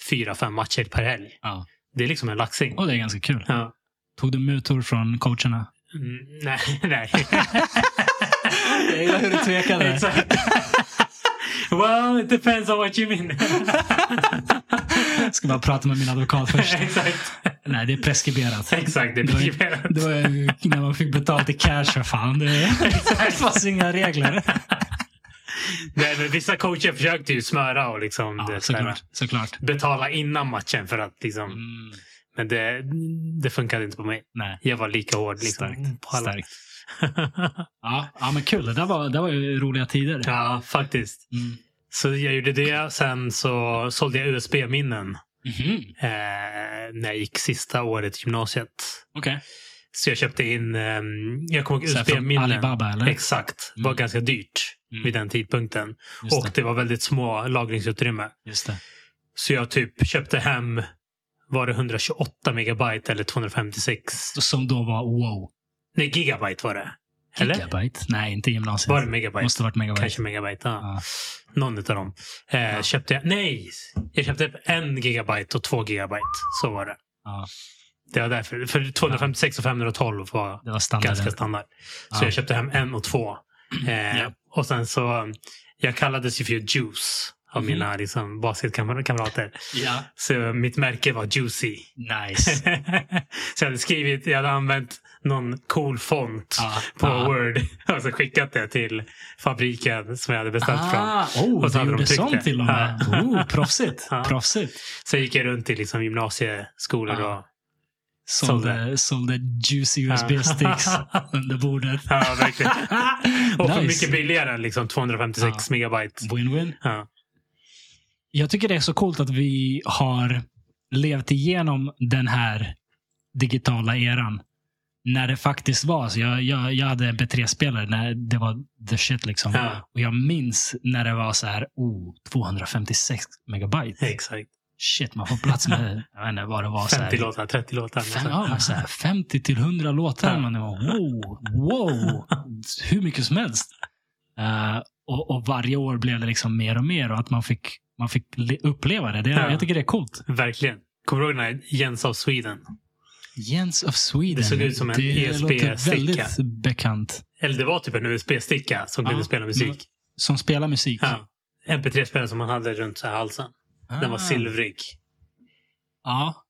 fyra, fem matcher per helg.
Ja.
Det är liksom en laxing.
Och det är ganska kul.
Ja.
Tog du mutor från coacherna?
Mm, nej, nej.
Jag gillar hur du tvekade.
Exakt. well, it depends on what you mean.
Jag ska bara prata med min advokat först.
Exakt.
Nej, det är preskriberat.
Exakt, det
Det var ju-
blir det.
Det var ju när man fick betalt i cash för fan. Det, det fanns inga regler.
Nej, men vissa coacher försökte ju smöra och liksom
Ja,
det,
såklart. såklart.
betala innan matchen för att liksom...
Mm,
Men det, det funkade inte på mig.
nej,
Jag var lika hård liksom.
starkt.
på alla.
starkt. Ja, ja, men kul. Det där var, det var ju roliga tider.
ja, faktiskt.
Mm.
Så jag gjorde det. Sen så sålde jag USB-minnen
Mhm.
eh, när jag gick sista året i gymnasiet.
Okej.
Så jag köpte in, ehm, jag kommer ihåg
Så här från
USB-minnen.
Alibaba eller?
Exakt. Det var
Mm.
ganska dyrt
Mm.
vid den tidpunkten.
Just
och
det.
det var väldigt små lagringsutrymme.
Just det.
Så jag typ köpte hem, var det 128 megabyte eller 256?
Som då var wow.
Nej, gigabyte var det. Eller?
Gigabyte? Nej, inte gymnasiet.
Var det megabyte?
Måste ha varit megabyte.
Kanske megabyte. Ja.
Ja.
Någon utav dem. Eh, Köpte jag, nej! Jag köpte upp en gigabyte och två gigabyte. Så var det.
Ja,
Det var därför. För 256 och 512 var
det var standarden.
ganska standard. Så
Ja.
jag köpte hem en och två. Eh,
Ja.
Och sen så, jag kallades ju för Juice av
Mhm.
mina liksom, basketkamrater.
Ja.
Så mitt märke var Juicy.
Nice.
så jag hade skrivit, jag hade använt någon cool font
Ja,
på
ja.
Word. Och så skickat det till fabriken som jag hade beställt från.
Ah, oh,
Och så
du
hade de
gjorde
tryckt
sånt
det.
till och med.
Ja.
Oh, proffsigt.
Ja.
proffsigt.
Sen gick jag runt i liksom gymnasieskolor.
Ja.
Och,
Sålde, sålde juicy USB-sticks under bordet.
ja, verkligen. och för
Nice.
mycket billigare än liksom 256 megabyte.
Win-win.
Ja.
Jag tycker det är så coolt att vi har levt igenom den här digitala eran. När det faktiskt var så. Jag, jag, jag hade en B3-spelare när det var the shit liksom.
Ja.
Och jag minns när det var så här, oh, 256 megabyte.
Exakt.
Shit, man får plats med, jag vet inte vad det var. så här,
50 låtar, 30 låtar.
Fem, ja, men så här, 50 till 100 låtar.
alltså. Ja.
Man var, wow, wow, hur mycket som helst. Eh, och, och varje år blev det liksom mer och mer och att man fick, man fick le- uppleva det. det
Ja.
Jag tycker det är coolt.
Verkligen. Kommer du ihåg den här Jens of Sweden?
Jens of Sweden.
Det såg ut som en E
Det låter
ESP-sticka.
väldigt bekant.
Eller det var typ en USB-sticka som
Ja. Mm.
kunde spela musik.
Som spelar musik.
Ja. MP3-spelare som man hade runt så här halsen. Den var silvrig.
Ah. Ja.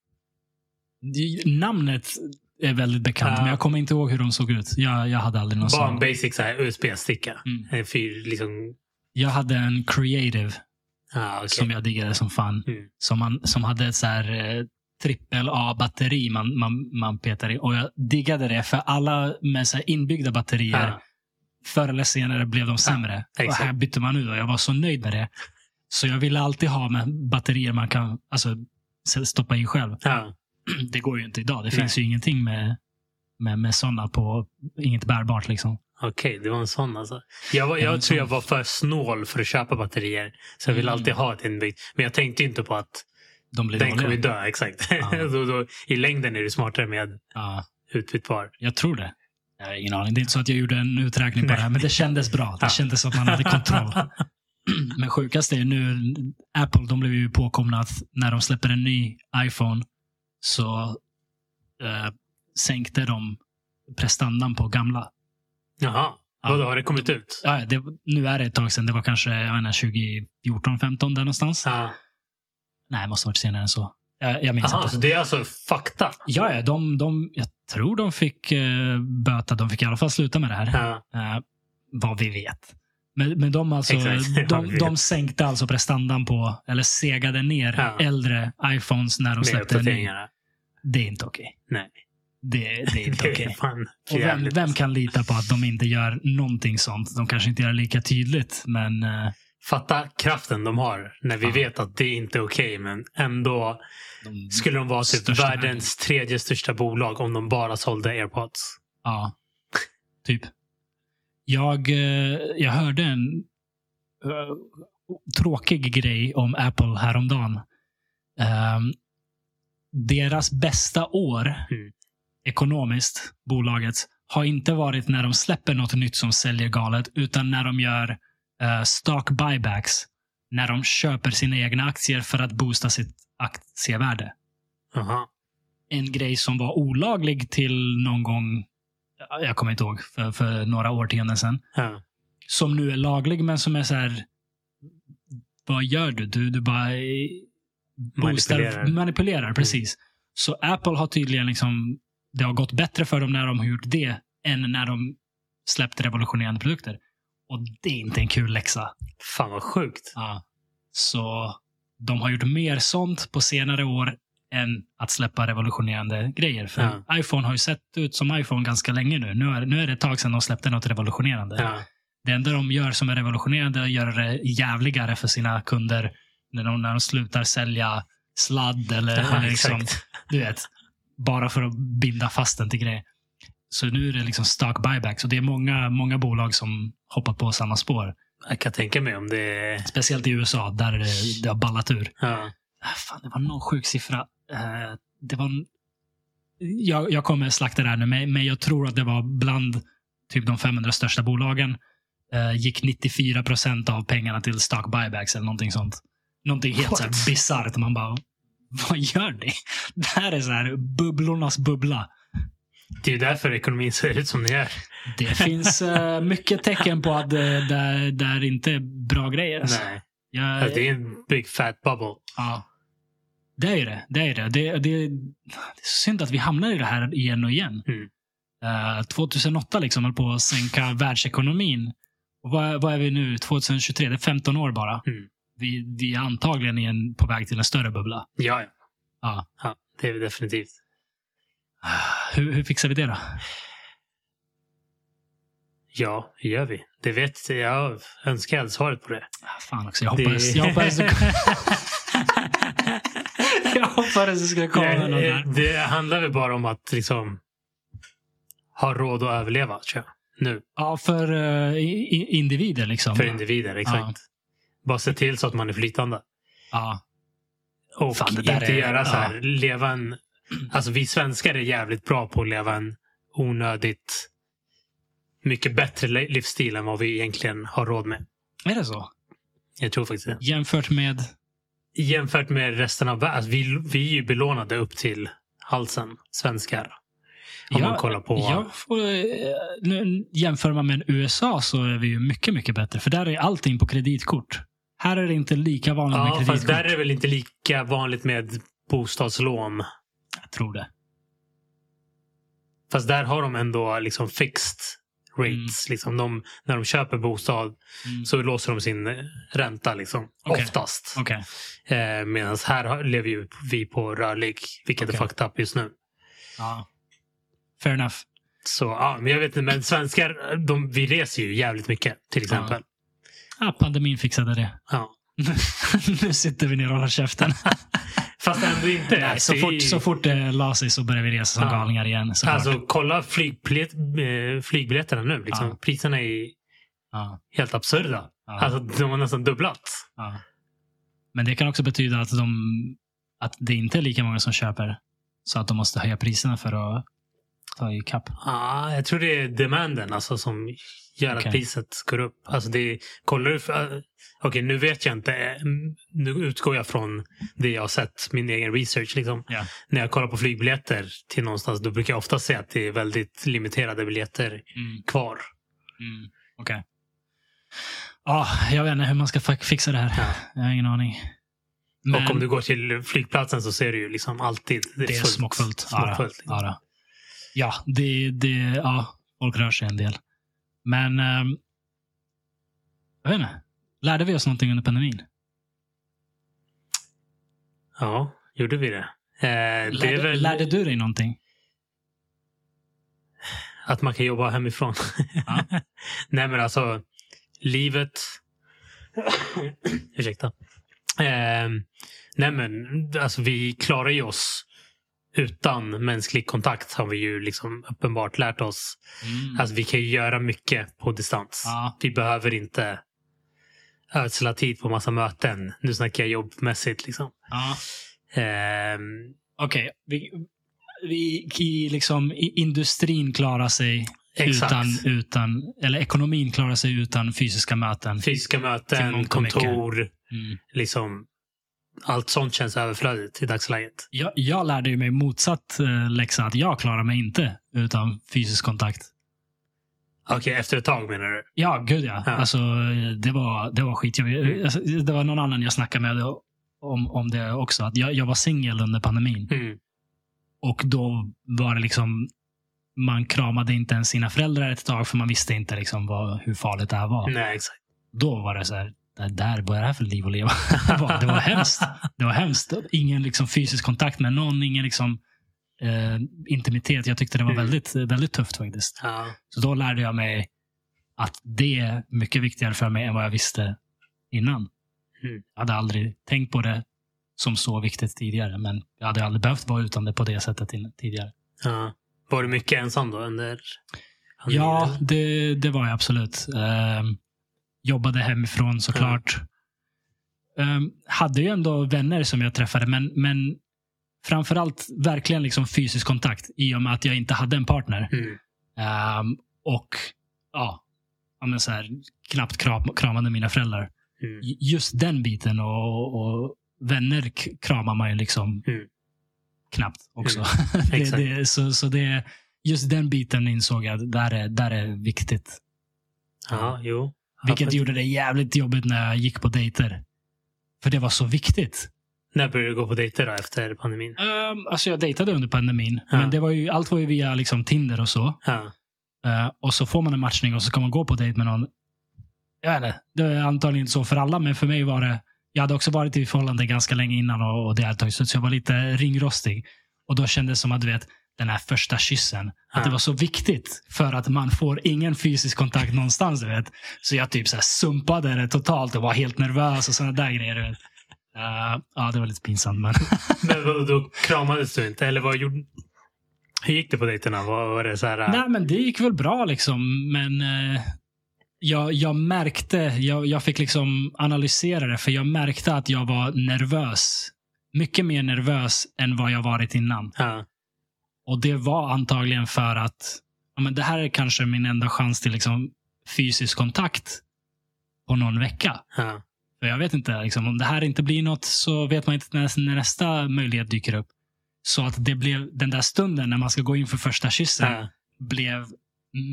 Det- Namnet är väldigt bekant,
Ja.
men jag kommer inte ihåg hur de såg ut. Jag, jag hade aldrig någon
Bara en
sån.
basic så här USB-sticka.
Mm.
En fyr, liksom...
Jag hade en creative
Ah, okej.
som jag diggade som fan.
Mm.
Som, man, som hade ett så här eh, trippel A-batteri man, man, man petar i. Och jag diggade det, för alla med så här inbyggda batterier,
Ah,
förr eller senare blev de sämre. och
exakt.
här bytte man ut och jag var så nöjd med det. Så jag ville alltid ha med batterier man kan alltså, s- stoppa i själv.
ah.
Det går ju inte idag. Det
Nej.
finns ju ingenting med, med, med sådana på, inget bärbart liksom.
Okej, det var en sån alltså. Jag, var, jag
En
tror jag
sån.
var för snål för att köpa batterier. Så jag vill
Mm.
alltid ha ett inbyggt. Men jag tänkte ju inte på att
De blir
den kommer ju
dåliga.
dö. Exakt.
Ja.
då, då, I längden är det smartare med
Ja,
utbytbar.
jag tror det. Jag har ingen aning. Det är inte så att jag gjorde en uträkning på
Nej.
det här, men det kändes bra. Det
Ja.
kändes som att man hade kontroll. Men sjukast är ju nu, Apple de blev ju påkomna att när de släpper en ny iPhone så eh, sänkte de prestandan på gamla.
Jaha,
Ja.
vadå har det kommit ut?
Ja, ja, det, nu är det ett tag sedan, det var kanske jag vet inte, 2014, 15 där någonstans.
Ja.
Nej, det måste ha varit senare än så. Jag, jag minns
Aha,
inte.
så det är alltså fakta?
Ja, ja, de, de, jag tror de fick eh, böta. De fick i alla fall sluta med det här.
Ja.
Eh, vad vi vet. Men, men de, alltså,
Exakt, vad
de,
vi vet.
de sänkte alltså prestandan på, eller segade ner
Ja.
äldre iPhones när de
Med
släppte en ny.
uppdateringarna.
Det är inte okej.
Nej.
Det, det är inte
Det är
okej.
fan
Och vem,
jävligt.
vem kan lita på att de inte gör någonting sånt? De kanske inte gör det lika tydligt, men eh,
Fatta kraften de har när vi
Ja.
vet att det är inte är okej men ändå
de,
skulle de vara typ
Största
världens tredje största bolag om de bara sålde airpods.
Ja, typ. Jag, eh, jag hörde en eh, tråkig grej om Apple häromdagen. Um, deras bästa år
Mm.
ekonomiskt, bolaget, har inte varit när de släpper något nytt som säljer galet, utan när de gör eh, stock buybacks. När de köper sina egna aktier för att boosta sitt aktievärde
Jaha.
en grej som var olaglig till någon gång, jag kommer inte ihåg, för, för några årtionden sedan.
Ja.
Som nu är laglig, men som är så här, vad gör du? Du, du bara eh, boostar,
Manipulerar.
manipulerar. precis. Så Apple har tydligen liksom, det har gått bättre för dem när de har gjort det, än när de släppte revolutionerande produkter. Och det är inte en kul läxa.
Fan vad sjukt.
Ja. Så de har gjort mer sånt på senare år än att släppa revolutionerande grejer. För
Ja.
iPhone har ju sett ut som iPhone ganska länge nu. Nu är, nu är det ett tag sedan de släppte något revolutionerande.
Ja.
Det enda de gör som är revolutionerande är att göra det jävligare för sina kunder när de, när de slutar sälja sladd eller,
Ja,
eller liksom,
exakt.
du vet, bara för att binda fast den till grejer. Så nu är det liksom stock buybacks och det är många, många bolag som hoppat på samma spår.
Jag kan tänka mig om det är...
Speciellt i USA där det, det har ballat ur.
Ja.
Ah, Fan, det var någon sjuk siffra. Eh, det var... en- Jag, jag kommer slakta det här nu, men, men jag tror att det var bland typ de 500 största bolagen eh, gick 94 procent av pengarna till stock buybacks eller någonting sånt. Någonting helt
What?
så här bisarrt. Man bara, vad gör ni? Det här är så här bubblornas bubbla.
Det är ju därför ekonomin ser ut som den gör.
Det finns eh, mycket tecken på att eh, där, där inte är bra grejer. alltså.
Nej.
Jag,
Alltså, det är en big fat bubble.
Ja. Det är ju det. Det är, det. Det, det, det är så synd att vi hamnar i det här igen och igen.
Mm.
Eh, 2008 liksom höll på att sänka världsekonomin. Och vad, vad är vi nu? 2023? Det är 15 år bara.
Mm.
Vi, vi är antagligen i en, på väg till en större bubbla.
Ja, ja.
Ja.
ja det är det definitivt.
Hur, hur fixar vi det då? Ah,
Ja, det gör vi. Det vet jag. Jag önskar jag hade svaret på det.
Ah, Fan också, jag hoppades,
det...
jag hoppades, du, jag hoppades du skulle komma med något
det,
där.
eh, det handlar väl bara om att liksom ha råd att överleva, tror jag. Nu,
Ja, för eh, i- i- individer liksom.
för individer. Exakt. Bara se till så att man är flytande.
Ja.
Och
Fan, det där
inte
är-
göra så här,
ja.
leva en... Alltså vi svenskar är jävligt bra på att leva en onödigt mycket bättre le- livsstil än vad vi egentligen har råd med.
Är det så?
Jag tror faktiskt det.
Jämfört med
Jämfört med resten av världen. Alltså, vi, vi är ju belånade upp till halsen, svenskar. Om
Ja,
man kollar på...
Jag får, eh, nu, jämför man med USA så är vi ju mycket, mycket bättre. För där är allting på kreditkort. Här är det inte lika vanligt med
Ja, fast
kreditkort.
där är det väl inte lika vanligt med bostadslån.
Jag tror det.
Fast där har de ändå liksom fixed rates. Liksom de, när de köper bostad
Mm.
så låser de sin eh, ränta liksom,
Okej.
oftast.
Okej.
Eh, Medan här har- lever ju vi på rörlig, vilket är
Okej.
fucked up just nu.
Ja. Fair enough.
Så ja, men jag vet inte. Men svenskar, de, vi reser ju jävligt mycket till exempel.
Ah, pandemin fixade det.
Ja.
nu sitter vi ner och håller käften.
Fast ändå inte. Alltså,
Nej, så,
Det är-
fort, så fort det la sig så började vi resa som
Ja.
galningar igen. såklart.
alltså, kolla flygbiljett, eh, flygbiljetterna nu. Liksom.
Ja.
Priserna är
ja,
helt absurda.
ja,
Alltså, de har nästan dubblats.
ja. Men det kan också betyda att, de, att det inte är lika många som köper. Så att de måste höja priserna för att ta ikapp.
Ja, jag tror det är demanden alltså, som gör
Okej.
att priset går upp. Alltså det är, kollar du för, Okej, nu vet jag inte. eh, Nu utgår jag från det jag har sett, min egen research. Liksom.
Ja.
När jag kollar på flygbiljetter till någonstans, då brukar jag ofta se att det är väldigt limiterade biljetter
Mm,
kvar.
mm, Okej. Ja, jag vet inte hur man ska fa- fixa det här.
Ja.
Jag har ingen aning. Men
Och om du går till flygplatsen så ser du ju liksom alltid
det är smockfullt.
smockfullt. liksom.
Ja, då. ja, det, det, ja, folk rör sig en del. Men ehm, jag vet inte. Lärde vi oss någonting under pandemin?
Ja, gjorde vi det? Eh, det
Lärde,
är väl
lärde du dig någonting?
att man kan jobba hemifrån.
Ja.
Nej men alltså, livet... Ursäkta. Eh, nej men, alltså vi klarar ju oss utan mänsklig kontakt har vi ju liksom uppenbart lärt oss. Alltså vi kan ju göra mycket på distans.
Mm. Ja.
Vi behöver inte ödsla tid på massa möten. Nu snackar jag jobbmässigt liksom.
Ja.
Eh,
Okej, vi, vi i liksom, i industrin klarar sig
Exakt.
utan, utan, eller ekonomin klarar sig utan fysiska möten.
Fysiska
Till
möten,
mångt och mycket.
kontor,
Mm.
liksom. Allt sånt känns överflödigt i dagsläget.
Jag, jag lärde ju mig motsatt eh, läxa, att jag klarar mig inte utan fysisk kontakt.
Okej, efter ett tag menar du?
Ja, gud ja.
Ja.
Alltså, det var, det var skitjobbigt.
Mm.
Alltså, Det var någon annan jag snackade med om, om det också. Att jag, jag var singel under pandemin.
Mm.
Och då var det liksom, man kramade inte ens sina föräldrar ett tag för man visste inte liksom vad, hur farligt det här var.
Nej, exakt.
Då var det så här, det där, vad är det här för liv att leva? Det var, det var hemskt. Det var hemskt. Ingen liksom fysisk kontakt med någon, ingen liksom, eh, intimitet. Jag tyckte det var
Mm.
väldigt, väldigt tufft faktiskt.
Ja.
Så då lärde jag mig att det är mycket viktigare för mig än vad jag visste innan.
Mm.
Jag hade aldrig tänkt på det som så viktigt tidigare, men jag hade aldrig behövt vara utan det på det sättet in- tidigare.
ja. Var du mycket ensam då under pandemin?
Ja, det, det var jag absolut. Ehm, jobbade hemifrån såklart. Ehm, hade ju ändå vänner som jag träffade, men, men framförallt verkligen liksom fysisk kontakt i och med att jag inte hade en partner.
Mm.
Ehm, och ja, ja men så här, knappt kram, kramade mina föräldrar.
Mm.
J- Just den biten och, och vänner k- kramar man ju liksom
Mm.
knappt också. det,
Exakt.
det, så så det, just den biten insåg jag att där är, där är viktigt.
Ja, jo.
Vilket
Absolut.
gjorde det jävligt jobbigt när jag gick på dejter. För det var så viktigt.
När började du gå på dejter då efter pandemin?
Um, alltså jag dejtade under pandemin,
Ja.
men det var ju, allt var ju via liksom Tinder och så.
Ja.
Eh, och så får man en matchning och så kan man gå på dejt med någon. Jag vet inte, det är antagligen inte så för alla, men för mig var det... Jag hade också varit i förhållande ganska länge innan och, och det hade tagit slut, så jag var lite ringrostig. Och då kändes det som att du vet, den här första kyssen, att det
Ja.
var så viktigt för att man får ingen fysisk kontakt någonstans. Du vet. Så jag typ så här sumpade det totalt och var helt nervös och sådana där grejer. Du vet. Eh, ja, det var lite pinsamt. Men
Men vad- då kramades du inte? Eller vad gjorde... Hur gick det på dejterna? Var, var det så här...
Nej, men det gick väl bra liksom. Men eh, jag, jag märkte, jag, jag fick liksom analysera det, för jag märkte att jag var nervös. Mycket mer nervös än vad jag varit innan.
Ja.
Och det var antagligen för att ja, men det här är kanske min enda chans till liksom, fysisk kontakt på någon vecka.
Ja.
För jag vet inte, liksom, om det här inte blir något så vet man inte när, när nästa möjlighet dyker upp. Så att det blev den där stunden när man ska gå in för första kyssen
Ja.
blev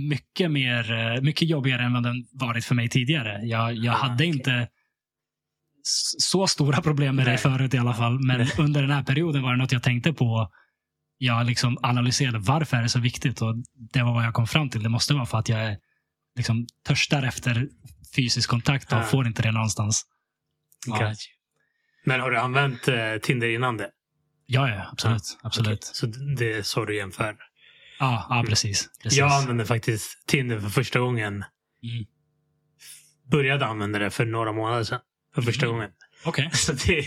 mycket, mer, eh, mycket jobbigare än vad den varit för mig tidigare. Jag, jag
Ah,
hade
okej.
inte s- så stora problem med det
Nej.
förut i alla fall. Men
Nej.
under den här perioden var det något jag tänkte på. Jag liksom analyserade varför är det så viktigt och det var vad jag kom fram till. Det måste vara för att jag är, liksom, törstar efter fysisk kontakt och
Ah.
får inte det någonstans. Ja.
Gotcha. Men har du använt eh, Tinder innan det?
Ja, ja absolut.
Ah,
absolut.
Okej, Så det är så du jämför?
Ja, ja
Mm.
precis. precis.
Jag använde faktiskt Tinder för första gången.
Mm.
Började använda det för några månader sedan. För första
Mm.
gången.
Okej,
Så det,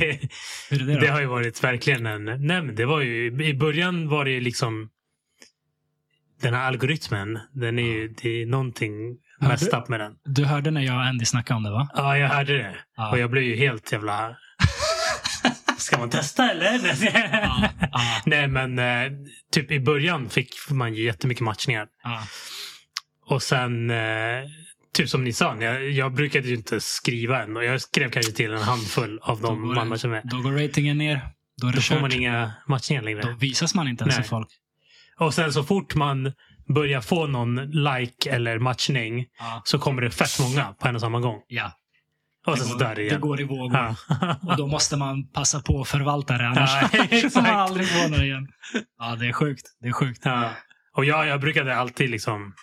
hur är det då?
det har ju varit verkligen en... Nej, men det var ju, I början var det ju liksom... Den här algoritmen, den är ju, det är någonting
Ja,
messed up med den.
Du hörde när jag och Andy snackade om det va? Ah.
Ja, jag hörde det.
Ja.
Och jag blev ju helt jävla... Ska man testa eller?
Ja, ja,
Nej, men eh, typ i början fick man ju jättemycket matchningar.
ja.
Och sen, eh, typ som ni sa, jag, jag brukade ju inte skriva än. Och jag skrev kanske till en handfull av
Då går
de man
det-
matchar med.
Då går ratingen ner. Då är det
Då får
kört.
man inga matchningar längre.
Då visas man inte ens för
Nej.
folk.
Och sen så fort man börjar få någon like eller matchning
Ja.
så kommer det fett många på en och samma gång.
Ja.
Och sen så dör det
det
igen.
går i vågor.
Ja.
Och då måste man passa på att förvalta det, annars
Ja, exakt.
får man aldrig få några igen. Ja, det är sjukt. Det är sjukt.
Ja. Och jag, jag brukade alltid liksom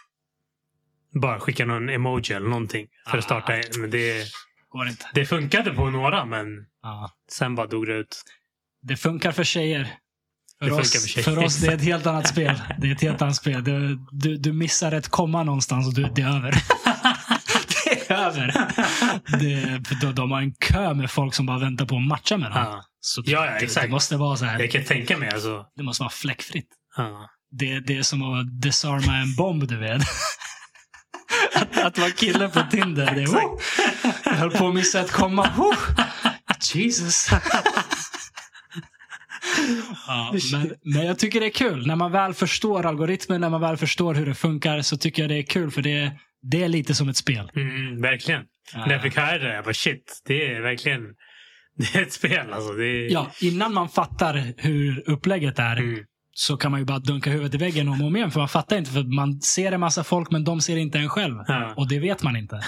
bara skicka någon emoji eller någonting för
Ah.
att starta. Men det,
Går inte.
det funkade på några men
Ja.
sen bara dog det ut.
Det funkar för tjejer. För,
Det funkar
oss,
för tjejer.
för oss det är ett helt annat spel. Det är ett helt annat spel. Du, du, du missar ett komma någonstans och du, det är över. det är över. Det, för de, de har en kö med folk som bara väntar på att matcha med dem.
Ja.
Så
Ja, ja,
det-
exakt.
Det måste vara så här.
Jag kan tänka mig alltså.
Det måste vara fläckfritt.
Ja.
Det, det är som att disarma en bomb, du vet. Att, att vara kille på Tinder. Det,
Exakt.
oh, jag höll på att missa att komma. Oh, Jesus. Ja, men, men jag tycker det är kul. När man väl förstår algoritmen, när man väl förstår hur det funkar, så tycker jag det är kul. För det, det är lite som ett spel.
Mm, verkligen. När jag fick höra det, jag bara shit. Det är verkligen det är ett spel alltså. Det är,
Ja, innan man fattar hur upplägget är,
Mm.
så kan man ju bara dunka huvudet i väggen om och om igen. För man fattar inte. För man ser en massa folk, men de ser inte en själv.
Ja.
Och det vet man inte.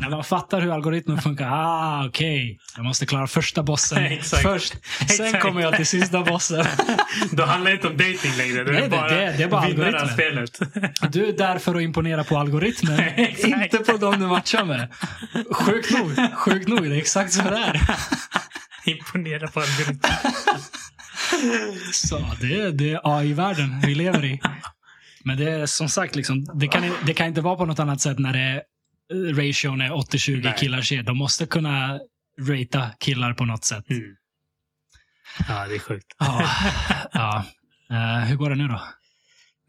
När man fattar hur algoritmen funkar. Ah, okej. Jag måste klara första bossen
Exakt.
först. Sen
Exakt.
kommer jag till sista bossen.
Då handlar det inte om dating längre. Då
Nej,
är
det-
det bara,
det- det är bara
vinnare av
algoritmen.
spelet.
Du är där för att imponera på algoritmen.
Exakt.
inte på dem du matchar med. Sjukt nog. Sjukt nog. Det är exakt så det är.
Imponera på algoritmen.
Så det, det är AI-världen vi lever i. Men det är som sagt, liksom, det, kan, det kan inte vara på något annat sätt när det är, eh, ration är 80-20
Nej.
killar tjejer. De måste kunna rata killar på något sätt.
Mm. Ja, det är sjukt.
Ja. ja. Eh, hur går det nu då?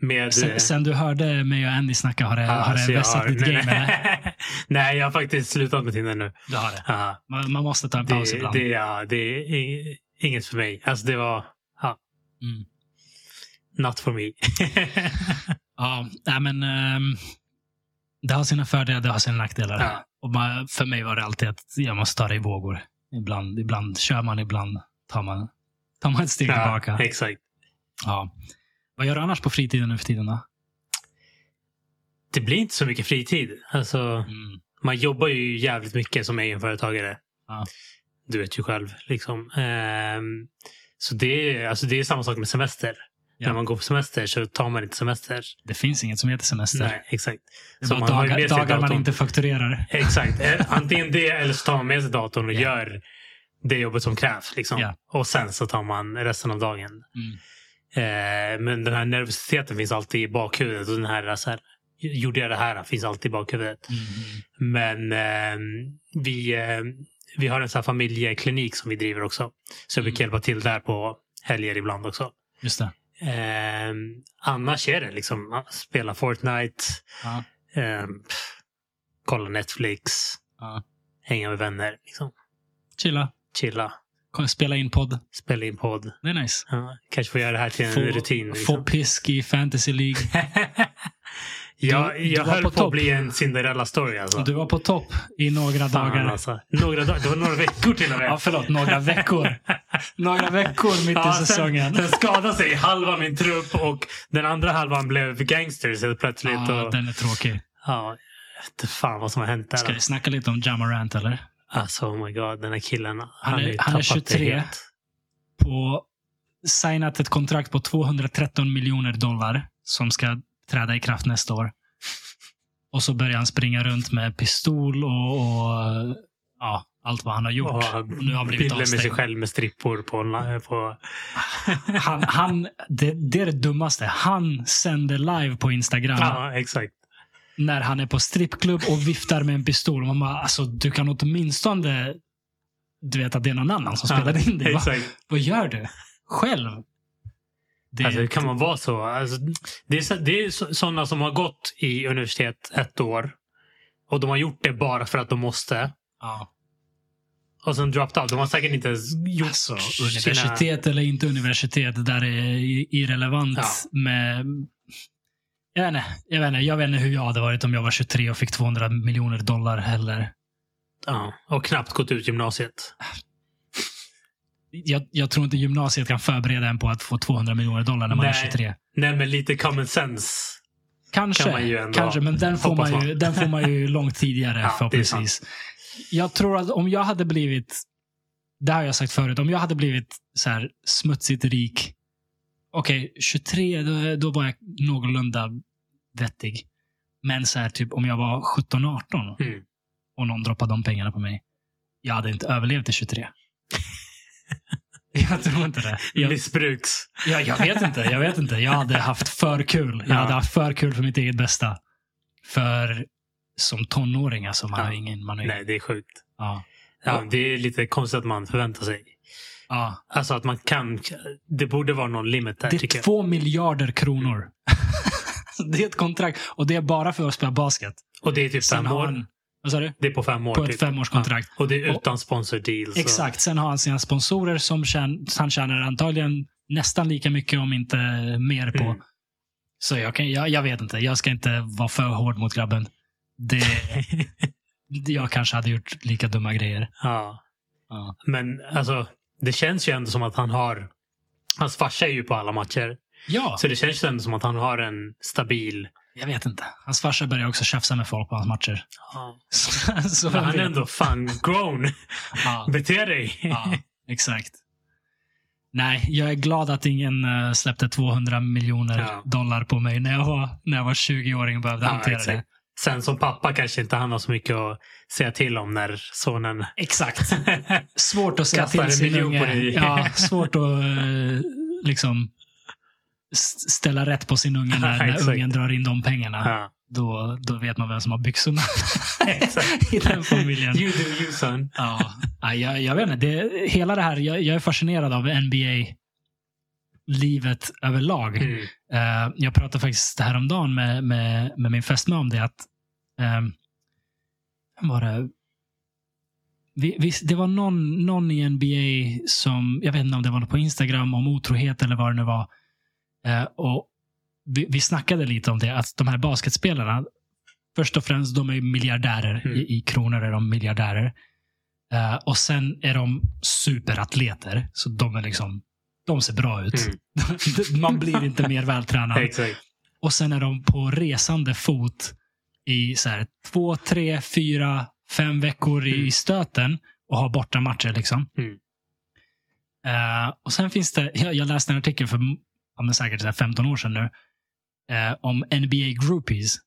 Med, eh,
Sen, sen du hörde mig och Andy snacka, har det,
ja,
har
alltså
det
jag
vässat
har-
ditt
nej,
game? Eller?
nej. nej, jag har faktiskt slutat med Tinder nu.
Du har det.
Ja,
Man, man måste ta en paus
det,
ibland.
det, ja, det är i- inget för mig. Alltså det var
Mm.
not for me.
Ja, nej, men ehm, det har sina fördelar, det har sina nackdelar.
Ja.
Och man, för mig var det alltid att jag måste ta det i vågor. Ibland, ibland kör man, ibland tar man, tar man ett steg
ja,
tillbaka.
exakt.
Ja. Vad gör du annars på fritiden nu för tiden? Då?
Det blir inte så mycket fritid. Alltså,
Mm.
man jobbar ju jävligt mycket som egenföretagare.
Ja.
Du vet ju själv. Liksom. Ehm, så det är, alltså det är samma sak med semester.
Ja.
När man går på semester så tar man inte semester.
Det finns inget som heter semester.
Nej, exakt.
det är
så
bara
man har ju
dagar,
med sig
dagar man
datorn.
inte fakturerar.
Exakt. Eh, Antingen det eller så tar man med sig datorn och
Ja.
gör det jobbet som krävs. Liksom.
Ja.
Och sen så tar man resten av dagen.
Mm.
Eh, men den här nervositeten finns alltid i bakhuvudet. Och den här, så här, gjorde jag det här? Finns alltid i bakhuvudet.
Mm.
Men eh, vi, eh, vi har en sån här familjeklinik som vi driver också. Så jag brukar
Mm.
hjälpa till där på helger ibland också.
Just det.
Eh, annars är det liksom ah, spela Fortnite,
Ja.
eh, pff, kolla Netflix,
Ja.
hänga med vänner, liksom,
Chilla.
chilla,
Kom, Spela in podd.
spela in podd.
Det är nice.
Ja, kanske få göra det här till en rutin.
få
Liksom.
pisk i fantasy League.
jag
du
jag
var
höll
på
på,
topp.
att bli en Cinderella-story alltså.
Du var på topp i några
Fan,
dagar.
alltså. Några dagar, det var några veckor till och med.
Ja, förlåt. Några veckor. Några veckor mitt i
sen-
säsongen.
Sen skadade sig halva min trupp och den andra halvan blev gangsters helt plötsligt.
Ja,
och,
den är tråkig.
ja, jag vet inte fan vad som har hänt där.
Ska vi
alltså.
snacka lite om Jamarant eller?
Alltså oh my god, den här killen. Han,
Han är-
har ju
han är
tappat det
23.
helt.
På signat ett kontrakt på 213 miljoner dollar som ska träda i kraft nästa år. Och så börjar han springa runt med pistol och, och ja, allt vad han har gjort.
Och
Och nu har han blivit
bilder med sig
avstängd.
själv med strippor på. online- på
Han, han, det, det är det dummaste. Han sänder live på Instagram
ja, exakt.
när han är på strippklubb och viftar med en pistol. Man bara, alltså, du kan åtminstone du vet att det är någon annan som
Ja,
spelade in det. Va?
Exakt.
Vad gör du? Själv? Det,
Alltså, hur kan man vara så? Alltså, det är, så- det är så- sådana som har gått i universitet ett år och de har gjort det bara för att de måste.
ja.
Och sen dropped out. De har säkert inte ens gjort
alltså,
sina-
universitet eller inte universitet, det där är i- irrelevant
Ja.
med... Jag vet, inte, jag, vet inte, jag vet inte hur jag hade varit om jag var 23 och fick 200 miljoner dollar heller.
Ja, och knappt gått ut gymnasiet.
jag, jag tror inte gymnasiet kan förbereda en på att få 200 miljoner dollar när man är
Nej.
23.
Nej, men lite common sense.
Kanske,
Kan man ju ändå
kanske men den får,
hoppas
man ju,
man.
den får man ju långt tidigare
Ja,
förhoppningsvis. Jag tror att om jag hade blivit, det här har jag sagt förut, om jag hade blivit så här smutsigt rik, okej, 23, då, då var jag någorlunda vettig. Men så här, typ om jag var 17-18
Mm.
och någon droppade de pengarna på mig, jag hade inte överlevt i 23. jag tror inte det. Jag,
Missbruks.
Ja, jag vet inte. Jag vet inte. Jag hade haft för kul. Jag
Ja.
hade haft för kul för mitt eget bästa. För som tonåring alltså. Man
Ja.
har ingen... Man har ingen
Nej, det är sjukt.
ja.
Ja,
Ja.
det är lite konstigt att man förväntar sig.
Ja.
Alltså att man kan... Det borde vara någon limit där,
Det
tycker
är
jag.
två miljarder kronor. det är ett kontrakt. Och det är bara för att spela basket.
Och det är typ
Sen
fem
har
år.
han... Vad sa du?
Det är på fem år.
På ett
typ.
femårskontrakt.
Och det är utan sponsor deals.
Exakt. Sen har han sina sponsorer som tjän, han tjänar antagligen nästan lika mycket om inte mer på.
Mm.
Så jag, kan, jag, jag vet inte. Jag ska inte vara för hård mot grabben. Det, jag kanske hade gjort lika dumma grejer.
Ja.
Ja.
Men alltså, det känns ju ändå som att han har... Hans farsa är ju på alla matcher.
Ja,
Så det känns ju ändå som att han har en stabil...
jag vet inte. Hans farsa börjar också tjafsa med folk på hans matcher.
Ja.
Så, så
Men han är ändå fan grown.
ja,
Bete dig!
ja, exakt. Nej, jag är glad att ingen eh, släppte 200 miljoner
Ja.
dollar på mig när jag var, när jag var 20-åring och behövde
Ja,
hantera
exakt.
det.
Sen som pappa kanske inte han har så mycket att säga till om när sonen...
Exakt. Svårt att säga
Kastar
till
en
sin
miljon på
unge.
dig.
Ja, svårt att eh, liksom s- ställa rätt på sin unge när,
Exakt.
när ungen drar in de pengarna.
Ja.
Då, då vet man vem som har byxorna
Exakt.
i den familjen. Mm.
You do you son.
Ja. Ja, jag, jag vet inte. Det, hela det här, jag, jag är fascinerad av NBA-livet överlag.
Mm.
Eh, jag pratade faktiskt häromdagen med, med, med min fästmö om det. att ehm, vem var det? Vi, vi, det var någon, någon i NBA som, jag vet inte om det var på Instagram, om otrohet eller vad det nu var. Eh, och vi, vi snackade lite om det, att de här basketspelarna, först och främst, de är ju miljardärer.
Mm.
I, I kronor är de miljardärer. Eh, och sen är de superatleter, så de är liksom, de ser bra ut.
Mm.
Man blir inte mer vältränad.
Exakt.
Och sen är de på resande fot i så här, två, tre, fyra, fem veckor i
Mm.
stöten och har borta matcher. Liksom.
Mm.
Eh, och sen finns det, jag, jag läste en artikel för ja, men säkert så här 15 år sedan nu, eh, om NBA groupies.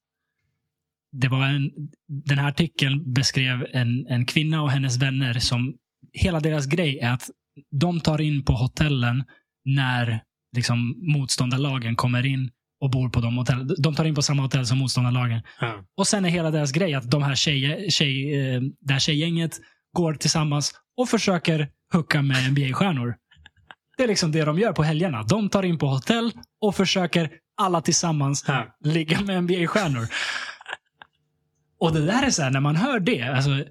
Det var en, den här artikeln beskrev en, en kvinna och hennes vänner som hela deras grej är att de tar in på hotellen när liksom, motståndarlagen kommer in och bor på de hotell. De tar in på samma hotell som motståndarlagen.
Ja.
Och sen är hela deras grej att de här tjej, tjej, eh, det här tjejgänget går tillsammans och försöker hucka med NBA-stjärnor. Det är liksom det de gör på helgerna. De tar in på hotell och försöker alla tillsammans
Ja.
ligga med NBA-stjärnor. Och det där är så här, när man hör det. Alltså,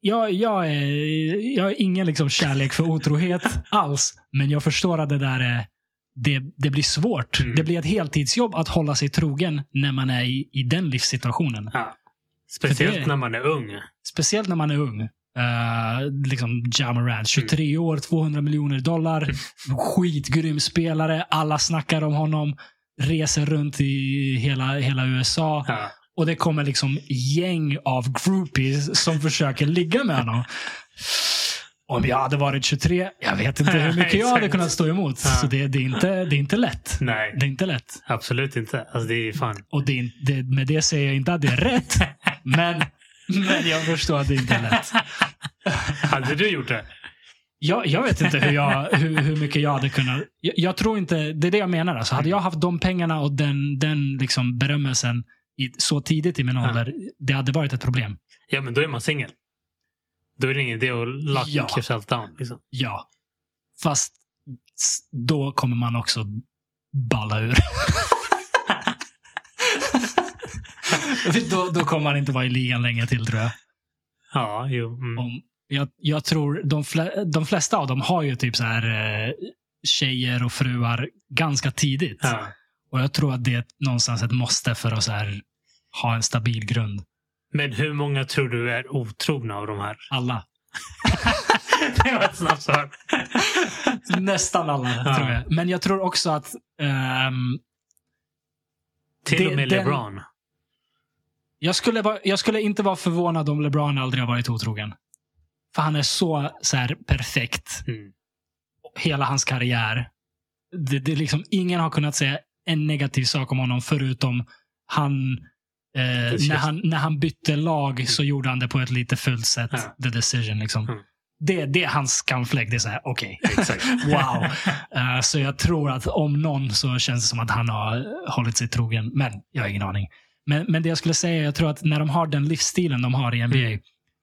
jag, jag, är, jag har ingen liksom kärlek för otrohet alls, men jag förstår att det där är, det, det blir svårt.
Mm.
Det blir ett heltidsjobb att hålla sig trogen när man är i, i den livssituationen.
Ja. Speciellt
För det-
när man är ung.
Speciellt när man är ung. Uh, liksom Jamarant, 23 år, 200 miljoner dollar, skitgrym spelare, alla snackar om honom, reser runt i hela, hela USA
Ja.
och det kommer liksom gäng av groupies som försöker ligga med honom. Om jag hade varit 23, jag vet inte hur mycket jag hade
Exakt.
kunnat stå emot.
Ja.
Så det, det, är inte, det är inte lätt.
Nej,
Det är inte lätt.
absolut inte. Alltså det är fan.
Och det, är in- det, med det säger jag inte att det är rätt, men, men jag förstår att det inte är lätt.
Hade du gjort det?
Jag, jag vet inte hur, jag, hur, hur mycket jag hade kunnat... Jag, jag tror inte... Det är det jag menar. Alltså, hade jag haft de pengarna och den, den liksom berömmelsen i, så tidigt i min ålder, det hade varit ett problem.
Ja, men då är man singel. Då är det ingen idé att luck
Ja.
yourself down. Liksom.
Ja. Fast s- då kommer man också balla ur. då, då kommer man inte vara i ligan länge till tror jag.
Ja, jo. Mm.
Om, jag, jag tror de, fle, de flesta av dem har ju typ så här eh, tjejer och fruar ganska tidigt.
Ja.
Och jag tror att det är någonstans ett måste för att så här, ha en stabil grund.
Men hur många tror du är otrogna av de här?
Alla.
det var ett snabbt svar.
Nästan alla
Ja.
tror jag. Men jag tror också att ehm,
Till
Det-
och med
den-
LeBron.
Jag skulle, vara- jag skulle inte vara förvånad om LeBron aldrig har varit otrogen. För han är så, så här, perfekt.
Mm.
Hela hans karriär. Det, det är liksom, ingen har kunnat säga en negativ sak om honom förutom han, eh,
Precis. Mm.
när, han när han bytte lag så gjorde han det på ett lite fult sätt.
Ja.
The decision liksom.
Mm.
Det, det är hans skamfläck. Det är så här, okej.
Exakt.
Wow. Eh, så jag tror att om någon så känns det som att han har eh, hållit sig trogen. Men jag har ingen aning. Men, men det jag skulle säga, jag tror att när de har den livsstilen de har i NBA
Mm.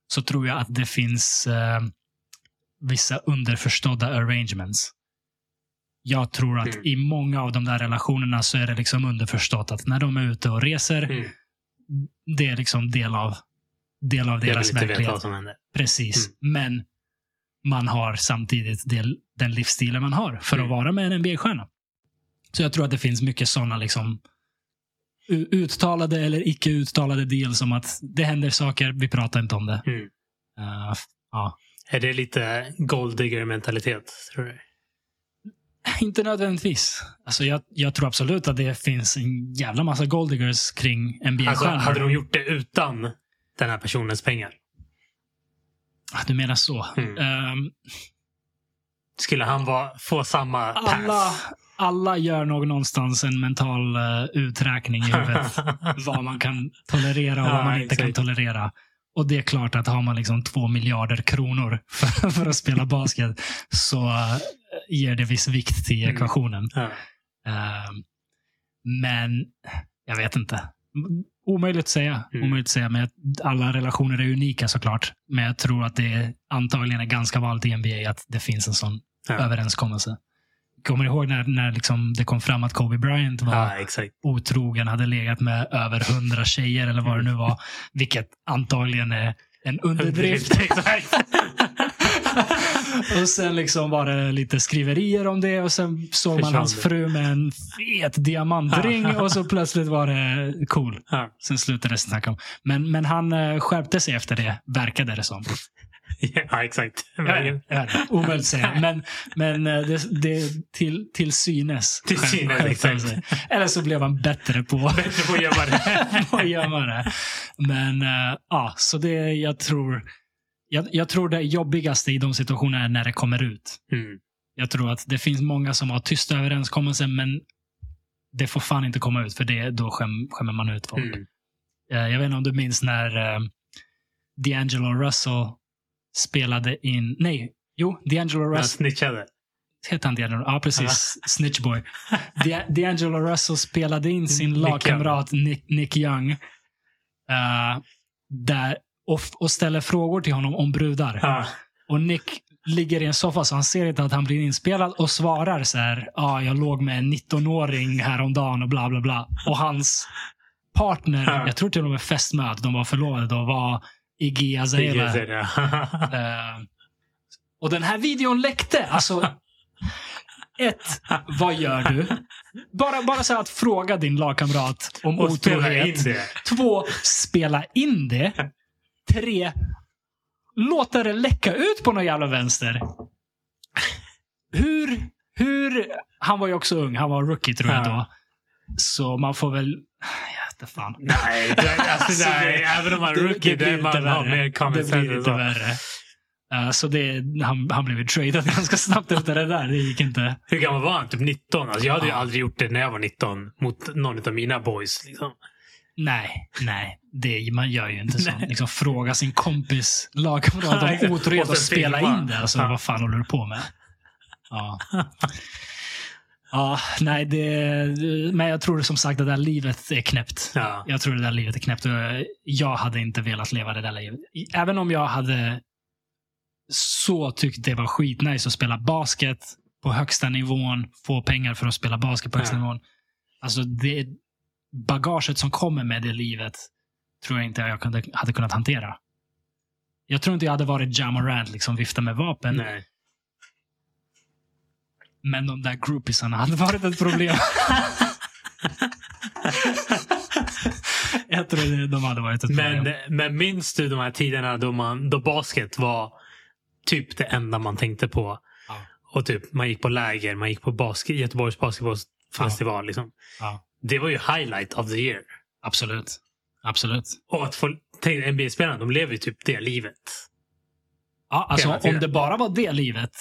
så tror jag att det finns eh, vissa underförstådda arrangements. Jag tror att
Mm.
i många av de där relationerna så är det liksom underförstått att när de är ute och reser,
Mm.
det är liksom del av, del av
Jag vill
deras
inte veta
verklighet.
vad som händer.
Precis.
Mm.
Men man har samtidigt det, den livsstilen man har för
Mm.
att vara med en NBA-stjärna. Så jag tror att det finns mycket sådana liksom, u- uttalade eller icke uttalade deals om att det händer saker, vi pratar inte om det.
Mm.
Eh, f- ja.
Är det lite golddigger-mentalitet? tror du?
Inte nödvändigtvis. Alltså jag, jag tror absolut att det finns en jävla massa goldiggers kring
Alltså,
NBA-stjärnor.
hade de gjort det utan den här personens pengar?
Ah, Du menar så.
Mm.
Ehm,
Skulle han vara, få samma pass?
alla, alla gör nog någonstans en mental eh, uträkning i huvudet. vad man kan tolerera och
Ja,
vad man inte kan
exakt.
tolerera. Och det är klart att har man liksom två miljarder kronor för, för att spela basket så eh, ger det viss vikt till
Mm.
ekvationen.
ja.
Ehm, men jag vet inte. Omöjligt att säga.
Mm.
Omöjligt att säga men jag- alla relationer är unika såklart. Men jag tror att det är, antagligen är ganska vanligt i NBA att det finns en sån
Ja.
överenskommelse. Kommer du ihåg när, när liksom det kom fram att Kobe Bryant var
ja, exakt.
otrogen, hade legat med över hundra tjejer eller vad det nu var. Vilket antagligen är en underdrift.
exakt.
och sen liksom var det lite skriverier om det och sen såg man
Försvann
hans
det.
fru med en fet diamantring och så plötsligt var det cool.
Ja.
Sen slutade det snacka om. Men, men han eh, skärpte sig efter det, verkade det som.
ja, exakt.
Jag vet- jag vet inte. Omöjligt att säga. Men, men eh, det, det till, till synes.
Till synes,
skärpte han
exakt.
sig. Eller så blev han bättre på
Bättre på att gömma det.
och gömma det. Men eh, ja, så det jag tror. Jag, jag tror det jobbigaste i de situationerna är när det kommer ut.
Mm.
Jag tror att det finns många som har tysta överenskommelser, men det får fan inte komma ut för det, då skäm, skämmer man ut folk.
Mm.
Eh, jag vet inte om du minns när eh, D'Angelo Russell spelade in, nej, jo, D'Angelo
Jag
Russell
snitchade.
Hette han D'Angelo? Ja, precis. Snitchboy. Di- D'Angelo Russell spelade in sin
Nick
lagkamrat Nick, Nick Young. eh, där, och, och ställer frågor till honom om brudar.
Ja.
Och Nick ligger i en soffa så han ser inte att han blir inspelad och svarar så här. Ja, jag låg med en 19-åring häromdagen och bla bla bla. Och hans partner,
Ja.
jag tror till och med fästmö, att de var förlovade då, var Iggy
Det är
Azalea.
ju det.
Eh, och den här videon läckte. Alltså, ett, vad gör du? Bara, bara så här att fråga din lagkamrat om
Och spela in
otrohet.
det.
Två, spela in det. Tre, låta det läcka ut på någon jävla vänster. Hur, hur, han var ju också ung, han var rookie tror jag
Ja.
då. Så man får väl, jag vet inte fan.
Nej, det, alltså,
Alltså,
nej,
det-
även om man är
det-
rookie,
det blir
det,
inte
man har
värre.
mer common
Det blir
sense. än
inte
så.
värre. Eh, så det, han, han blev ju tradad ganska snabbt efter det där. Det gick inte.
Hur gammal var han? Typ 19? Alltså, jag hade ju
Ja.
aldrig gjort det när jag var 19 mot någon av mina boys. Liksom.
Nej, nej. Det, man gör ju inte så.
Nej.
Liksom, fråga sin kompis lagkamrat
Exakt.
om otrohet
Och
och
sen
spela
filma.
in det. Alltså,
Ja.
Vad fan håller du på med? Ja. Ja, nej, det, men jag tror som sagt att det där livet är knäppt.
Ja.
Jag tror det där livet är knäppt. och Jag hade inte velat leva det där livet. Även om jag hade så tyckte det var skitnice att spela basket på högsta nivån. Få pengar för att spela basket på högsta
Ja.
nivån. Alltså det bagaget som kommer med det livet tror jag inte jag kunde, hade kunnat hantera. Jag tror inte jag hade varit Jamarant, liksom vifta med vapen.
Nej.
Men de där groupisarna hade varit ett problem. jag tror det- de hade varit ett problem.
Men, men minns du de här tiderna då, man, då basket var typ det enda man tänkte på?
Ja.
Och typ man gick på läger, man gick på basket, Göteborgs basketbollsfestival. Liksom.
Ja,
Det var ju highlight of the year.
absolut. Absolut.
Och att få, tänk, NBA-spelarna, de lever ju typ det livet.
Ja,
Hela
alltså,
tiden.
om det bara var det livet.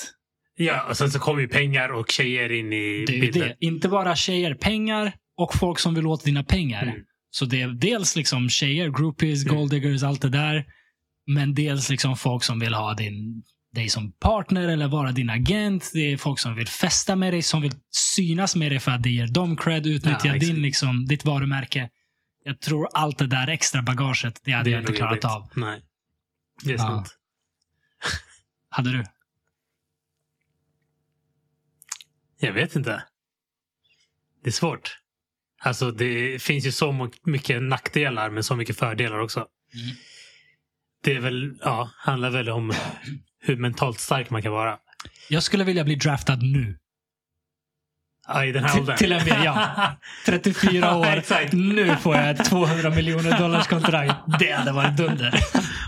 Ja, och sen så kommer ju pengar och tjejer in i
Det är ju
bilden.
det. Inte bara tjejer, pengar och folk som vill åt dina pengar.
Mm.
Så det är dels liksom tjejer, groupies,
Mm.
golddiggers, allt det där. Men dels liksom folk som vill ha din, dig som partner eller vara din agent. Det är folk som vill festa med dig, som vill synas med dig för att det ger dem cred, utnyttja
Ja, exakt.
din, liksom, ditt varumärke. Jag tror allt det där extra bagaget, det hade
är
jag inte
nog
klarat
jobbigt.
av.
Nej. Det är
Ja.
sant.
Hade du?
Jag vet inte. Det är svårt. Alltså det finns ju så mo- mycket nackdelar men så mycket fördelar också.
Mm.
Det är väl, ja, handlar väl om hur mentalt stark man kan vara.
Jag skulle vilja bli draftad nu.
Ja, I den här
Till-
åldern.
till en början, ja. 34 år.
Exakt.
nu får jag ett 200 miljoner dollars kontrakt. Det hade varit dunder.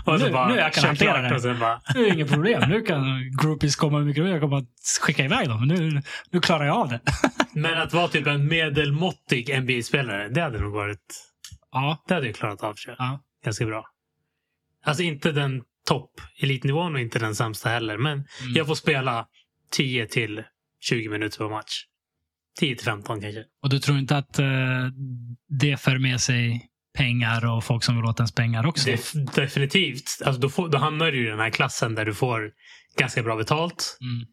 Och så
Nu-
bara
nu jag kan
kör
hantera
klart
det.
Och sen bara,
Nu är det inget problem. Nu kan groupies komma hur mycket de vill. Jag kommer att skicka iväg dem. Nu, nu klarar jag av det.
men att vara typ en medelmåttig NBA-spelare, det hade nog varit...
Ja.
Det hade jag klarat av tror jag.
Ja.
ganska bra. Alltså inte den topp-elitnivån och inte den sämsta heller. Men
Mm.
jag får spela 10 till 20 minuter per match. 10 till 15 kanske.
Och du tror inte att eh, det för med sig pengar och folk som vill åt ens pengar också?
Def- definitivt. Alltså då, får, då hamnar du i den här klassen där du får ganska bra betalt.
Mm.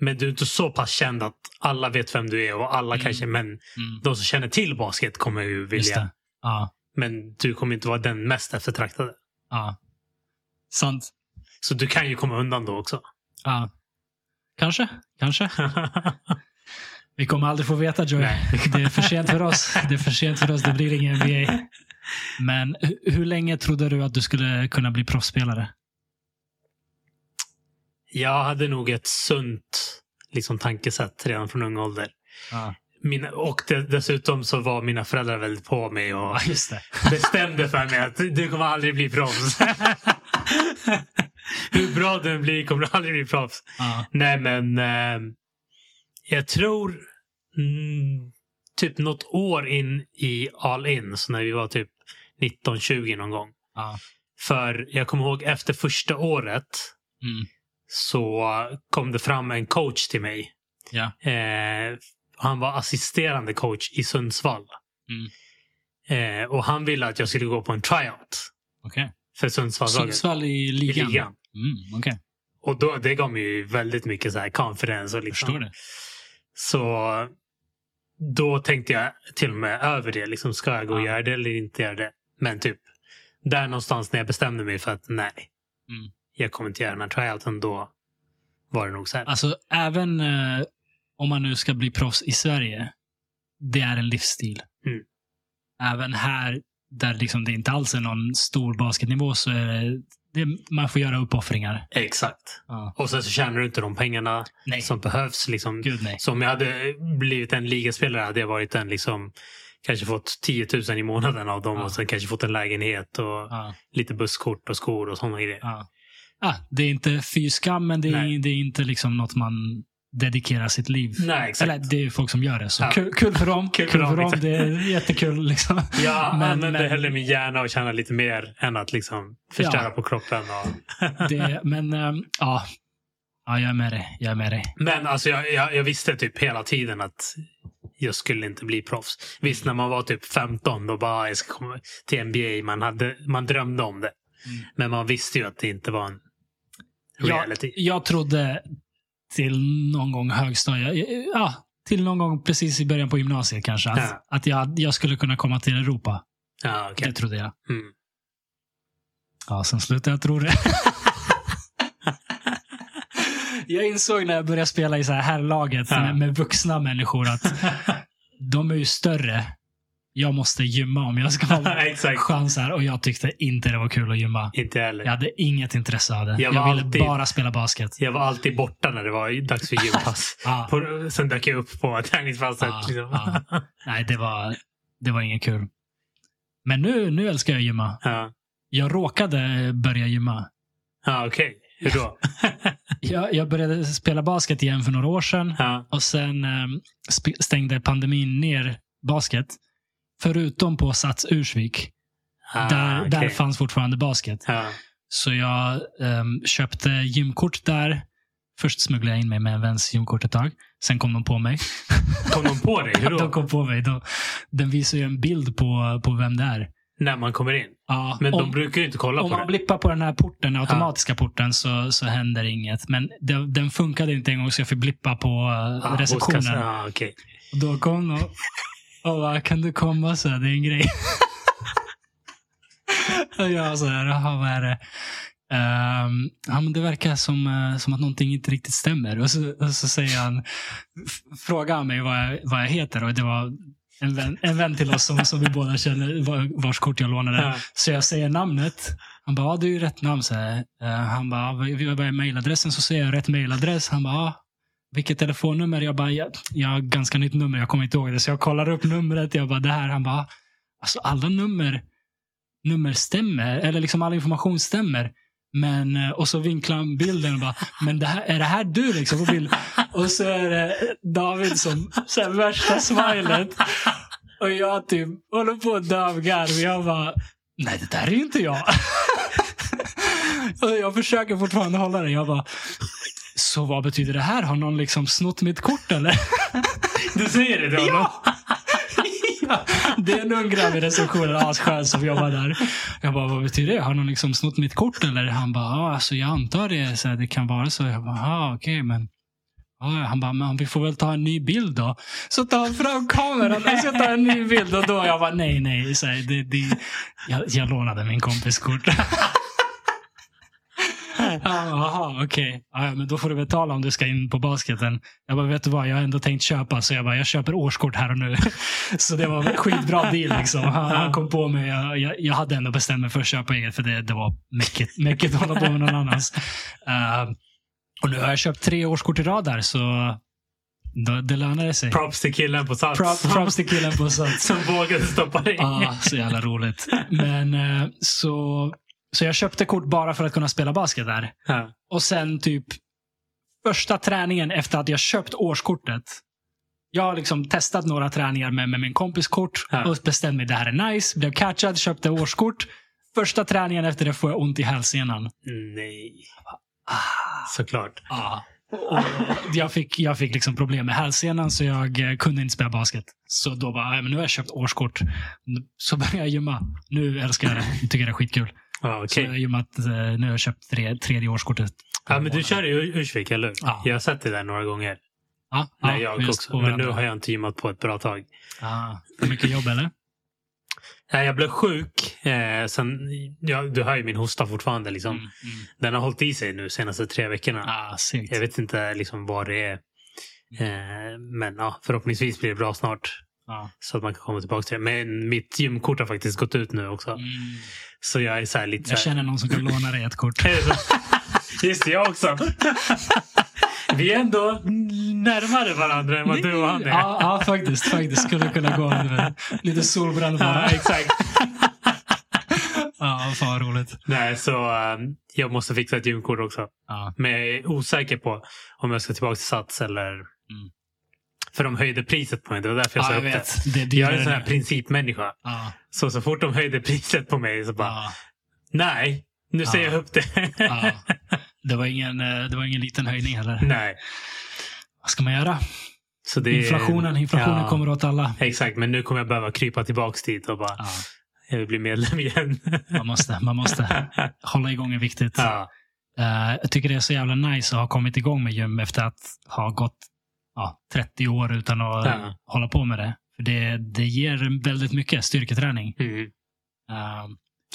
Men du är inte så pass känd att alla vet vem du är och alla
Mm.
kanske, men
Mm.
de som känner till basket kommer ju
Just
vilja.
det. Ja.
Men du kommer inte vara den mest eftertraktade.
ja. Sant.
Så du kan ju komma undan då också.
Ja. Kanske. Kanske. Vi kommer aldrig få veta Joy.
Nej.
Det är för sent för oss. Det är för sent för oss. Det blir ingen NBA. Men hu- hur länge trodde du att du skulle kunna bli proffsspelare?
Jag hade nog ett sunt liksom, tankesätt redan från ung ålder.
Ja,
Mina, och de, dessutom så var mina föräldrar väldigt på mig och
just det.
bestämde för mig att du kommer aldrig bli proffs. Hur bra du än blir kommer du aldrig bli proffs.
Ja.
Nej men eh, jag tror mm, typ något år in i All In, så när vi var typ 19-20 någon gång.
Ja.
För jag kommer ihåg efter första året
Mm.
så kom det fram en coach till mig.
Ja.
Eh, han var assisterande coach i Sundsvall.
Mm.
Eh, och han ville att jag skulle gå på en tryout
Okej.
för Sundsvallslaget
Sundsvall i
i
ligan?
ligan.
Mm, Okej,
Och då, det gav mig ju väldigt mycket så här confidence. Och
jag
liksom.
förstår det.
Så då tänkte jag till och med över det. Liksom, ska jag gå och
Ja.
göra det eller inte göra det? Men typ där någonstans när jag bestämde mig för att nej,
Mm.
jag kommer inte göra den här tryouten. Då var det nog så här.
Alltså, även eh, om man nu ska bli proffs i Sverige, det är en livsstil.
Mm.
Även här, där liksom det inte alls är någon stor basketnivå, så är det, det, man får göra uppoffringar.
Exakt. Och sen så tjänar du inte de pengarna
Nej,
som behövs. Liksom.
gud nej.
Så om jag hade blivit en ligaspelare hade jag varit en liksom kanske fått 10 000 i månaden av dem
Ja.
och sen kanske fått en lägenhet och
Ja,
lite busskort och skor och sådana grejer.
ja. Ah, det är inte fy skam, men det är,
Nej.
det är inte liksom något man dedikerar sitt liv.
Nej, exakt.
Eller det är ju folk som gör det, så
Ja.
kul, kul för dem. Kul, för dem.
exakt.
Det är jättekul. Liksom.
Jag
Men-
använder
men-
hellre min hjärna och tjäna lite mer än att liksom förstöra
Ja.
på kroppen. Och...
Det, men ehm, ja. ja, jag är med dig. Jag är med dig.
Men alltså jag, jag, jag visste typ hela tiden att jag skulle inte bli proffs.
Mm.
Visst, när man var typ 15 då bara jag ska komma till NBA. Man, hade, man drömde om det.
Mm.
Men man visste ju att det inte var en
Jag,
reality.
jag trodde till någon gång högstadiet, ja, till någon gång precis i början på gymnasiet kanske, att,
Ja.
att jag, jag skulle kunna komma till Europa.
Ja, okej.
Det trodde jag.
Mm.
Ja, sen slutade jag tro det. jag insåg när jag började spela i så här herrlaget
Ja.
med, med vuxna människor att de är ju större. Jag måste gymma om jag ska ha
Exakt.
chanser och jag tyckte inte det var kul att gymma.
Inte heller.
Jag hade inget intresse av det.
Jag
Jag,
var
ville
alltid-
bara spela basket.
Jag var alltid borta när det var dags för gympass.
Ja, Ah,
På, sen dök jag upp på träningspasset.
Ja,
liksom.
ja. nej, det var, det var inget kul. Men nu, nu älskar jag gymma.
ja.
Jag råkade börja gymma.
ja okej. Hur då?
Jag, jag började spela basket igen för några år sedan
Ja.
och sen eh, sp- stängde pandemin ner basket. Förutom på Sats Ursvik.
Ah,
där,
okej.
där fanns fortfarande basket.
ja.
Så jag ehm, köpte gymkort där. Först smugglade jag in mig med en väns gymkort ett tag. Sen kom de på mig.
Kom de på dig? Hur då?
De kom på mig. De, den visar ju en bild på, på vem det är.
När man kommer in?
Ja,
Men de
om,
brukar ju inte kolla
om
på
man
det.
blippar på den här porten, den automatiska porten, så, så händer inget. Men den, den funkade inte en gång så jag fick blippa på eh,
Ah, hos kassan.
receptionen.
Ah, okej.
Och Då kom de och bara, kan du komma så här, det är en grej. och jag så här, jaha vad är det? Ehm, ja, men det verkar som, eh, som att någonting inte riktigt stämmer. Och så, och så säger han, f- frågar han mig vad jag, vad jag heter och det var en vän, en vän till oss som, som vi båda känner, var- vars kort jag lånade.
Ja.
Så jag säger namnet. Han bara, ja det är ju rätt namn. Så här. Eh, han bara, ja, vi var bara i mejladressen så säger jag rätt mejladress. Han bara, ja, vilket telefonnummer? Jag bara, jag, jag har ganska nytt nummer, jag kommer inte ihåg det. Så jag kollar upp numret. Jag bara, det här. Han bara, "Ja, alltså alla nummer, nummer stämmer. Eller liksom all information stämmer. Men, eh, och så vinklar han bilden och bara, men det här, är det här du liksom på bild? Och så är det David som, så här, värsta smilet. Och jag typ håller på att dö av garv. Jag bara, nej det där är ju inte jag. och jag försöker fortfarande hålla det. Jag bara, så vad betyder det här? Har någon liksom snott mitt kort eller?
Du säger det till honom?
Ja, det är en ung grabb i receptionen, asskön, som jobbar där. Jag bara, vad betyder det? Har någon liksom snott mitt kort eller? Han bara, ja, alltså jag antar det. Så här, det kan vara så. Jag bara, ja, okej, men. Ja, han bara, men vi får väl ta en ny bild då. Så tar han fram kameran och så tar en ny bild. Och då jag bara, nej, nej. Så här, det, det, jag, jag lånade min kompis kort. Han bara, Jaha, okej. Ja, ja, men då får du betala om du ska in på basketen. Jag bara, vet du vad? Jag har ändå tänkt köpa. Så jag bara, jag köper årskort här och nu. Så det var en skitbra deal. Liksom. Han, han kom på mig. Jag, jag, jag hade ändå bestämt mig för att köpa eget. För det, det var mycket, mycket att hålla på med någon annans. Eh, och nu har jag köpt tre årskort i rad där. Så det, det lönade sig.
Props till killen på Sats.
Props, Ah. props till killen på Sats.
Som vågade stoppa dig.
Ja, så jävla roligt. Men eh, så, så jag köpte kort bara för att kunna spela basket där.
Ja.
Och sen typ första träningen efter att jag köpt årskortet. Jag har liksom testat några träningar med, med min kompis kort
Ja.
och bestämde mig det här är nice. Blev catchad, köpte årskort. Första träningen efter det får jag ont i hälsenan.
Nej,
Ah,
såklart.
ah. Och jag, fick, jag fick liksom problem med hälsenan så jag eh, kunde inte spela basket. Så då bara, "Nej, men nu har jag köpt årskort. Så började jag gymma. Nu älskar jag det. Jag tycker det är skitkul. Så
Ja, Ah, okej.
jag har gymmat, eh, nu har jag köpt tre, tredje årskortet.
Ja, men du kör i Ur- Ursvik, eller hur?
Ja.
Jag har sett det där några gånger.
Ja, ja,
Nej, jag
just på
också. Men nu
varandra.
har jag inte gymmat på ett bra tag.
Ah, för mycket jobb eller?
Nej, jag blev sjuk. Eh, sen, ja, du hör ju min hosta fortfarande. Liksom. Den har hållit i sig nu senaste tre veckorna.
Mm, Ah, segt.
Jag vet inte liksom, vad det är. Eh, men ja, förhoppningsvis blir det bra snart.
Ja.
Så att man kan komma tillbaka till det. Men mitt gymkort har faktiskt gått ut nu också.
Mm.
Så jag är så här lite så
Jag
här,
känner någon som kan låna dig ett kort.
Är det så? Just det, jag också. Vi är ändå närmare varandra än vad du och han är.
Ja, ja faktiskt, faktiskt. Skulle kunna gå du vet. lite solbränd
Ja,
bara.
exakt.
Ja, fan vad roligt.
Nej, så ehm, jag måste fixa ett gymkort också.
Ja.
Men jag är osäker på om jag ska tillbaka till Sats eller... För de höjde priset på mig. Det var därför jag sa
Mm. Ja, jag
upp det.
vet. Det är
Jag
dyrare
är en sån här
nu.
principmänniska.
Ja,
Så, så fort de höjde priset på mig så bara,
ja,
nej, nu
Ja.
säger jag upp det.
ja. Det, var ingen, eh, det var ingen liten höjning heller.
nej.
Vad ska man göra?
Så det, är-
Inflationen, inflationen
Ja,
kommer åt alla.
Exakt, men nu kommer jag behöva krypa tillbaka dit och bara,
Ja,
jag vill bli medlem igen.
man måste, man måste. Hålla igång är viktigt.
ja.
Eh, jag tycker det är så jävla nice att ha kommit igång med gym efter att ha gått ja, 30 år utan att
Ja.
hålla på med det. För det, det ger väldigt mycket styrketräning.
Mm.
Eh,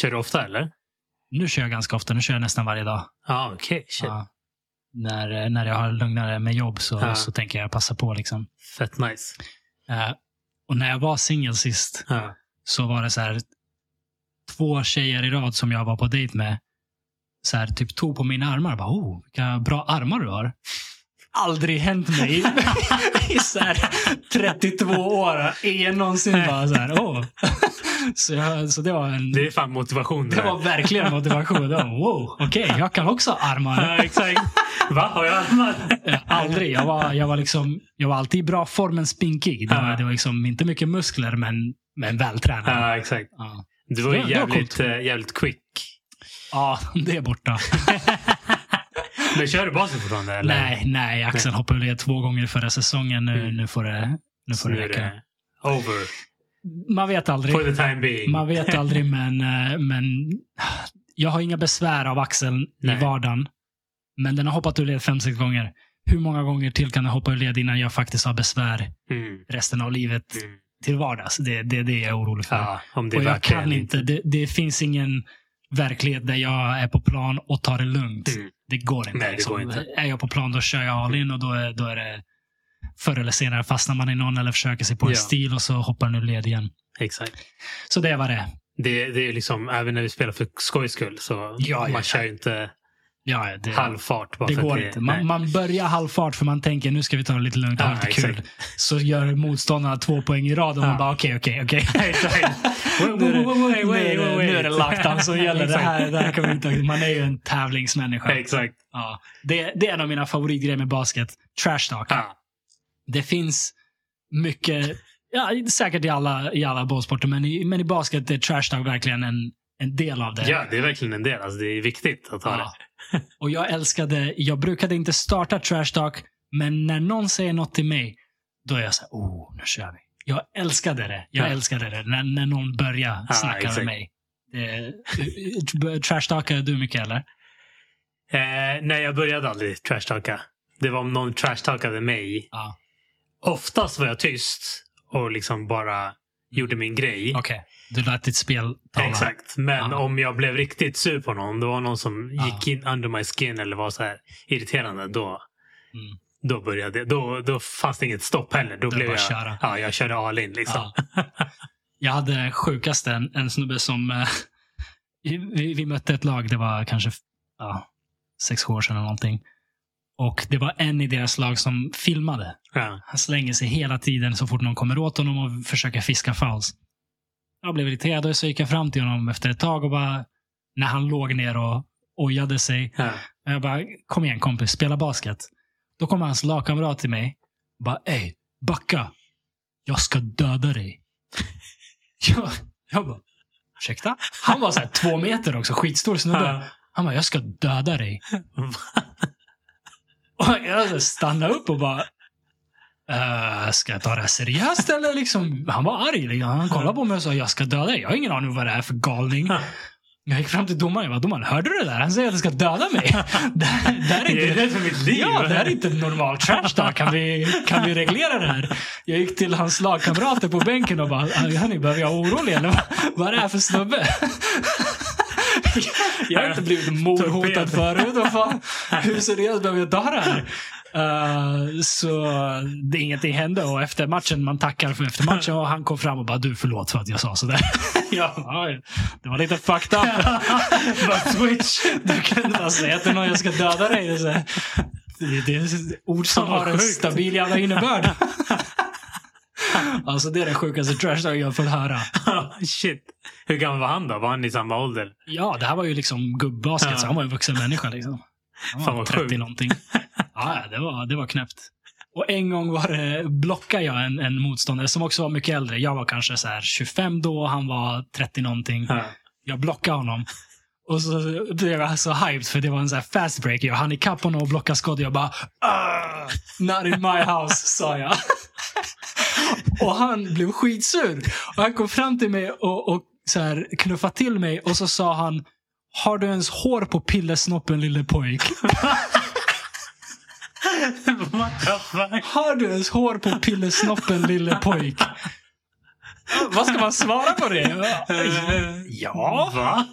Kör du ofta eller?
nu kör jag ganska ofta. Nu kör jag nästan varje dag.
Ja, okej. shit.
Ja. när, när jag har lugnare med jobb så,
Ja.
så tänker jag passa på. Liksom.
Fett nice.
Eh, och när jag var singel sist
Ja.
så var det så här två tjejer i rad som jag var på dejt med så här, typ tog på mina armar. Bara, oh, vilka bra armar du har. Aldrig hänt mig i så här 32 år. Ingen någonsin bara så här, oh. så, jag, så det var en...
Det är fan motivation.
Det
där.
var verkligen motivation. Jag bara, Wow, okej, jag kan också ha armar.
Ja, exakt. Va? Har jag armar?
Eh, Aldrig. Jag var, jag var, liksom, jag var alltid i bra form, men spinkig. Det var,
Ja.
det var liksom inte mycket muskler, men, men vältränad.
Ja, exakt.
Ja.
Du var
Det-
ju
det var
jävligt,
coolt.
eh, jävligt quick.
ja, det är borta.
Men kör du basen fortfarande? Eller?
Nej, nej. Axeln hoppade ur det två gånger förra säsongen. Nu,
Mm.
nu får det, nu får
Så
det
nu är
räcka.
det over.
Man vet aldrig.
For the time being.
Man vet aldrig, men, eh, men jag har inga besvär av axeln
Nej.
i vardagen. Men den har hoppat ur led fem, sex gånger. Hur många gånger till kan den hoppa ur led innan jag faktiskt har besvär
Mm.
resten av livet
Mm.
till vardags? Det, det, det är jag orolig för.
Ja, om det
och jag
verkligen
kan inte. Det, det finns ingen verklighet där jag är på plan och tar det lugnt.
Mm.
Det går inte.
Nej, det
liksom.
går inte.
Är jag på plan då kör jag all in och då är, då är det förr eller senare fastnar man i någon eller försöker sig på en
Ja.
stil och så hoppar den ur led igen.
Exakt.
Så det var det.
Det, det är liksom, även när vi spelar för skojs skull så
ja,
man
ja.
kör ju inte
Ja, det,
halvfart. Bara
det
för att
går inte. Man,
nej.
man börjar halvfart för man tänker nu ska vi ta det lite lugnt och ha
Ja,
lite kul.
exakt.
Så gör motståndarna två poäng i rad och
Ja.
man bara okej, okej, okej.
Exakt.
Nu är det-
Wait,
nu
wait, wait, wait,
är det-
wait.
nu är det lockdown som gäller. Det här,
Exakt.
det här kan vi inte, man är ju en tävlingsmänniska.
Exakt.
Ja, det, det är en av mina favoritgrejer med basket. Trash talk.
Ja.
Det finns mycket, ja, säkert i alla, i alla bollsporter, men i, men i basket är trash talk verkligen en, en del av det.
ja, det är verkligen en del. Alltså, det är viktigt att ha
Ja. Och jag älskade, jag brukade inte starta trash talk, men när någon säger något till mig, då är jag så här, oh, nu kör vi. Jag älskade det. Jag
Ja.
älskade det när, när någon börjar
Ja,
snacka
exakt.
med mig. Det- Trash talkade du mycket eller?
det. Eh, nej, jag började aldrig trashtalka. Det var om någon trashtalkade mig.
Ja.
Oftast var jag tyst och liksom bara gjorde min grej.
Okej, du lät ditt spel tala.
Exakt. Men
Ja.
om jag blev riktigt sur på någon, det var någon som
Ja.
gick in under my skin eller var så här irriterande, då,
Mm.
då började då, då fanns det inget stopp heller. Då
Det
blev
var
jag,
köra.
Ja, jag körde all in liksom.
Jag hade sjukaste en, en snubbe som... eh, vi, vi mötte ett lag, det var kanske ja, sex sju år sedan eller någonting. Och det var en i deras lag som filmade.
Ja.
Han slänger sig hela tiden så fort någon kommer åt honom och försöker fiska fouls. Jag blev irriterad och så gick jag fram till honom efter ett tag och bara... När han låg ner och ojade sig.
Ja.
Och Jag bara, kom igen kompis, spela basket. Då kommer hans lagkamrat till mig. och Bara, ey, backa. Jag ska döda dig. Jag, jag bara, ursäkta? Han var så här två meter också, skitstor snubbe.
Ja.
Han bara, jag ska döda dig. Och jag stannade upp och bara, "Eh, ska jag ta det här seriöst eller liksom? Han var arg. Liksom. Han kollade på mig och sa, jag ska döda dig. Jag har ingen aning om vad det är för galning. Jag gick fram till domaren och bara, domaren, hörde du det där? Han säger att han ska döda mig. det, här, det här är
Jag är
inte...
rädd för mitt liv.
Ja, det här är inte normal trash talk. Kan vi, kan vi reglera det här? Jag gick till hans lagkamrater på bänken och bara, "Ah, hörni, behöver jag vara orolig eller vad, vad är det här för snubbe? Jag har inte blivit mordhotad förut. Vad fan, hur seriöst behöver jag ta det här? Eh, så det, ingenting hände och efter matchen, man tackar för efter matchen och han kom fram och bara, du förlåt för att jag sa sådär. Ja, det var lite fucked up.
Bara switch.
Du kan inte bara säga till någon jag ska döda dig. Det är, så här, det det är ord som
Fan, vad
har en
sjukt.
stabil jävla innebörd. Alltså det är den sjukaste trash talk jag har fått höra.
Shit. Hur gammal var han då? Var han i samma ålder?
Ja, det här var ju liksom gubbasket,
Ja.
så han var en vuxen människa. Liksom. Han var
Fan, vad
30
sjukt.
någonting. Ja, det var, det var knäppt. Och en gång var det, blockade jag en, en motståndare som också var mycket äldre. Jag var kanske så här 25 då, han var 30 någonting.
Ja.
Jag blockade honom. Och så blev jag så hyped för det var en sån här fast break. Jag hann ikapp honom och blockade skott. Jag bara "Ah, Not in my house, sa jag. och han blev skitsur. Och han kom fram till mig och, och så här, knuffade till mig och så sa han Har du ens hår på pillesnoppen lille pojk?
What the fuck?
Har du ens hår på pillesnoppen lille pojk? Vad ska man svara på det?
Eh,
Ja.
Va?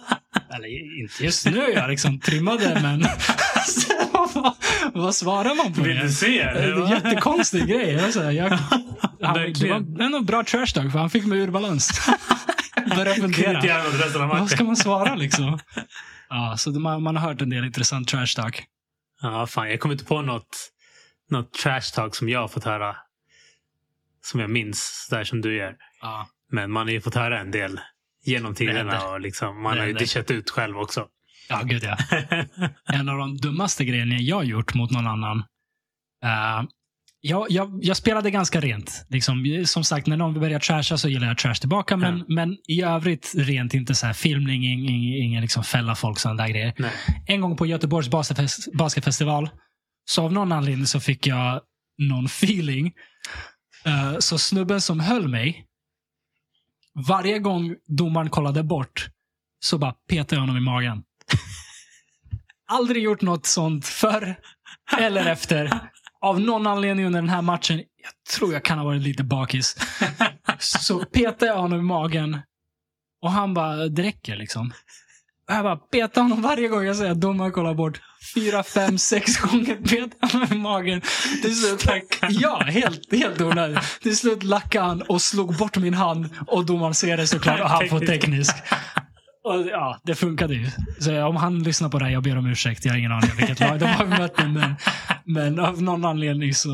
Eller inte just nu, jag liksom trimmade men... Alltså, vad, vad svarar man på
Vill du
det?
se?
Det är en
eller?
jättekonstig grej. Jag, så här, jag, han, det
Verkligen.
var en bra trash talk för han fick mig ur balans. Började
Kunde inte
fundera.
göra något resten av
Vad ska
matchen.
man svara liksom? Ja, så det, man, man har hört en del intressant trash talk.
Ja, fan. Jag kommer inte på något, något trash talk som jag har fått höra. Som jag minns, där som du gör.
Ja,
Men man har ju fått höra en del genom
Det
tiderna
händer.
och liksom, man
Det
har ju
händer.
dishat ut själv också.
ja gud ja. en av de dummaste grejerna jag gjort mot någon annan. Eh, jag, jag, jag spelade ganska rent. Liksom, som sagt, när någon börjar trasha så gillar jag trash tillbaka. Men,
Ja.
men i övrigt rent. Inte så här filmning, ingen, ingen liksom fälla folk, sådana där grejer.
Nej.
En gång på Göteborgs basketfest, basketfestival så av någon anledning så fick jag någon feeling. Eh, så snubben som höll mig, varje gång domaren kollade bort så bara petade jag honom i magen. Aldrig gjort något sånt förr eller efter. Av någon anledning under den här matchen, jag tror jag kan ha varit lite bakis, så petade jag honom i magen och han bara, det räcker liksom. Och jag bara petar honom varje gång jag säger att domaren kollar bort. Fyra, fem, sex gånger petar honom i magen. Till slut, ja, helt, helt onödigt. Till slut lackade han och slog bort min hand och domaren ser det såklart och han får teknisk. Och, ja, det funkade ju. Så om han lyssnar på det här, jag ber om ursäkt. Jag har ingen aning om vilket lag de har mött. nu, Men, men av någon anledning så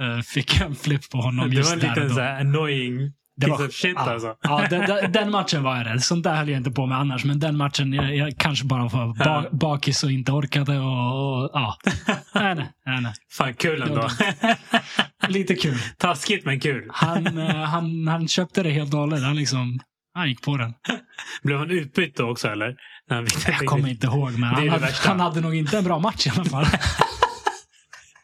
eh, fick jag en flipp på honom
Det
just
var en
där och
liten
då.
så här annoying
Det
piece
var-
of shit
ja.
alltså.
Ja, den, den, den matchen var jag rädd. Sånt där höll jag inte på med annars. Men den matchen, jag, jag kanske bara var ba,
Ja.
bakis och inte orkade. Och, och, ja. nej, nej, nej, nej.
Fan, kul ändå.
Lite kul.
Taskigt men kul.
Han, eh, han, han köpte det helt och hållet. Han, liksom, han gick på den.
Blev han utbytt då också eller? När han fick-
Jag kommer inte ihåg, men
är
han,
det
hade-
värsta.
han hade nog inte en bra match i alla fall.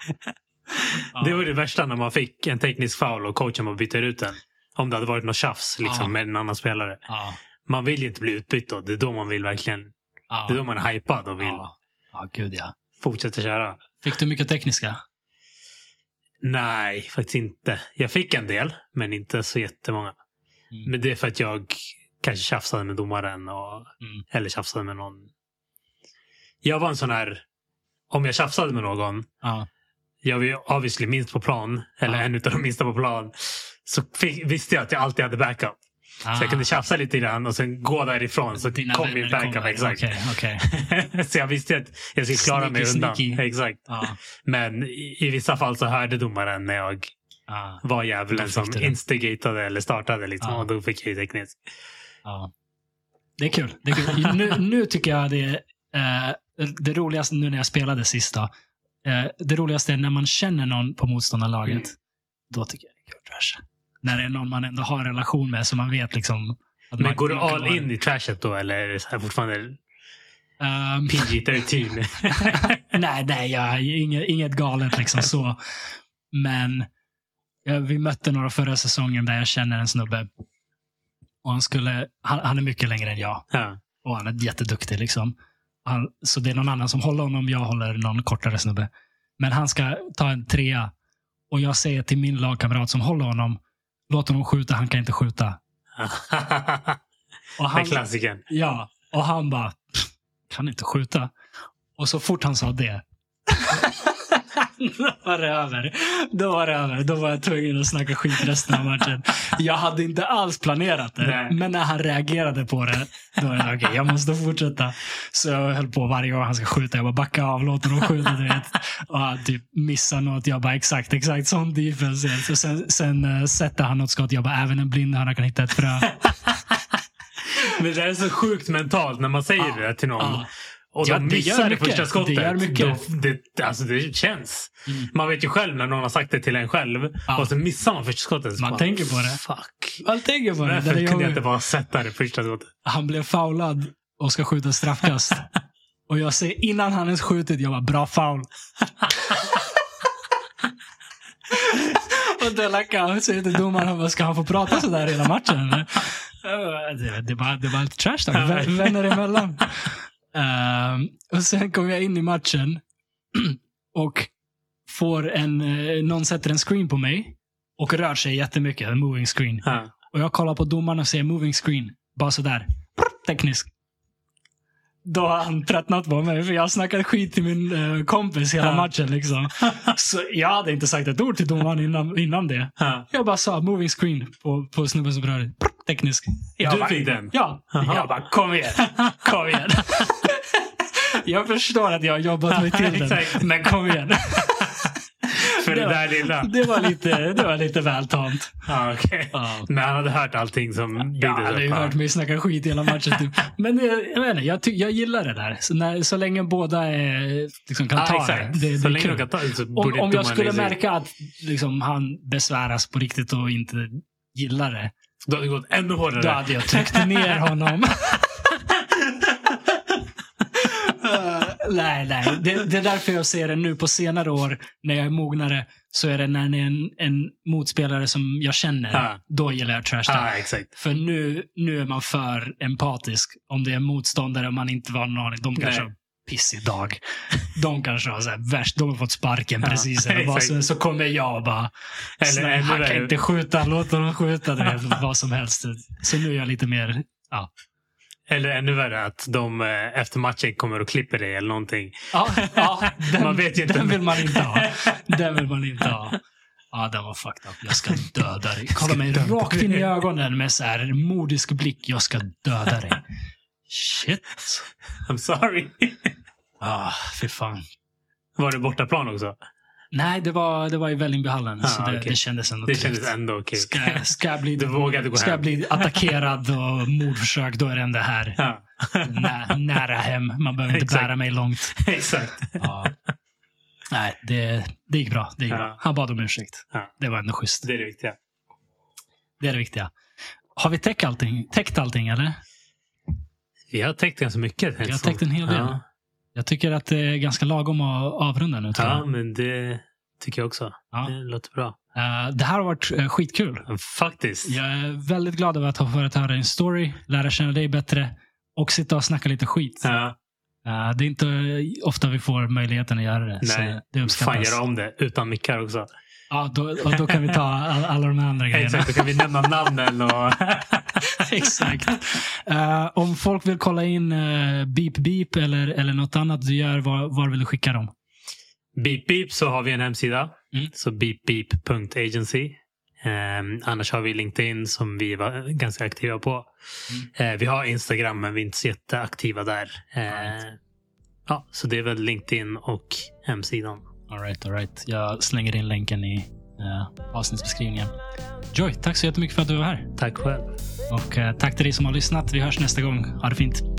Det var det värsta när man fick en teknisk foul och coachen bara byter ut den. Om det hade varit något tjafs liksom,
Ja.
med en annan spelare.
Ja,
Man vill ju inte bli utbytt då. Det är då man vill verkligen.
ja,
Det är då man är hypad och vill
ja. ja, gud ja.
fortsätta köra.
Fick du mycket tekniska?
Nej, faktiskt inte. Jag fick en del, men inte så jättemånga.
Mm.
Men det är för att jag kanske tjafsade med domaren och,
Mm.
eller tjafsade med någon. Jag var en sån här, om jag tjafsade med någon,
Ja.
jag var ju obviously minst på plan, eller
Ja.
en utav de minsta på plan, så fick, visste jag att jag alltid hade backup. Så jag kunde tjafsa lite grann och sen gå därifrån. Så
Ah. Dina
kom
vänner
min backup.
kommer.
Exakt.
Okej, okej.
så jag visste att jag skulle klara mig
Sneaky,
undan.
sneaky.
Exakt.
Ja,
Men i, i vissa fall så hörde domaren när jag
ja,
var
Då
djävulen
fick
som
du den.
instigatade eller startade. Liksom.
Ja.
Och då fick jag ju teknisk.
ja. Det är kul. Det är kul. Nu, nu tycker jag det är eh, det roligaste, nu när jag spelade sista, eh, det roligaste är när man känner någon på motståndarlaget.
Mm.
Då tycker jag det är kul trash. När det är någon man ändå har en relation med så man vet liksom. Att
Men
man,
går du
man kan
all
vara-
in i trashet då? Eller är det så här fortfarande
Ehm,
PG-13?
nej, nej, jag, inget, inget galet liksom så. Men eh, vi mötte några förra säsongen där jag känner en snubbe. Och han, skulle, han, han är mycket längre än jag.
ja.
Och han är jätteduktig. Liksom. Han, så det är någon annan som håller honom. Jag håller någon kortare snubbe. Men han ska ta en trea. Och jag säger till min lagkamrat som håller honom. Låt honom skjuta, han kan inte skjuta. Och
det är
han,
klassikern.
ja, och han bara, "Pff, kan inte skjuta. Och så fort han sa det. Då var det över. Då var det över. Då var jag tvungen att snacka skit resten av matchen. Jag hade inte alls planerat det.
Nej.
Men när han reagerade på det, då var det okej, jag måste fortsätta. Så jag höll på varje gång han ska skjuta. Jag bara backa av, låt honom skjuta. Du vet. Och han typ missar något. Jag bara exakt, exakt sån defense. Så sen, sen eh, sätter han något skott. Jag bara även en blind höna kan hitta ett frö.
Men det är så sjukt mentalt när man säger
Ja.
det till någon.
Ja.
Och
Ja,
de
det
missar
gör
det första
mycket.
skottet.
Det gör mycket.
Då, det, alltså det känns.
Mm.
Man vet ju själv när någon har sagt det till en själv
Ja.
och så missar man första skottet. så
Man
bara,
tänker på det.
Fuck.
Jag tänker på det. det är
Varför kunde jag
jobbigt.
inte bara sätta det första skottet?
han blev foulad och ska skjuta straffkast. och jag säger innan han ens skjutit, jag bara bra foul. och då lackade han. Säger till domaren, han bara, ska han få prata sådär hela matchen? eller?" Jag bara, Det, det, är bara, det är bara lite trash talk. Vä- Vänner emellan. Ehm, och sen kom jag in i matchen och får en, eh, någon sätter en screen på mig och rör sig jättemycket. En moving screen.
Ja.
Och jag kollar på domaren och säger moving screen. Bara sådär. Prr, Teknisk. då har han tröttnat på mig. För jag snackade skit till min eh, kompis hela
Ja.
matchen. Liksom. Så jag hade inte sagt ett ord till domaren innan, innan det.
Ja.
Jag bara sa moving screen på, på snubben som rörde. Prr, Teknisk. Jag
Du
bara,
fick den?
Ja.
Aha.
Jag bara, kom igen. Kom igen. jag förstår att jag har jobbat mig till den.
Exakt.
Men kom igen.
För det
Det var-
där lilla.
Det var lite, det var lite väl tamt.
Ja, okej.
Ja.
Men han hade hört allting som byggdes
Jag har aldrig
upp. här.
hört mig snacka skit hela matchen. Typ. Men det, jag, vet inte, jag, ty- jag gillar det där. Så, när, så länge båda är, liksom, kan
Ja,
ta
exakt.
det. det, det
så
är
länge
kul.
de kan ta det så
om,
borde
om
domaren
jag skulle
lägga sig i.
märka att liksom, han besväras på riktigt och inte gillar det,
Då hade det gått ännu hårdare.
då hade jag tryckt ner honom. nej, nej. Det, det är därför jag ser det nu på senare år, när jag är mognare, så är det när det är en, en motspelare som jag känner.
Ja.
Då gillar jag trash talk.
Ja, exakt.
För nu, nu är man för empatisk. Om det är en motståndare och man inte har någon aning. De kanske
Nej.
har pissig dag. De kanske har så här, värst, de har fått sparken
Ja,
precis. Eller vad, så,
exakt.
så kommer jag och bara,
Eller
Eller,
ännu
han kan
värre.
inte skjuta, låt honom skjuta. Det är vad som helst. Så nu är jag lite mer,
Eller ännu värre att de eh, efter matchen kommer och klipper dig eller någonting.
ja, ja den,
Man vet ju inte.
den vill man inte ha. Den vill man inte ha. Ja, den var fucked up. Jag ska döda dig. Kolla mig
döda
rakt in i
dig.
ögonen med så här modisk blick. Jag ska döda dig. Shit.
I'm sorry.
Ah, fy fan.
Var det bortaplan också?
Nej, det var, det var i Vällingbyhallen.
Ah,
så det,
okej.
det kändes ändå
Det
tryggt.
kändes ändå okej.
Ska, ska jag bli,
Du vågade gå
ska jag
hem.
bli attackerad och mordförsök, då är det ändå här.
Ja,
Nä, nära hem. Man behöver inte
Exakt.
bära mig långt.
exakt.
Ja. Nej, det, det gick bra. Det gick
Ja.
bra. Han bad om ursäkt.
Ja.
Det var ändå schysst.
Det är det viktiga.
Det är det viktiga. Har vi täckt allting, täckt allting eller?
Vi har täckt ganska mycket.
Jag har täckt en hel del.
Ja,
Jag tycker att det är ganska lagom att avrunda nu. Tror jag.
ja men det tycker jag också.
Ja.
Det låter bra.
Eh, det här har varit eh, skitkul.
Faktiskt.
Jag är väldigt glad över att ha fått höra din story, lära känna dig bättre och sitta och snacka lite skit.
Ja,
Eh, det är inte ofta vi får möjligheten att göra det.
Nej.
Så det
fan,
uppskattas.
göra om det utan mickar också.
Ja, då, och då kan vi ta all, alla de här andra grejerna.
Exakt, då kan vi nämna namnen och...
Exakt. Eh, om folk vill kolla in eh, Beep Beep eller, eller något annat du gör, var, var vill du skicka dem?
Beep Beep så har vi en hemsida.
Mm.
Så beepbeep.agency. Ehm, annars har vi LinkedIn som vi var ganska aktiva på.
Mm.
Eh, vi har Instagram men vi är inte så jätteaktiva där. Eh, ja, så det är väl LinkedIn och hemsidan.
All right, all right. Jag slänger in länken i eh, avsnittsbeskrivningen. Joy, tack så jättemycket för att du var här.
Tack själv.
Och eh, tack till dig som har lyssnat. Vi hörs nästa gång. Ha det fint.